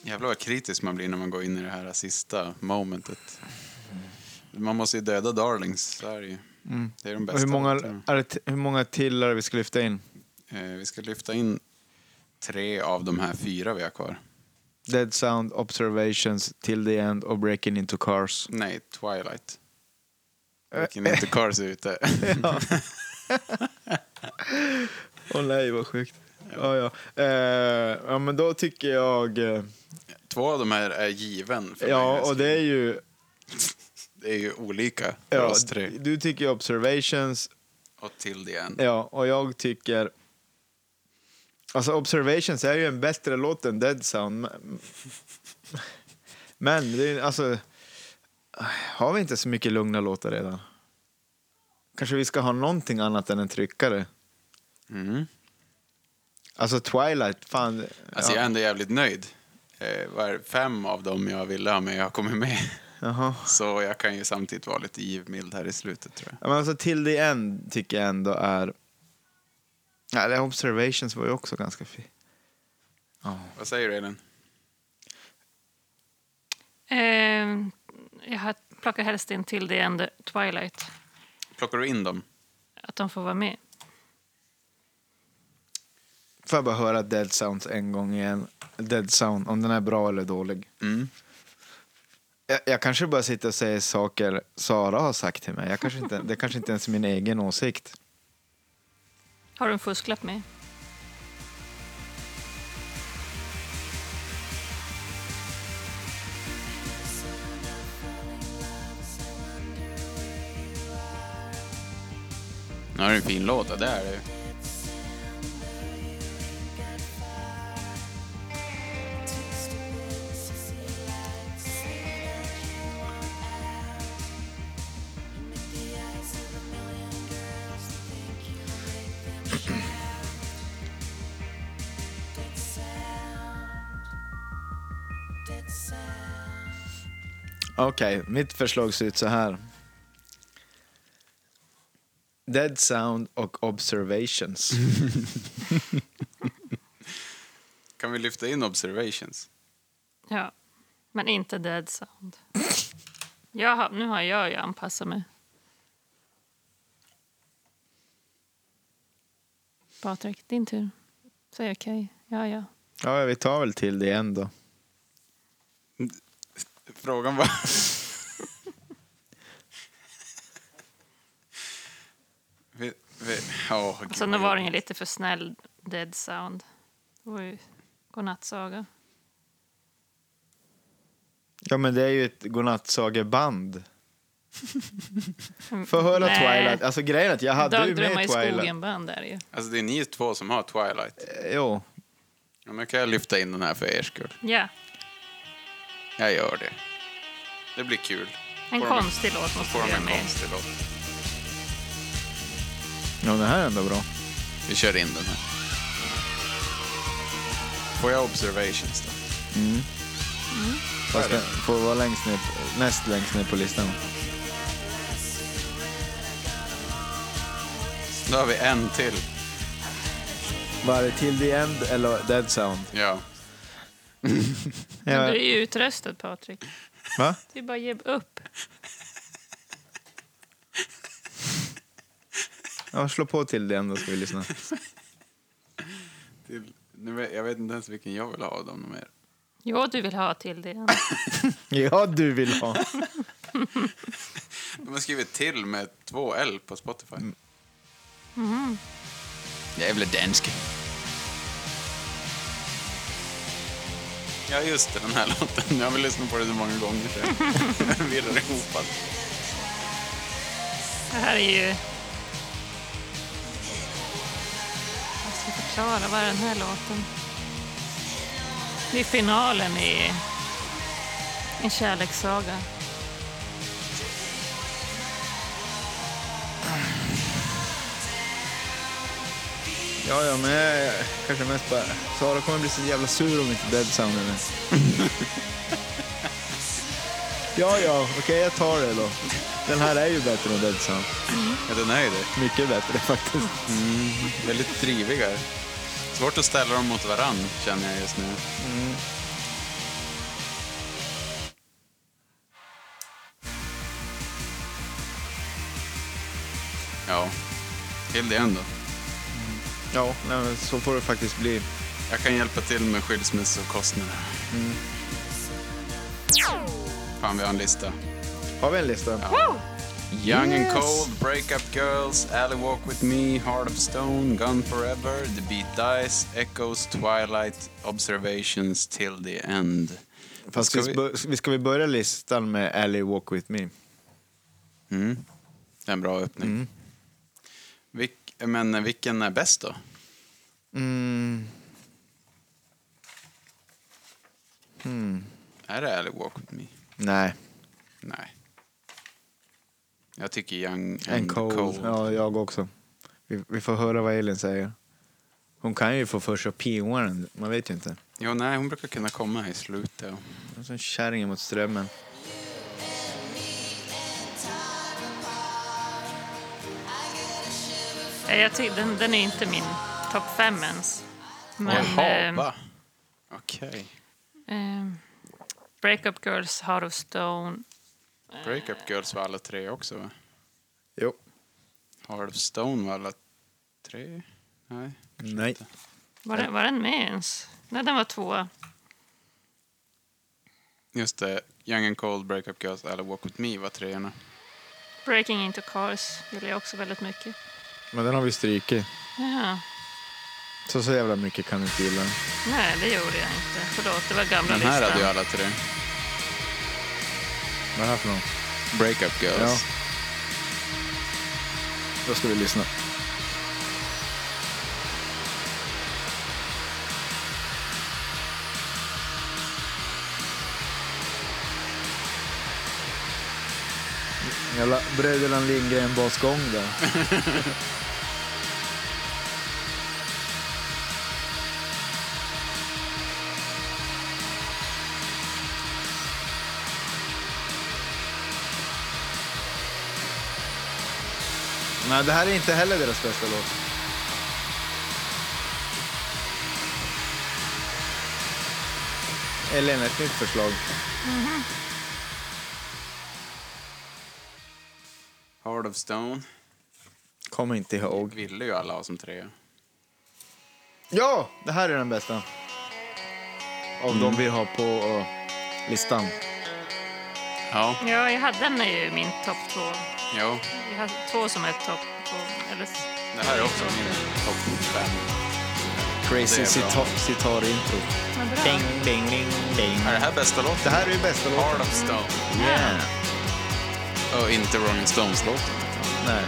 Speaker 2: Jävlar vad kritisk man blir när man går in i det här sista momentet. Man måste ju döda darlings, så är det ju. Det är de
Speaker 3: Mm. Och
Speaker 2: bästa.
Speaker 3: hur många,
Speaker 2: låtarna.
Speaker 3: är det, hur många till är det vi ska lyfta in?
Speaker 2: Eh, vi ska lyfta in tre av de här fyra vi har kvar.
Speaker 3: Dead Sound, Observations, Till the End och Breaking Into Cars.
Speaker 2: Nej, Twilight.
Speaker 3: Eh.
Speaker 2: Vilken inte Cars är ute.
Speaker 3: Åh nej, vad sjukt. Ja, ja. Eh, ja, men då tycker jag... eh,
Speaker 2: Två av de här är given för mig.
Speaker 3: Ja,
Speaker 2: Alltså,
Speaker 3: och det är ju...
Speaker 2: det är ju olika för
Speaker 3: Ja,
Speaker 2: oss tre.
Speaker 3: du tycker Observations
Speaker 2: Och till det en.
Speaker 3: Ja, och jag tycker... Alltså Observations är ju en bättre låt än Dead Sound. men- Men det är, alltså... Har vi inte så mycket lugna låtar redan? Kanske vi ska ha någonting annat än en tryckare?
Speaker 2: Mm.
Speaker 3: Alltså Twilight, fan...
Speaker 2: Alltså
Speaker 3: ja.
Speaker 2: jag är ändå jävligt nöjd. Eh, var, fem av dem jag ville ha med har kommit med.
Speaker 3: Jaha.
Speaker 2: Så jag kan ju samtidigt vara lite givmild här i slutet tror jag.
Speaker 3: Ja, men alltså Till the End tycker jag ändå är... Ja, det Observations var ju också ganska fin.
Speaker 2: Vad säger du Elin?
Speaker 4: Eh, jag har- plockar helst in till det än Twilight.
Speaker 2: Plockar du in dem?
Speaker 4: Att de får vara med.
Speaker 3: Får jag bara höra Dead Sounds en gång igen? Dead Sound, om den är bra eller dålig.
Speaker 2: Mm.
Speaker 3: Jag, jag kanske bara sitter och säger saker Sara har sagt till mig. Jag kanske inte, det kanske inte ens är min egen åsikt.
Speaker 4: Har du en fusklapp med?
Speaker 2: Nu är det en fin låta, det är det ju.
Speaker 3: Okej, mitt förslag ser ut så här. Dead Sound och Observations.
Speaker 2: Kan vi lyfta in observations?
Speaker 4: Ja. Men inte Dead Sound. Jag har, nu har jag ju anpassat mig. Patrik, din tur. Säg okej. Ja, ja.
Speaker 3: Ja, vi tar väl till det igen då.
Speaker 2: Frågan var... vi, vi, åh, gud,
Speaker 4: Sen
Speaker 2: vad
Speaker 4: Alltså, var den
Speaker 2: jobbigt.
Speaker 4: ju lite för snäll, Dead Sound. Det var ju godnattsaga.
Speaker 3: Ja, men det är ju ett godnattsageband. Få höra
Speaker 4: Nej.
Speaker 3: Twilight. Alltså grejen är att jag hade ju
Speaker 4: Dagdrömmar
Speaker 3: med
Speaker 4: i
Speaker 3: Twilight.
Speaker 4: skogen-band är det ju.
Speaker 2: Alltså det är ni två som har Twilight.
Speaker 3: Jo,
Speaker 2: Ja, men kan jag lyfta in den här för er skull?
Speaker 4: Ja,
Speaker 2: Jag gör det. Det blir kul.
Speaker 4: en
Speaker 2: Får de-
Speaker 4: konstig låt måste
Speaker 2: Får de
Speaker 4: vi ha
Speaker 2: en
Speaker 4: med.
Speaker 2: konstig låt.
Speaker 3: ja, det här är ändå bra.
Speaker 2: Vi kör in den här. Får jag observations då?
Speaker 3: Fast den får vara längst ner, näst längst ner på listan.
Speaker 2: Då har vi en till.
Speaker 3: Var det Till the End eller Dead Sound?
Speaker 2: Ja.
Speaker 4: Men
Speaker 3: Ja.
Speaker 4: du är ju utröstad, Patrik.
Speaker 3: Va?
Speaker 4: Det är bara att ge upp.
Speaker 3: Ja, slå på till den då ska vi lyssna.
Speaker 2: Till, nu, vet- jag vet inte ens vilken jag vill ha av dem mer.
Speaker 4: Ja, du vill ha till det.
Speaker 3: Ja, du vill ha.
Speaker 2: De har skrivit till med två L på Spotify. Mm. Jävla dansk. Ja, just det, den här låten. Jag har väl lyssnat på det så många gånger så jag virrar ihop allt.
Speaker 4: Det här är ju... Jag ska förklara. Vad är den här låten? Det är finalen i En kärlekssaga.
Speaker 3: Ja, ja, men jag är kanske mest bara... Sara kommer bli så jävla sur om inte Dead Sound är med. Ja, ja, okej, jag tar det då. Den här är ju bättre än Dead Sound.
Speaker 2: Ja, den är ju det.
Speaker 3: Mycket bättre faktiskt.
Speaker 2: Väldigt drivigare. Svårt att ställa dem mot varann, känner jag just nu. Ja, till det ändå.
Speaker 3: Ja, nej, men så får det faktiskt bli.
Speaker 2: Jag kan hjälpa till med skilsmässokostnader. Fan, vi har en lista.
Speaker 3: Har vi en lista?
Speaker 2: Young and Cold, Break Up Girls, Alley Walk With Me, Heart of Stone, Gone Forever, The Beat Dies, Echoes, Twilight, Observations Till the End.
Speaker 3: Fast
Speaker 2: Ska
Speaker 3: ska,
Speaker 2: vi-
Speaker 3: vi... bör- ska vi börja listan med Ally Walk With Me?
Speaker 2: Mm. Det är en bra öppning.
Speaker 3: Mm.
Speaker 2: Vilk, men eh, vilken är bäst då?
Speaker 3: Mm.
Speaker 2: Är det Alley Walk With Me?
Speaker 3: Nej,
Speaker 2: Nej. Jag tycker Young and,
Speaker 3: en cold. Ja, jag också. Vi, vi får höra vad Elin säger. Hon kan ju få för sig att pingua den, man vet ju inte.
Speaker 2: Jo, nej, hon brukar kunna komma i slutet. och-
Speaker 3: Hon är som kärringen mot strömmen.
Speaker 4: Nej, Jag tycker, den, den är inte min topp fem ens. Men,
Speaker 2: Jaha,
Speaker 4: ehm,
Speaker 2: va? Okej.
Speaker 4: ehm, Breakup Girls, Heart of Stone.
Speaker 2: Break Up Girls var alla tre också, va?
Speaker 3: Jo.
Speaker 2: Heart of Stone var alla tre? Nej.
Speaker 3: Nej.
Speaker 4: Var den, var den med ens? Nej, den var tvåa.
Speaker 2: Just det. Young and Cold, Break Up Girls, Alla Walk With Me var treorna.
Speaker 4: Breaking Into Cars gillar jag också väldigt mycket.
Speaker 3: Men den har vi strykit.
Speaker 4: Jaha.
Speaker 3: Så så jävla mycket kan du inte gilla den.
Speaker 4: Nej, det gjorde jag inte. Förlåt, det var gamla
Speaker 2: Den här
Speaker 4: listan.
Speaker 2: hade ju alla tre.
Speaker 3: Vad är det här för någon?
Speaker 2: Break Up
Speaker 3: Ja.
Speaker 2: Girls.
Speaker 3: Då ska vi lyssna. Jävla Bröderna Lindgren-basgång där. Nej, det här är inte heller deras bästa låt. Eller ett nytt förslag.
Speaker 2: Heart of Stone
Speaker 3: Kommer inte ihåg.
Speaker 2: ville ju alla ha som trea.
Speaker 3: Ja, det här är den bästa. Av
Speaker 2: Mm.
Speaker 3: de vi har på eh, listan.
Speaker 2: Ja,
Speaker 4: Ja, jag hade den i min topp två.
Speaker 2: jo.
Speaker 4: Jag hade två som är topp två. Eller,
Speaker 2: Det här är också min topp fem.
Speaker 3: Crazy
Speaker 2: Det är bra.
Speaker 3: cita- sitar-intro.
Speaker 4: men bra.
Speaker 3: Ding, ding, ding, ding.
Speaker 2: Är det här bästa låten?
Speaker 3: Det här är ju bästa
Speaker 2: Heart
Speaker 3: låten.
Speaker 2: of Stone.
Speaker 3: Yeah.
Speaker 2: Och inte Rolling Stones-låten.
Speaker 3: Nej.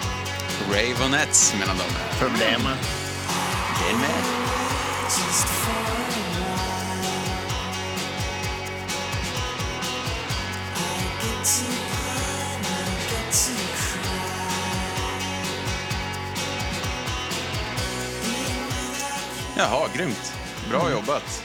Speaker 2: Raveonettes, menar de.
Speaker 3: Problemet.
Speaker 2: Det är med. Jaha, grymt.
Speaker 3: Mm.
Speaker 2: Bra jobbat.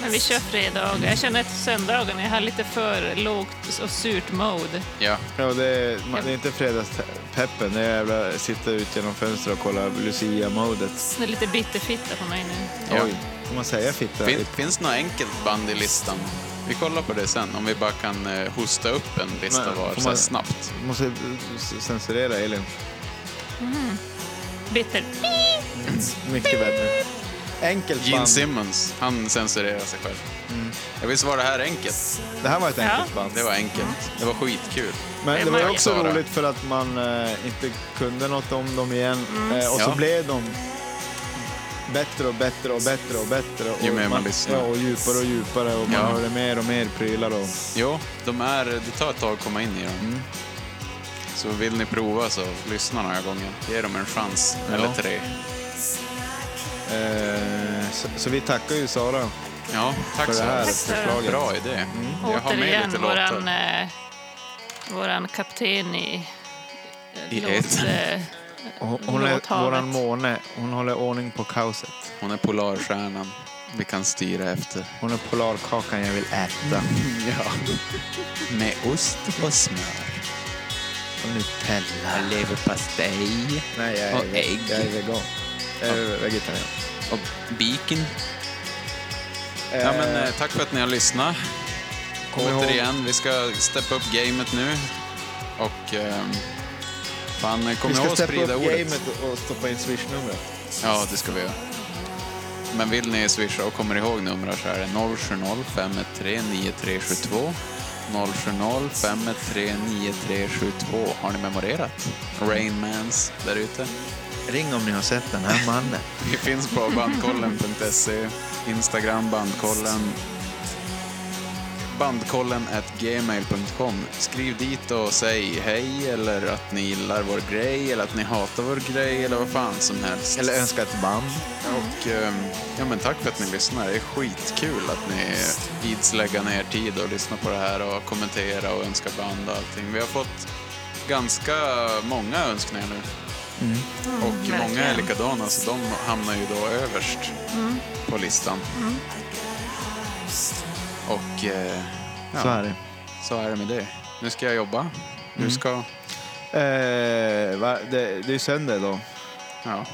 Speaker 4: Men vi kör fredagar. Jag känner att söndagen, jag har lite för lågt och surt mode.
Speaker 2: Ja,
Speaker 3: Ja, det, är, man- det är inte fredagspeppen. Det är jävla sitta ut genom fönstret och kolla Lucia-modet.
Speaker 4: Det är lite bitterfitta på mig nu.
Speaker 2: ja.
Speaker 3: Oj. Får man säga fitta?
Speaker 2: Fin, finns något enkelt band i listan? Vi kollar på det sen, om vi bara kan eh, hosta upp en lista
Speaker 3: Men,
Speaker 2: var
Speaker 3: får
Speaker 2: så här
Speaker 3: man-
Speaker 2: snabbt.
Speaker 3: Måste eh, censurera Elin.
Speaker 4: Bitter.
Speaker 3: Mycket bättre. Enkelt
Speaker 2: Gene
Speaker 3: band. Mm.
Speaker 2: Simmons, han censurerar sig själv. Ja, visst var det här enkelt?
Speaker 3: Det här var ett enkelt
Speaker 4: Ja.
Speaker 3: band.
Speaker 2: Det var enkelt. Det var skitkul.
Speaker 3: Men
Speaker 4: Det
Speaker 3: det var ju
Speaker 4: var-
Speaker 3: också
Speaker 2: Sara.
Speaker 3: roligt för att man eh, inte kunde något om dem igen. Eh, och
Speaker 2: Mm. Ja.
Speaker 3: så blev de bättre och bättre och bättre och bättre. Och
Speaker 2: Ju mer man lyssnar.
Speaker 3: Ja, och djupare och djupare och man
Speaker 2: Ja.
Speaker 3: hörde mer och mer prylar. Och,
Speaker 2: Jo, de är, det tar ett tag att komma in i dem.
Speaker 3: Mm.
Speaker 2: Så vill ni prova så lyssna några gånger. Ge dem en chans,
Speaker 3: Ja.
Speaker 2: eller tre.
Speaker 3: eh, så, så vi tackar ju Sara
Speaker 2: Ja, tack
Speaker 3: för
Speaker 2: så
Speaker 3: det här
Speaker 2: mycket.
Speaker 4: Sara.
Speaker 3: förslaget. Mm.
Speaker 2: Bra idé. Jag har med
Speaker 4: Återigen
Speaker 2: lite
Speaker 4: våran,
Speaker 2: låtar.
Speaker 4: eh, våran kapten i,
Speaker 2: I
Speaker 4: låt,
Speaker 2: etern.
Speaker 4: eh,
Speaker 3: Och hon- Hon är
Speaker 4: Låt havet.
Speaker 3: våran måne. Hon håller ordning på kaoset.
Speaker 2: Hon är Polarstjärnan. Vi kan styra efter.
Speaker 3: Hon är polarkakan jag vill äta.
Speaker 2: Mm. Ja. Med ost och smör.
Speaker 3: Och Nutella.
Speaker 2: Leverpastej.
Speaker 3: Nej, jag är,
Speaker 2: Och ägg.
Speaker 3: Jag är vegan. Jag är vegetarian.
Speaker 2: Och bacon. Ja, men, eh, tack för att ni har lyssnat.
Speaker 3: Kom ihåg-
Speaker 2: Återigen, vi ska steppa upp gamet nu. Och... ehm, fan, eh, kom
Speaker 3: Vi
Speaker 2: ihåg
Speaker 3: ska
Speaker 2: att
Speaker 3: steppa upp
Speaker 2: sprida ordet.
Speaker 3: gamet och stoppa in swishnumret.
Speaker 2: Ja, det ska vi göra. Men vill ni swisha och kommer ihåg numret så är det 070 513 9372. 070 513 9372. Har ni memorerat? Rainmans där ute.
Speaker 3: Ring om ni har sett den här mannen.
Speaker 2: Vi finns på bandkollen.se, Instagram bandkollen, bandkollen at gmail.com. Skriv dit och säg hej eller att ni gillar vår grej eller att ni hatar vår grej eller vad fan som helst.
Speaker 3: Eller önska ett band.
Speaker 2: Och ehm, ja, men tack för att ni lyssnar. Det är skitkul att ni ids lägga ner tid och lyssna på det här och kommentera och önska band och allting. Vi har fått ganska många önskningar nu.
Speaker 3: Mm.
Speaker 2: och många är
Speaker 4: Mm, verkligen. Mm.
Speaker 2: likadana så de hamnar ju då överst på listan. Och eh,
Speaker 3: Så
Speaker 2: ja,
Speaker 3: är det.
Speaker 2: så är det med det. Nu ska jag jobba.
Speaker 3: Mm.
Speaker 2: Nu ska...
Speaker 3: Eh, va? Det, det är söndag idag.
Speaker 2: Ja.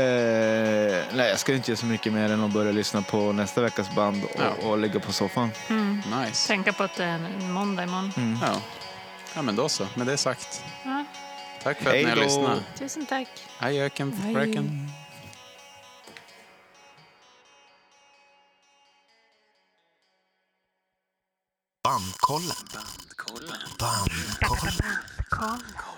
Speaker 3: Eh, nej, jag ska inte göra så mycket mer än att börja lyssna på nästa veckas band och,
Speaker 2: Ja.
Speaker 3: och ligga på soffan.
Speaker 2: Nice.
Speaker 4: tänka på att det är en måndag imorgon.
Speaker 2: Ja. ja, men då så. Med det sagt.
Speaker 4: Ja,
Speaker 2: Tack för att
Speaker 3: Hej
Speaker 2: ni har
Speaker 3: då.
Speaker 2: lyssnat.
Speaker 4: tusen tack.
Speaker 2: Hej öken,
Speaker 4: Hej.
Speaker 2: fröken.
Speaker 9: Bandkollen. Bandkollen. Bandkollen.